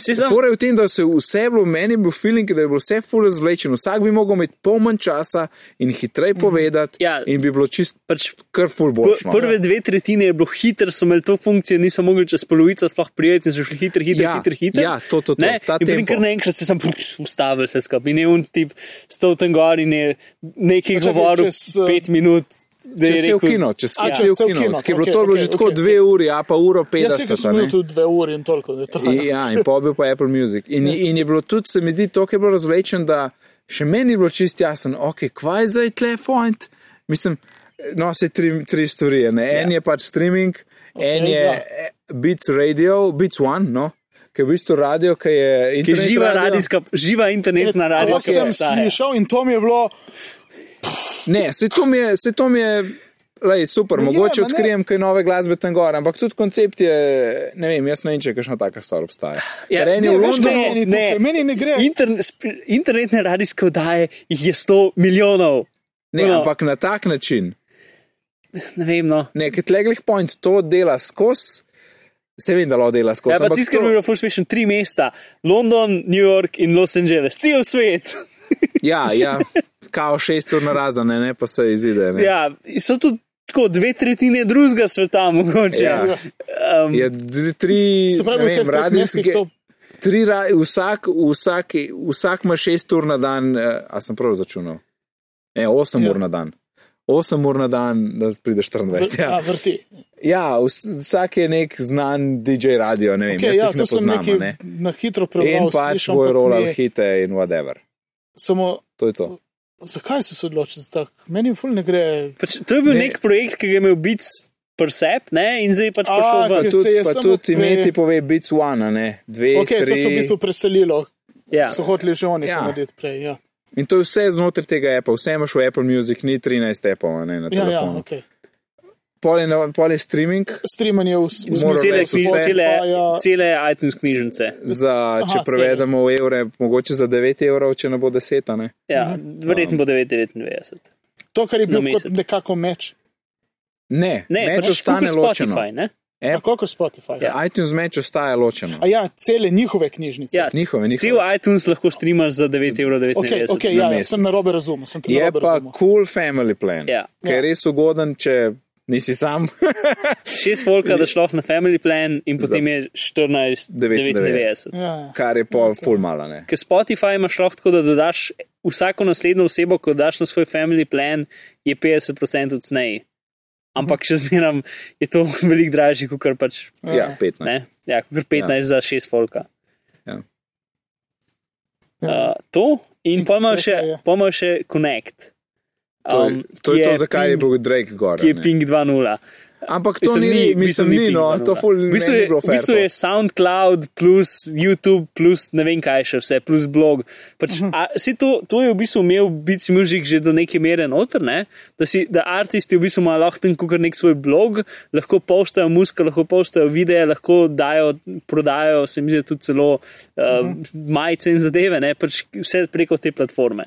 si znam,
Torej v tem, da se vse je bilo, meni je bil feeling, da je bilo vse ful razvlečeno. Vsak bi mogel imeti pol manj časa in
Mhm.
hitreje povedati
Ja.
in bi bilo čist
pač
kar ful
Pr-
boljše. no.
Prve dve tretjine je bilo hitro, so imeli to funkcijo, niso mogli čez polovico sploh prijeti, in so šli hitro, hitro,
Ja,
hitro. hitro.
ja, to, to, to,
Ne,
ta
in potem
tempo.
kar naenkrat se sem pač [laughs] ustavil, se skupaj. In je un tip stal tam gor in je nekaj
Počakaj,
govoril
čez, eh,
pet minut. da je
Če se
rekel-
ukino, če se
A, čez
ukino,
cel
ukino,
kino,
ki je bilo
okej,
to je bilo že
okej,
tako
okej. Ja,
dve uri, a pa uro
Jaz sem
50. a ne.
bil tu dve uri in toliko, da je
In-
trajalo.
Ja, in pa bil pa Apple Music. In, in je bilo tudi, se mi zdi, to, ki je bilo razvlečen, da še meni je bilo čist jasno, ok, kva je zdaj telefont. Mislim, no, se tri, tri stvari. a Ne? En je pač streaming, okay, en je
ja.
ja. Beats Radio, Beats One, no, ki je v bistvu radio, ki je
Ki je
internet.
živa,
radio. Eh,
radijska, živa internetna
To
radijska
sem
postaja.
slišal in to mi je bilo.
Ne, se to mi je, se to mi je lej, super,
Ma je,
mogoče
ma ne.
odkrijem kaj nove glasbe tam gor, ampak tudi koncept je, ne vem, jaz ne vem, če kakšna taka stvar obstaja.
Ja,
Ker en
ne,
je v
veš,
Londonu,
kaj je meni tukaj? Meni ne
Ja.
gre.
Interne, sp- internetne radijske oddaje jih je 100 milijonov.
ne,
Ja.
ampak na tak način.
Ne vem, no.
Nekaj tleglih point to dela skozi, se vem, da lo dela skozi.
Ja, pa
ampak
tiskam
to-
je bilo full smešen, tri mesta: London, New York in Los Angeles, cel svet.
ja, ja, kao šest ur narazane, ne pa se izide. Ne.
Ja, so tudi tako dve tretjine drugega sveta, mogoče.
Ja.
Um,
Je z- tri,
Se pravi,
ne
v
vem,
teh treh
radijski
mestih
[laughs]
to-
Tri, ra- vsak, vsak, vsak ima šest ur na dan, eh, a sem prav začunal. Ne, osem
Ja.
ja. ur na dan. Osem ur na dan, da prideš 24.
Ja,
Ja,
vrti.
ja vs- vsak je nek znan DJ radio, ne vem, okay,
Okay,
jaz
ja,
ja, jih ne
to sem
poznam. a
nekaj
Ne?
na hitro
In
prebral.
pač
slišal,
bojo
ampak
rolali
mi je-
hite in whatever.
Samo
To je to.
zakaj so se odločili za tak? Meni ful ne gre.
pač, to je bil
Ne.
ne. nek projekt, ki ga je imel biti Persep, ne, in zdaj je pač
A,
prišel
Pa
ker
ven.
se
tudi,
je
pa
samo
tudi
pri-
ime ti pove Beats One, a ne? Dve,
Ok, to
tri.
so v bistvu preselilo,
Ja.
so hoteli že oni
Ja.
to narediti prej. Ja,
In to je vse znotraj tega Apple, vse imaš v Apple Music, ni 13 Apple, a ne na
ja, ja
telefonu.
ok.
Pol je, na- pol je streaming,
Streamanje v
Moral
Cele,
reči
knjiž,
vse.
cele, cele iTunes knjižnice.
za, če
Aha,
prevedemo v evre, mogoče za 9 evrov, če ne bo 10. a Ne?
Ja,
Mhm.
verjetno bo 9,99.
To, kar je bil
na
kot
mesec.
nekako meč,
Ne,
Ne,
meč
pač
ostane
ostane
ločeno.
Spotify, ne?
Ja.
tako kot Spotify. Ja.
Ja. iTunes meč ostaja ločeno.
A ja, cele njihove knjižnice.
Ja,
Njihove, njihove.
Cel iTunes lahko streamaš za 9,99
ok,
evra.
okay ja,
na
ja,
mesec.
sem na robe razumel. Sem te
Je
narobe
pa
razumel.
cool family plan,
Ja.
ki je
Ja.
res ugoden, če nisi sam. [laughs]
Šest volka, da šlo na Family Plan in potem je 14,99.
99.
Ja, ja.
Kar je pa full mala. Ne?
Ker Spotify imaš lahko tako, da dodaš vsako naslednjo osebo, ko daš na svoj family plan, je 50% odcnej. Ampak še zmeraj je to [laughs] veliko dražje, kot kar pač
Ja, 15.
ne. Ja, kot 15 ja. za 6 folka.
Ja.
Uh, to in pojmo še,
je.
pol imajo še Connect. Um,
To, je, to
ki
je to, zakaj je
ping,
bil Drake gor.
Ki je
a ne.
Ping 2.0.
Ampak to
Mislim,
ni,
ni-
mislim, ni,
ping
no,
2.0.
to ful
v bistvu
meni
je,
ni bilo
v
fair.
bistvu
to.
je SoundCloud, plus YouTube, plus ne vem kaj še vse, plus blog. Pač,
Mhm.
a, si to, to je v bistvu imel Beats Music že do neke mere noter, ne? da, si, da artisti v bistvu imajo lahko ten kukar nek svoj blog, lahko postajo muzika, lahko postajo videe, lahko dajo, prodajo, se mi zdi tudi celo uh,
Mhm.
majice in zadeve, ne? pač vse preko te platforme.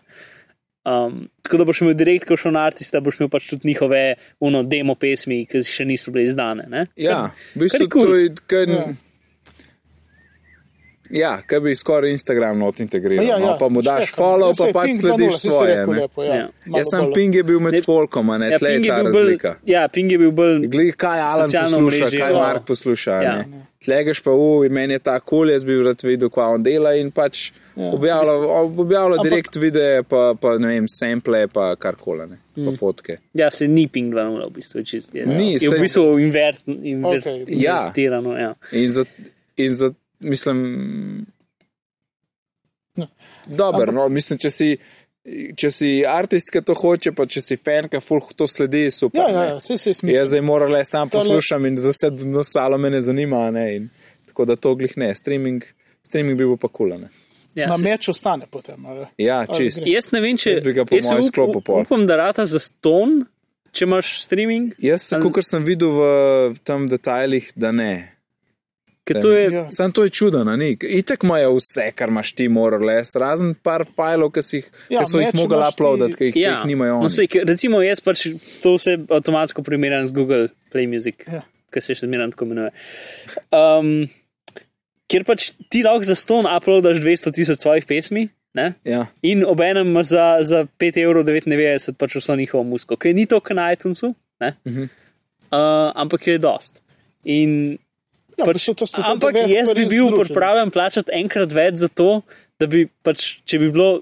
Um, tako da boš imel direkt, ko šel na artista, boš imel pač tudi njihove uno, demo pesmi, ki še niso bile izdane. Ne?
Ja, v bistvu
kar je
cool.
cool.
to je kar.
Ja.
Ja. Ja, kaj bi skoraj Instagram not integriral.
Ja, ja,
no, pa mu daš
Štefan,
follow,
ja,
pa
saj
pač
Pink 2.0,
slediš
saj si
svoje.
rekel
ne.
lepo, ja.
Ja.
Malo
Jaz sem
bolj.
ping je bil med
Ne-
folkom, a ne ja, tle je
Ping
ta
bil
razlika.
Bolj, ja, Ping je bil bolj.
Glej, kaj Alan
Socialno
posluša, mrežje,
omrežje,
kaj
ja.
Mark posluša.
Ja.
Ja. Tlegeš pa, uj, meni je ta kul, cool, jaz bi rad videl, kva on dela in pač ja.
Ja.
objavlja, objavlja
Ampak-
direkt videe, pa, pa ne vem, sample, pa karkoli, ne, pa fotke.
Ja, se ni Ping 2.0, v bistvu je čist. Je,
Ni,
je
saj-
v bistvu invert, invert,
Okej.
okay.
Ja.
invertirano. Ja.
In za, in za mislim.
No.
Dober, no, mislim, če si, če si artist, ki to hoče, pa če si fan, ki full to sledi, super.
Ja, ja,
ne.
ja, vse se je
Jaz
smisel.
zdaj moram le sam
Tole-
poslušam in za vse d- ostalo me ne zanima. a Ne? In, tako da to glih ne, streaming, streaming bi bil pa kulane.
Ja,
Na
se-
meč ostane potem. ali?
Ja,
Ali
čist.
gre?
Jaz ne vem, če
Jaz bi ga po
jaz se
mojem
up-
sklopu pol.
Upam, da rata za ston, če imaš streaming.
Jaz,
Ali-
kot sem videl v tem detajlih, da ne.
Ker to je,
Ja.
Sam to je čudno, ni. Itek imajo vse, kar imaš ti, moral les, razen par fajlov, ki, si jih,
Ja,
ja, ki so jih
meč
mogli
imaš ti-
uploadati, ki jih, ja, jih nimajo.
No,
oni.
sej, ker recimo jaz pač to vse avtomatsko primerjam z Google Play Music,
Ja.
ja. ki se še zmeraj tako imenuje. Um, ker pač ti lahko za ston uploadaš 200 tisoč svojih pesmi. Ne?
Ja.
In obenem imaš za, za 5,99 evra pač vso njihovo muziko, ki ni to, kar na iTunesu, uh -huh.
Mhm.
uh, ampak je dost. In
Ja,
Pač-
pač, to sta tudi
Ampak
dve
jaz
stvari
bi bil
združeni.
pripravljen plačati enkrat več za to, da bi pač, če bi bilo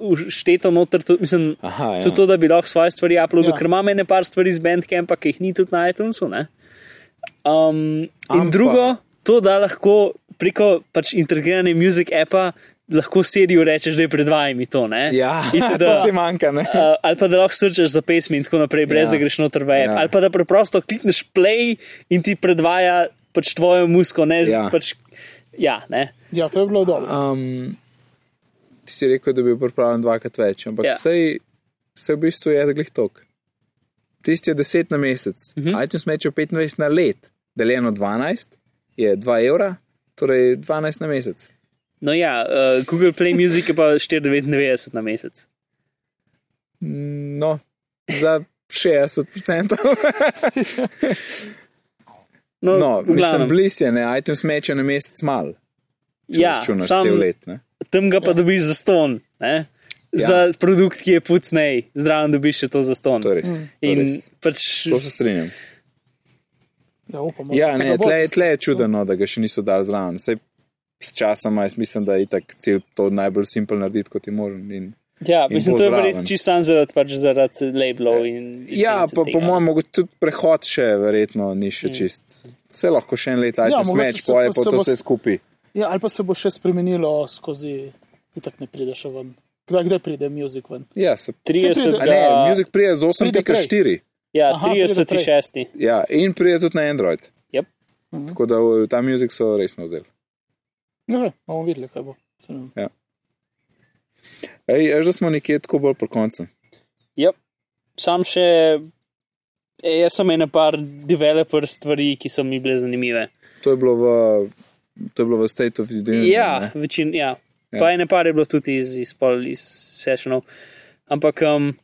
všteto noter, to, mislim,
Aha, ja.
tudi to, da bi lahko svoje stvari uploadil,
Ja.
ja. ker imam ene par stvari z Bandcampa, ki jih ni tudi na iTunesu. ne. Um, in
Ampak-
drugo, to, da lahko preko pač integrirane muzik appa lahko seriju rečeš, da je predvajami to. ne.
Ja, [laughs]
[laughs]
Itd.
to ti manjka. ne?
Uh, ali pa da lahko srčeš za pesmi in tako naprej, brez
Ja.
ja. da greš noter v app.
Ja.
Ja. Ali pa da preprosto klikneš play in ti predvaja pač tvojo musko, ne
Ja.
ja. pač. Ja, ne.
Ja, to je bilo dobro.
Um, ti si rekel, da bi bil pripravljen dvakrat več, ampak
Ja.
yeah. sej, sej v bistvu je glih tok. Tisti je 10 na mesec, uh
Mhm.
-huh. iTunes meče 25 na let, deljeno 12 je 2 evra, torej 12 na mesec.
No ja, uh, Google Play Music je pa 4,99 na mesec.
No, za 60%.
No,
no,
v
mislim,
glavnem.
bliz je, ne, iTunes meče na mesec mal. Če
Ja,
računaš
sam-
cel let. Ne?
Tam ga pa ja. dobiš za ston, ne?
Ja.
Ja. Za produkt, ki je pucnej, zdravo dobiš še to za ston.
To je res. Torej,
Mm.
To, je
In
res.
pač
to se strinjam.
Ja, upamo.
Ja,
da ga
ne,
bo
tle, tle je
sestal.
čudno, no, da ga še niso dali zraven. Sej s časom, jaz mislim, da je itak cilj to najbolj simpel narediti, kot je možen. In...
Ja,
in
mislim,
bo
to je
zraven.
verjetno čisto samo zaradi, pač zaradi labelov in.
Ja,
licence
pa po
tega.
mojem, mogoče tudi prehod še verjetno ni še čist. Se lahko še en let
Mm. Ja,
iTunes ja,
mogoče
meč,
se
poje
bo-
pa
se
to
bo
vse
s-
skupaj.
Ja, ali pa se bo še spremenilo skozi, itak ne prideš ven. Kdaj, kdaj pride muzik ven?
Ja, se...
Se
30.
A ne, Music prije z
Ja. Pride prej.
8.4.
Ja,
Aha, pride
36.
Ja, in prije tudi na Android.
Yep.
Tako da v- ta muzik so resno vzeli.
Ne, vem, bomo videli, kaj bo. Saj ne vem.
Ej, že smo nekje tako bolj po koncu.
Yep. Sam še. e, Jaz sem ena par developer stvari, ki so mi bile zanimive.
To je bilo v, to je bilo v State of the Union.
Ja,
Mm, ne?
večin, ja.
Ja.
Pa ena par je bilo tudi iz, iz, pol- iz sessionov. Ampak um,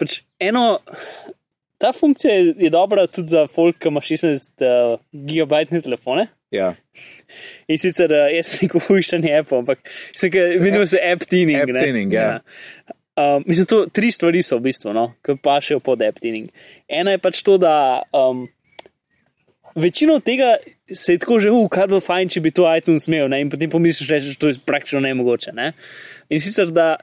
pač eno, ta funkcija je, je dobra tudi za folk, ki ima 16 uh, gigabajtne telefone.
ja.
In sicer uh, jaz sem [laughs] kupil še ne Apple, ampak se ga imenuje se App Tuning.
app
ne.
tuning, ja.
Um, mislim, to tri stvari so v bistvu, no, ki pašejo pod App Tuning. Ena je pač to, da um, večino tega se je tako že, uh, kar bo fajn, če bi to iTunes imel, ne? in potem pomisliš, da to je praktično nemogoče. Ne? In sicer, da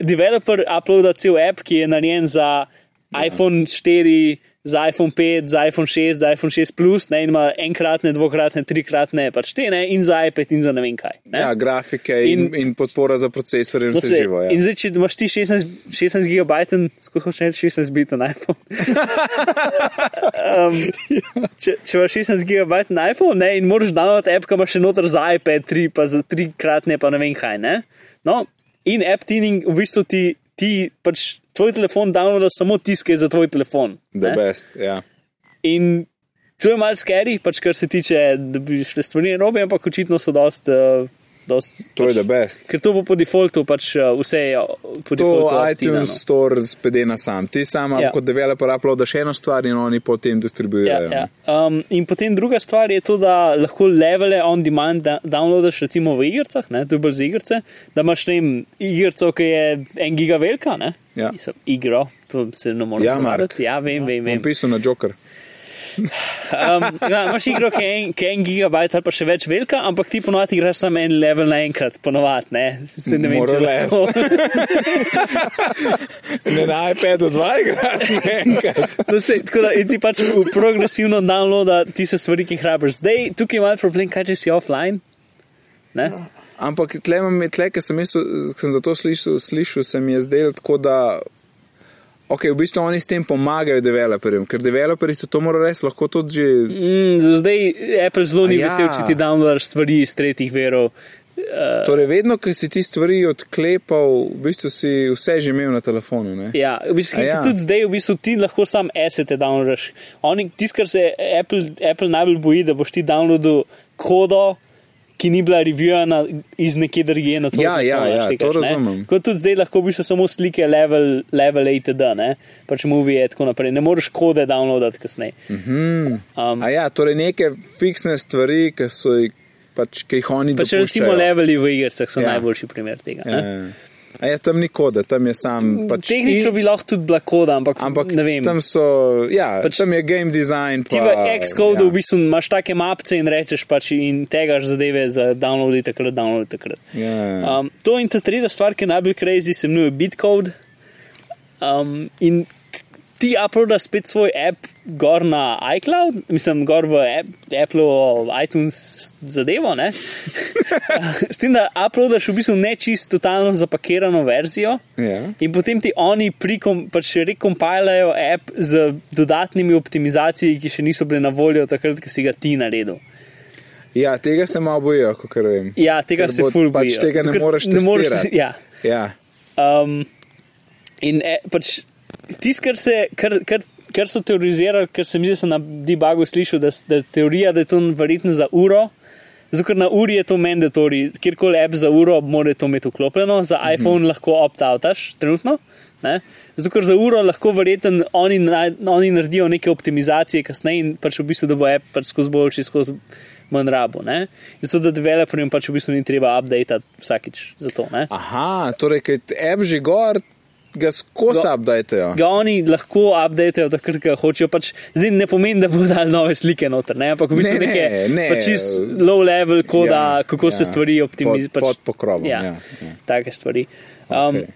developer uploada cel app, ki je narejen za iPhone 4, za iPhone 5, za iPhone 6, za iPhone 6 Plus, ne, in ima enkratne, dvokratne, trikratne, pač te ne, in za iPad in za ne vem kaj. Ne.
Ja, grafike in, in,
In-
in podpora za procesor in
To
vse
se-
živo. Ja.
No In zdaj, če imaš ti 16, 16 gigabajten, skušaj še 16 biten iPhone.
[laughs]
um, če, če imaš 16 gigabajten iPhone ne, in moraš downloaditi app, ki imaš še noter za iPad 3, pa za trikratne, pa ne vem kaj. Ne? No, in app tuning v bistvu ti, ti pač tvoj telefon downloada samo tiske za tvoj telefon.
The
ne.
best, ja.
In to je malce scary, pač kar se tiče, da bi šle stvari robe, ampak očitno so dost. Uh, dost
To je the best.
Ker to bo po defaultu, pač uh, vse je uh, po defaultu.
To
opt-inano.
iTunes store spede na sam. Ti sama ja.
Ja.
kot developer uploadaš eno stvar in oni potem
Ja,
distribuirajo.
ja. Um, in potem druga stvar je to, da lahko levele on demand da downloadaš, recimo v igrah, to je bolj za igrice, da imaš ne vem, igrico, ki je en giga velika, ne?
Ja.
Mislim, igro, to se ne more
Ja,
pogovarjati.
Mark.
Ja, vem, vem. vem.
Bom pisal na Joker.
[laughs] Um, ja, imaš igro, ki je en, ki je en gigabajt ali pa še več velika, ampak ti ponovadi igraš samo en level naenkrat, ponovadi, ne? Se ne vem,
More
če
or less.
lahko.
Ne na iPadu 2 igraš, ne enkrat.
No, sej, tako da in ti pač v- progresivno downloada tiste stvari, ki jih rabiš. Zdaj, tukaj je malo problem, kaj če si offline. Ne?
Ampak tle, imam- tle ker sem, mislil, ke sem zato slišal, slišal, se mi je zdelo tako, da okay, v bistvu oni s tem pomagajo developerjem, ker developerji so to morali res lahko tudi že.
Mm, zdaj Apple zelo ni
Aja.
vesel, če ti downloadaš stvari iz tretjih verov. Eh,
Torej, vedno, ko si ti stvari odklepal, v bistvu si vse že imel na telefonu. Ne?
Ja, v bistvu,
A ja.
ja. tudi zdaj, v bistvu ti lahko sam asete downloadaš. Oni, tisto, kar se Apple, Apple najbolj boji, da boš ti downloadil kodo, ki ni bila revivirana iz neke druge na to.
Ja, ja, ja, to razumem.
Kot tudi zdaj lahko v bistvu samo slike level, level ATD, ne? pač movie in tako naprej. Ne moreš kode downloadati kasneje. Um,
Hm. A ja, torej neke fiksne stvari, ki so jih, pač, ki jih oni
pač recimo
dopuščajo.
leveli v igrah so
Ja.
ja. najboljši primer tega.
Ja,
ne.
ja. A ja, tam ni koda, tam je sam. Pač
Tehnično bi lahko tudi bila koda, ampak,
Ampak
ampak ne vem.
tam so, ja, pač,
Pač-
tam je game design. Pa,
Ti v
ja.
Xcode ja. v bistvu imaš take mapce in rečeš pač in tegaš zadeve za downloadi takrat, downloadi takrat.
Ja, ja.
Um, to in ta tretja stvar, ki je najbolj crazy, se imenuje Bitcode. Um, in k- ti uploadaš spet svoj app gor na iCloud, mislim, gor v app, Apple, iTunes zadevo,
[laughs]
ne? S tem, da uploadaš v bistvu nečist, totalno zapakirano verzijo.
Ja.
In potem ti oni prikom, pač rekompilajo app z dodatnimi optimizacijami, ki še niso bile na voljo takrat, ko si ga ti naredil.
ja, tega se malo bojijo, kot vem.
Ja, tega
Ker
se
bo-
ful
pač
bojijo.
tega ne
Ker
moreš testirati.
[laughs] Ja.
Ja.
Um, in e, pač tisto, kar, se- kar, kar, kar so teorizirali, ker sem jaz na debugu slišal, da, s- da je teorija, da je to verjetno za uro. Zato, ker na uri je to mandatory, kjerkoli app za uro mora to imeti vklopljeno, za iPhone lahko opt-outaš, trenutno. Ne? Zato, ker za uro lahko verjetno oni, naj- oni naredijo neke optimizacije kasneje in pač v bistvu, da bo app pač skozi boljši, skozi manj rabo. Ne? Zato, da developerjem pač v bistvu ni treba update vsakič za to. Ne?
Aha, torej, ker je app že gor, ga skozi
Ga-
updatejo.
ga oni lahko updatejo, takrat, ko hočejo. Pač, zdaj ne pomeni, da bodo dali nove slike noter, ne? ampak v bistvu
Ne,
ne,
ne,
neke
ne.
pač čist low level koda, ja, kako ja, se stvari optimizirajo.
Pod,
Pač,
pod pokrovom. Ja.
ja,
Ja, ja.
Take stvari. Um,
Okej.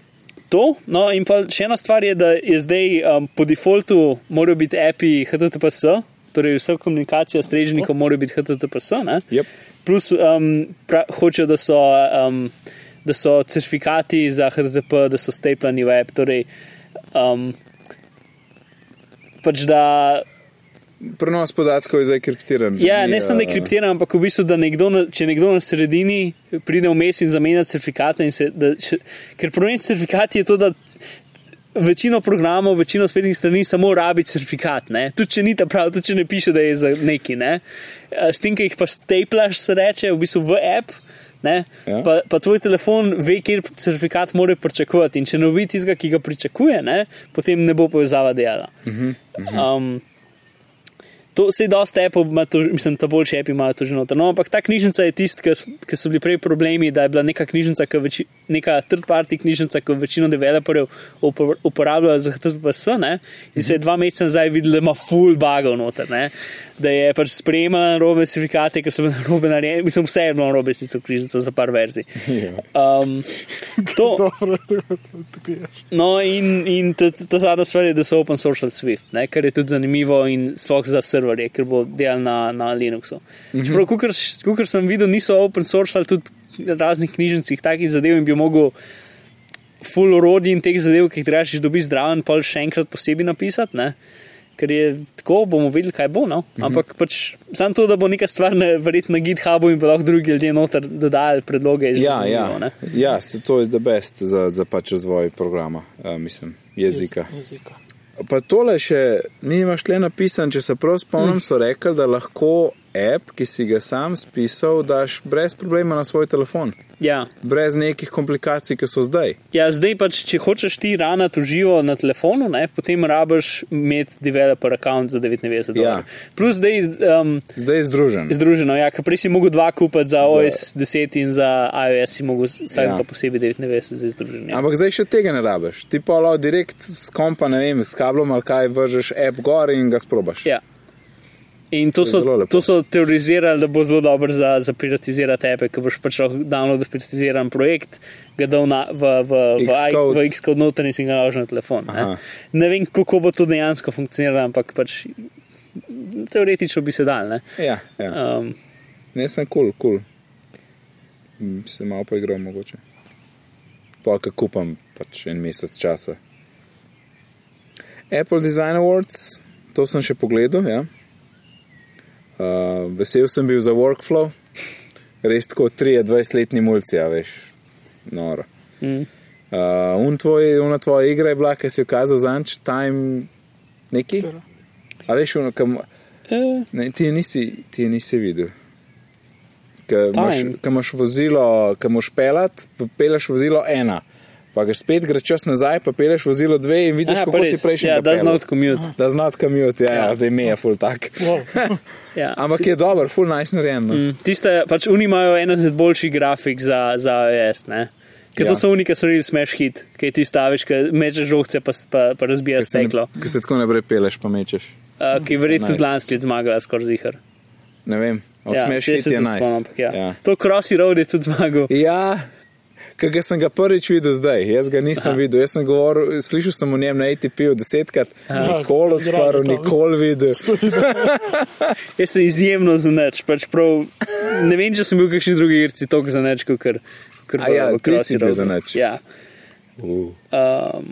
To, no, in pa še ena stvar je, da je zdaj um, po defaultu morajo biti api HTTPS, torej vsa komunikacija s strežnikom mora biti HTTPS. Ne?
Yep.
Plus um, pra, hočejo, da so, um, da so certifikati za HTTP, da so stepljeni v app. Torej, um, pač da,
Prenos podatkov je zdaj kriptiran.
ja,
Ni,
ne samo da je
eh,
kriptiran, ampak v bistvu, da nekdo, na- če nekdo na sredini pride vmes in zamenja certifikate. in Se, da, še, ker problem s certifikati je to, da večino programov, večino spletnih strani samo rabi certifikat. ne. Tudi če ni ta prav, tudi če ne piše, da je za neki. Ne? Eh, S tem, ki jih pa steplaš, se reče v bistvu v app. Ne,
Ja.
ja. pa, pa tvoj telefon ve, kjer certifikat mora pričakovati. In če ne vidi tistega, ki ga pričakuje, ne, potem ne bo povezava dela. Uh -huh, uh -huh. um, to se dosta appov, ima to, mislim, ta boljši app imajo to že noter. No, ampak ta knjižnica je tista, ki so bili prej problemi, da je bila neka knjižnica, ki veči, neka third-party knjižnica, ki jo večino developerjev upor- uporabljajo za HTTPS, ne? in se je dva meseca nazaj videl, da ima full bugov noter, ne? da je pač sprejemala robe certifikate, ki so bile [laughs] robe narejene, mislim, vse je bilo robe s tisto knjižnico za par verzij. Um,
[laughs]
to,
Dobro, to je tako.
No, in, in ta- ta ta zadnja stvar je, da so open source Swift, ne, kar je tudi zanimivo in sploh za serverje, ker bo delal na, na Linuxu. Mm
Mhm.
-hmm. Čeprav, kukor, kukor sem videl, niso open source ali tudi raznih knjižnicah takih zadev in bi mogel full orodij in teh zadev, ki jih trebaš dobiti zdraven, pa še enkrat posebej napisati, ne. Ker je tako, bomo videli, kaj bo. No?
Mhm.
Ampak mm -hmm. pač, samo to, da bo neka stvar na, verjetno na GitHubu in pa lahko drugi ljudje noter dodajali predloge. je že
Ja,
zanimivo,
ja.
ne.
ja se to je the best za, za pač razvoj programa, uh, mislim, jezika.
Jezika.
Pa tole še nimaš tle napisan, če se prav
Mm.
spomnim, so rekli, da lahko app, ki si ga sam spisal, daš brez problema na svoj telefon,
ja.
brez nekih komplikacij, ki so zdaj.
Ja, zdaj pač, če hočeš ti rana tuživo na telefonu, ne, potem rabiš imeti developer račun za 99 dolarjev. Ja. Plus zdaj um,
Zdaj je združen.
združeno, ja, ker prej si mogel dva kupiti za OS 10 in za iOS si mogel vsaj
Ja.
ja. posebej 99 za združenje.
Ampak zdaj še tega ne rabiš. Ti pa lahko direkt s kompa, ne vem, s kablom ali kaj vržeš app gor in ga sprobaš.
Ja. In to
je zelo
so,
lepo.
to so teorizirali, da bo zelo dobro za, za piratizirati tebe, ker boš pač lahko downloadil piratiziran projekt, ga dal na, v, v, v,
Xcode.
Xcode. v Xcode noter in si ga naložil na telefon.
Aha.
Ne? ne vem, kako bo to dejansko funkcioniralo, ampak pač teoretično bi se dal. ne.
Ja, ja.
Um,
ne sem kul, cool, kul. Cool. Se malo pa igram mogoče. Polka kupam pač en mesec časa. Apple Design Awards, to sem še pogledal. Ja. Uh, vesel sem bil za workflow, res tako 23-letni mulci, a veš, noro.
Mm.
Uh, un tvoj, una tvoja igra je bila, ki si jo kazal za anč, time neki.
Tera.
A veš, uno, kam,
Eh,
ne, ti je nisi, ti je nisi videl. Ker imaš,
Time.
ke imaš vozilo, ki moš pelat, pa peleš vozilo ena. Pa greš spet, greš čas nazaj, pa peleš vozilo dve in vidiš, Aha,
aha, pa
kako si
res.
prejšnji.
Ja, da znot commute.
Da znot kamut, ja, ja, zdaj mi je full tak.
Wow.
Ja.
[laughs] Ampak je dober, full nice narejen. no.
Mm, Tiste, pač oni imajo eno izmed boljših grafik za, za iOS. ne. Ker to
Ja.
so oni, ki so naredili smash hit, ki ti staviš, ki mečeš žogce, pa, s- pa, pa razbijaš
se ne-
steklo.
Ko se tako naprej peleš, pa mečeš.
Uh, ki je verjetno tudi
11.
lansko leto zmagala, skoraj zihar.
Ne vem,
Ja,
odsmeš ja,
saj se
hit je
tudi
nice.
spomnim, ampak ja.
ja.
To Crossy Road je tudi zmagal.
Ja, ki ga sem ga prvič videl zdaj, jaz ga nisem
Aha.
Aha. videl. Jaz sem govoril, slišal sem o njem na ATP-ju desetkrat,
Ja,
nikoli
igra je
odprl,
to.
nikoli videl.
Jaz sem izjemno zanač, pač prav, ne vem, če sem bil v kakšni drugi igrici tako zanač, kot kar.
A ja, ti si bil zanač.
Ja.
Uh,
Um,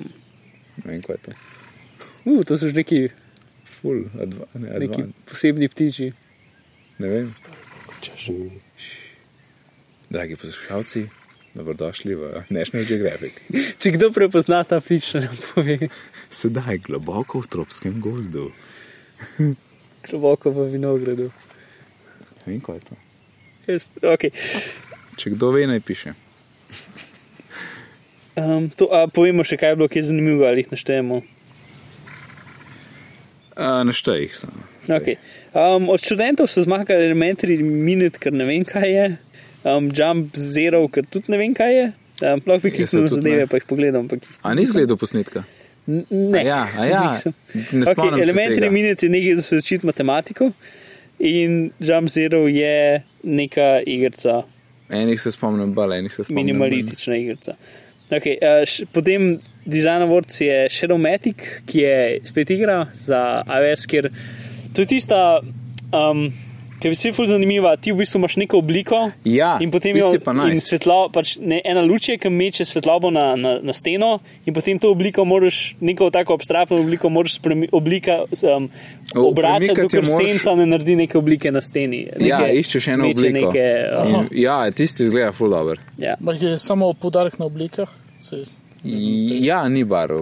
ne vem, kaj je to.
uh, to so že neki,
Full, adva, ne, adva,
neki posebni ptiči.
ne vem. Dragi poslušalci, dobrodošli v National Geographic.
Če kdo prepozna ta ptič, naj nam pove. [laughs]
Sedaj globoko v tropskem gozdu.
Globoko v vinogradu.
Ne vem, kaj je to.
Jaz, okay.
Če kdo ve, naj piše.
um, to, a, povemo še, kaj je bilo, ki je zanimivo, ali jih naštejemo.
Uh, Naštej jih samo.
Okay. Um, od študentov so zmagali elementary minute, ker ne vem, kaj je, um, jump zero, ker tudi ne vem, kaj je. Um, Lahko bi
Jaz
kliknil na
Ja, tudi
zadeve,
ne.
pa jih pogledam. Ampak... jih-
A nisi gledal posnetka?
N- Ne,
A ja, a ja,
nisem.
ne spomnim
okay,
se
elementary
tega.
minute je nekaj, da se učiti matematiko in jump zero je neka igrica,
Enih se spomnim, bal, enih se spomnim. bolj ne.
minimalistična igrica. Okay, uh, š, potem Design Awards je Shadowmatic, ki je spet igra za iOS, kjer to je tista, um, ki je vse ful zanimiva. Ti v bistvu imaš neko obliko
Ja,
in potem
tisti
jo
je pa nice.
in svetlo, pač ne, ena luč je, ki meče svetlobo na, na, na steno in potem to obliko moraš, neko tako abstraktno obliko moraš spremi, oblika, um,
O,
obračati,
premikati jo
dokler
moraš-
moraš... senca ne naredi neke oblike na steni. Neke,
Ja, iščeš eno
meče
obliko.
Neke, um,
In, ja, tisti izgleda full dobro.
ja.
Ma je samo podarek na oblikah. Se,
Ja, ni barv.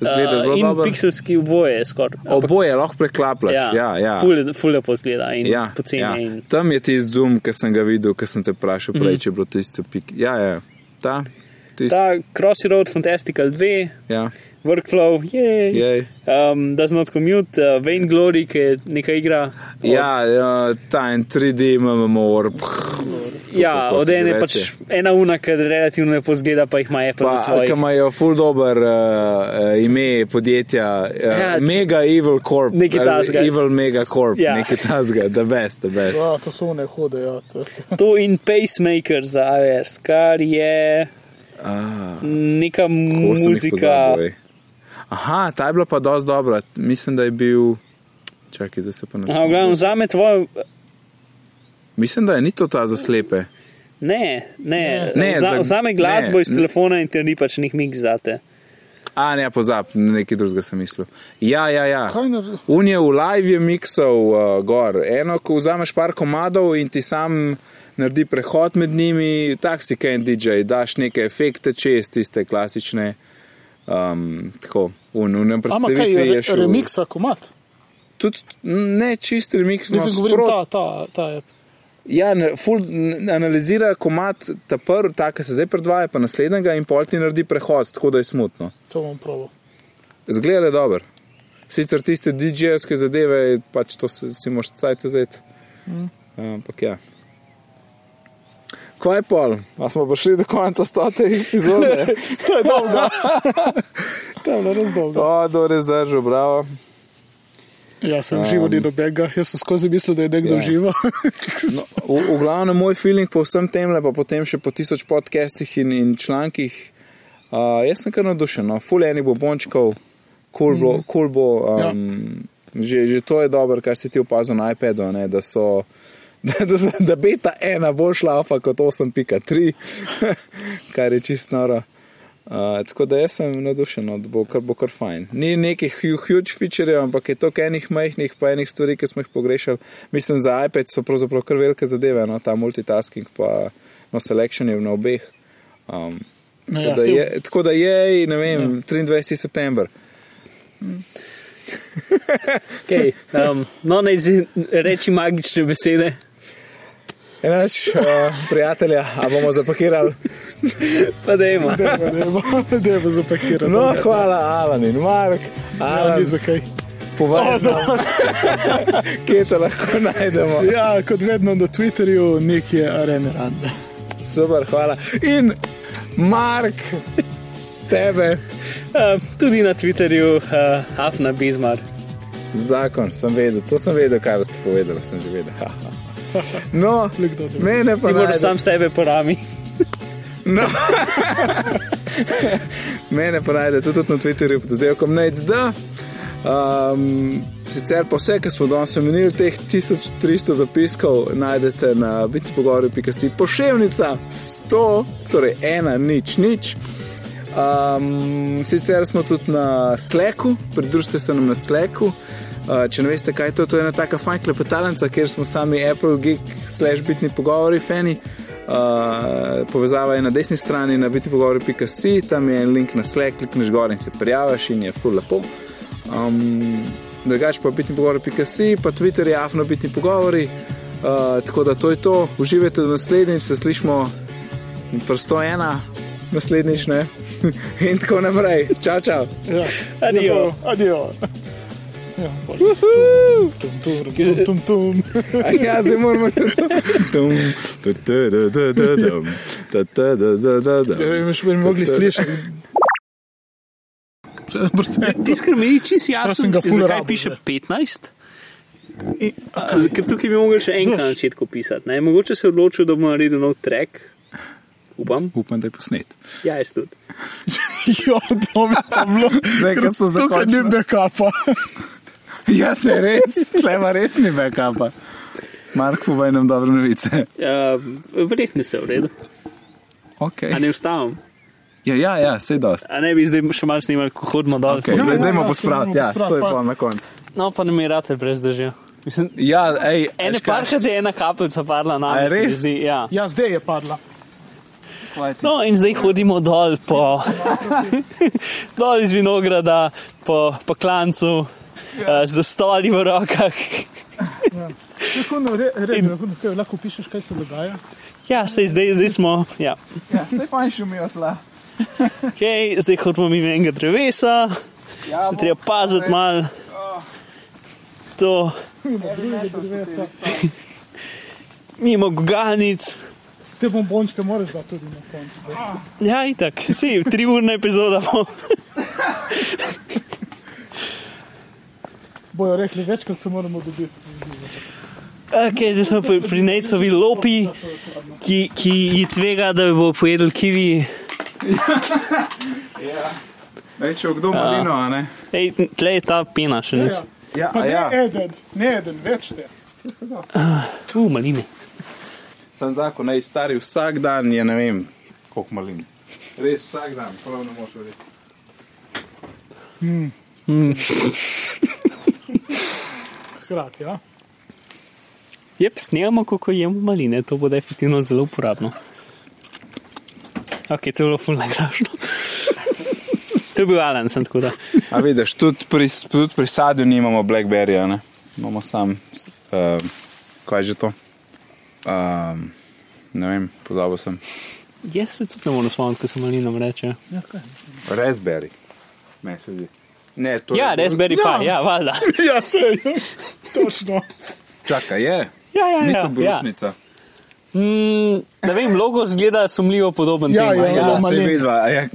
zgleda zelo
in
dobro.
pikselski oboje je skoraj. Ampak,
Oboje lahko preklapljaš. Ja, ja. ja.
Fule, fule pozgleda in
Ja,
ja, poceni. Ja.
ja.
In, Mhm.
Tam je tisti zoom, ki sem ga videl, ki sem te vprašal prej, če je bilo to isto pik. Ja, ja, ta, tisti,
ta Crossy Road Fantastical 2,
ja,
Workflow, jej.
jej.
Um, Does not commute, uh, Vain Glory, ki je neka igra. od-
Ja, ja, ta en 3D MMOR.
ja
kako
od
se že
ene
reče.
pač ena una, ki relativno lepo zgleda, pa jih ima Apple na
Pa, ki
svojem.
imajo full dober uh, uh, ime podjetja, uh,
Ja,
ja,
če-
Mega Evil Corp.
Nekaj
ali
takega.
Evil Mega Corp,
Ja.
ja. nekaj tasga, the best, the best.
Ja, to so one hude. Ja, to-
To in pacemaker za iOS, kar je
Ah,
neka
kako sem jih
muzika.
pozabil, ej. Aha, ta je bila pa dosti dobra. Mislim, da je bil. Čakaj, zdaj se pa ne
Aha, v
spomnim.
glavnem, zame tvoje.
Mislim, da je ni to ta za slepe.
Ne, ne,
Ne,
ne za,
za-
vzame glasbo
ne,
iz telefona in ti ni pač nek mik zate.
A ne, pozab, nekaj drugega sem mislil. Ja, ja, ja.
Kaj nar-
Un je v live je miksal uh, gor. Eno, ko vzameš par komadov in ti sam naredi prehod med njimi, taksi kaj DJ, daš neke efekte čez tiste klasične. Um, tako, v enem
Ampak kaj
predstavitvi
je
je
re-
šel.
remiksa komat?
Tudi, ne čist remix, no,
Mislim, govorim ta,
sprot-
ta, ta je.
Ja, ne, ful, n- analizira komat ta prvi, ta, ki se zdaj predvaja, pa naslednjega in pol ti naredi prehod, tako da je smutno.
To bom proval.
Zgleda je dober. Sicer tiste DJ-jevske zadeve, pač to si, si moš cajt vzeti. Mm. Ampak ja. Kaj je pol? A smo prišli do konca stote epizode? [laughs] to je [laughs] dolgo.
To je bilo res dolgo.
o, do res držal, bravo.
Ja, sem um, živo ni nobenega, jaz sem skozi mislil, da je nekdo
ja.
ja. živo.
No, v, v glavnem moj feeling po vsem tem, pa potem še po tisoč podcestih in, in člankih. Uh, jaz sem kar navdušen, no. full enih bombončkov, cool,
Mhm.
mm. cool bo. Um, ja. že, že to je dobro, kar si ti opazil na iPadu, ne, da so. [laughs] Da, da, so- da beta ena bo šla pa kot 8.3, [laughs] kar je čist noro. Uh, tako da jaz sem navdušen, no, da bo kar, bo kar fajn. Ni nekih hu- huge featurejev, ampak je toliko enih majhnih, pa enih stvari, ki smo jih pogrešali. Mislim, za iPad so pravzaprav kar velike zadeve, no, ta multitasking, pa no, selection je na obeh. Um,
No,
tako,
[laughs] ja,
da
saj- Ja.
je, tako da je, ne vem, 23. september.
Okay, um, no, naj zi- reči magične besede.
Enaš, uh, prijatelja, a bomo zapakirali.
Pa dajmo.
Ne bo [laughs] zapakiran.
No, hvala, Alan in Mark.
ja, ni
Alan,
zakaj.
povej nam, [laughs] kje te lahko najdemo.
Ja, kot vedno na Twitterju, nek je arena rande.
Super, hvala. In Mark, tebe,
[laughs] Um, tudi na Twitterju, uh, Afna Bizmar.
zakon, sem vedel, to sem vedel, kaj boste povedali, sem že vedel. [laughs] Ha, ha. No,
Nekdo drug.
mene pa
Ti moraš
najde-
sam sebe porami.
No. Mene pa najdete tudi na Twitterju, pod oddelkom NECD. Um, sicer pa vse, kar smo danes omenili, teh 1300 zapiskov najdete na bitnipogovorju.si pošiljka 100, torej ena nič nič. Um, sicer smo tudi na Slacku, pridružite se nam na Slacku. Uh, če ne veste, kaj je to, to je ena taka fajn klepetalnica, kjer smo sami Apple, Geek, slash bitni pogovori, fani. Uh, povezava je na desni strani na bitnipogovori.si, tam je en link na Slack, klikneš gor in se prijaviš in je ful lepo. Um, drugač pa bitni pogovori.si, pa Twitter je afno bitni pogovori. Uh, tako da to je to, uživajte do naslednjič, se slišmo prsto ena, naslednjič ne. [laughs] In tako naprej. Čau, čau.
Ja.
Adijo.
Lepo, Adijo. Ja, bolj. tum, tum, tum, tum, tum.
A Ja, zdaj moramo [laughs] tudi.
Ja, veš, bi mogli slišati.
Ti skrbi, če si
To sem
jasen,
ga ful
zakaj
rabil
piše
že.
15? A, Ker tukaj bi mogel še enkrat na začetku pisati. Ne? Mogoče se je odločil, da bo naredil nov track. Upam.
Upam, da je posnet.
Ja, jaz tudi.
Ja, to bi pa bilo.
Zdaj, ko so
Tukaj ni
zakončili.
backupa.
[laughs] Ja, se res, tlema res ni backupa. Mark, povej nam dobre [laughs] novice.
Uh, Verjetno se je v redu. A
Okay.
ne vstavim.
Ja, ja, ja, sej dost.
A ne bi zdaj še malo snimali, ko hodimo dol.
Okay,
Ja,
zdaj,
ja,
dajmo
ja,
pospraviti, ja,
pospraviti,
to je
pa-
pa na koncu.
No, pa ne mi rate brez držja. Mislim,
Ja, ej,
ene
veš kaj?
parkrat je ena kapljica padla na
A je
nas.
res?
Ja.
Ja, zdaj je padla.
No, in zdaj hodimo dol po, [laughs] dol iz vinograda, po, po klancu, ja. z stoli v rokah.
Tako na redu, lahko pišeš, kaj se dogaja.
Ja, sej zdaj, zdaj smo. Ja.
Ja, sej fajn šumijo
[laughs]
tla.
Okay, zdaj hodimo mimo enega drevesa,
Ja,
da treba paziti malo.
Oh.
To, [laughs] mimo guganic.
Te bombončke moraš dati tudi na koncu.
Ja, itak, si, tri urna epizoda bo.
Bojo rekli, večkrat se moramo dobiti.
Okay, zdaj smo pri, pri Necovi lopi, ki, ki ji tvega, da jo bo pojedel kivi.
Reče, kdo malino, a ne?
Ej, tle je ta pena še
Ja.
nec.
Ja,
Pa
a
ne
ja.
eden, ne eden, več te.
Tu, maline.
Sem zakon, naj stari vsak dan je ne vem, koliko malin. Res vsak dan, prav ne moš verjeti.
Hkrati, ja.
Jep, snemamo, kako jemo maline, to bo definitivno zelo uporabno. Ok, to je bilo fulno
[laughs]
grašno. to je bil Alan, sem tako da.
A vidiš, tudi pri, s- tudi pri sadju nimamo blackberryja, ne? Imamo sam, uh, kaj je že to? Um, ne vem, pozabil sem.
Jaz se tudi ne morem spomniti, ko se malinom reče.
Raspberry. Ne, se vidi. Ne, to
Ja,
je-
raspberry
Ja.
pa, ja, valjda.
Ja, se je. Točno.
Čakaj, je.
Ja, ja,
Ni
ja.
to
ja.
brusnica.
Mm, ne vem, logo zgleda sumljivo podoben
Ja,
temu.
ja,
Ja,
malo
se
malin.
vidva. a Ja.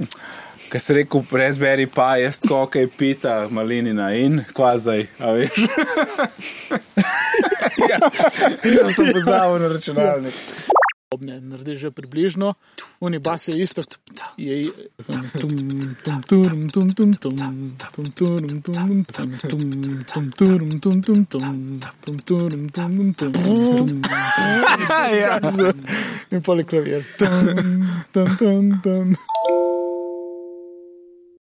Kaj se reče, Raspberry pa je tako, kaj pita, malinina in kvazaj, a veš. ja, [laughs] ja, sem pozabil na računalnik.
Obne, naredi že približno, unibas je isto. Je,
Ja, ja.
in poliklavir.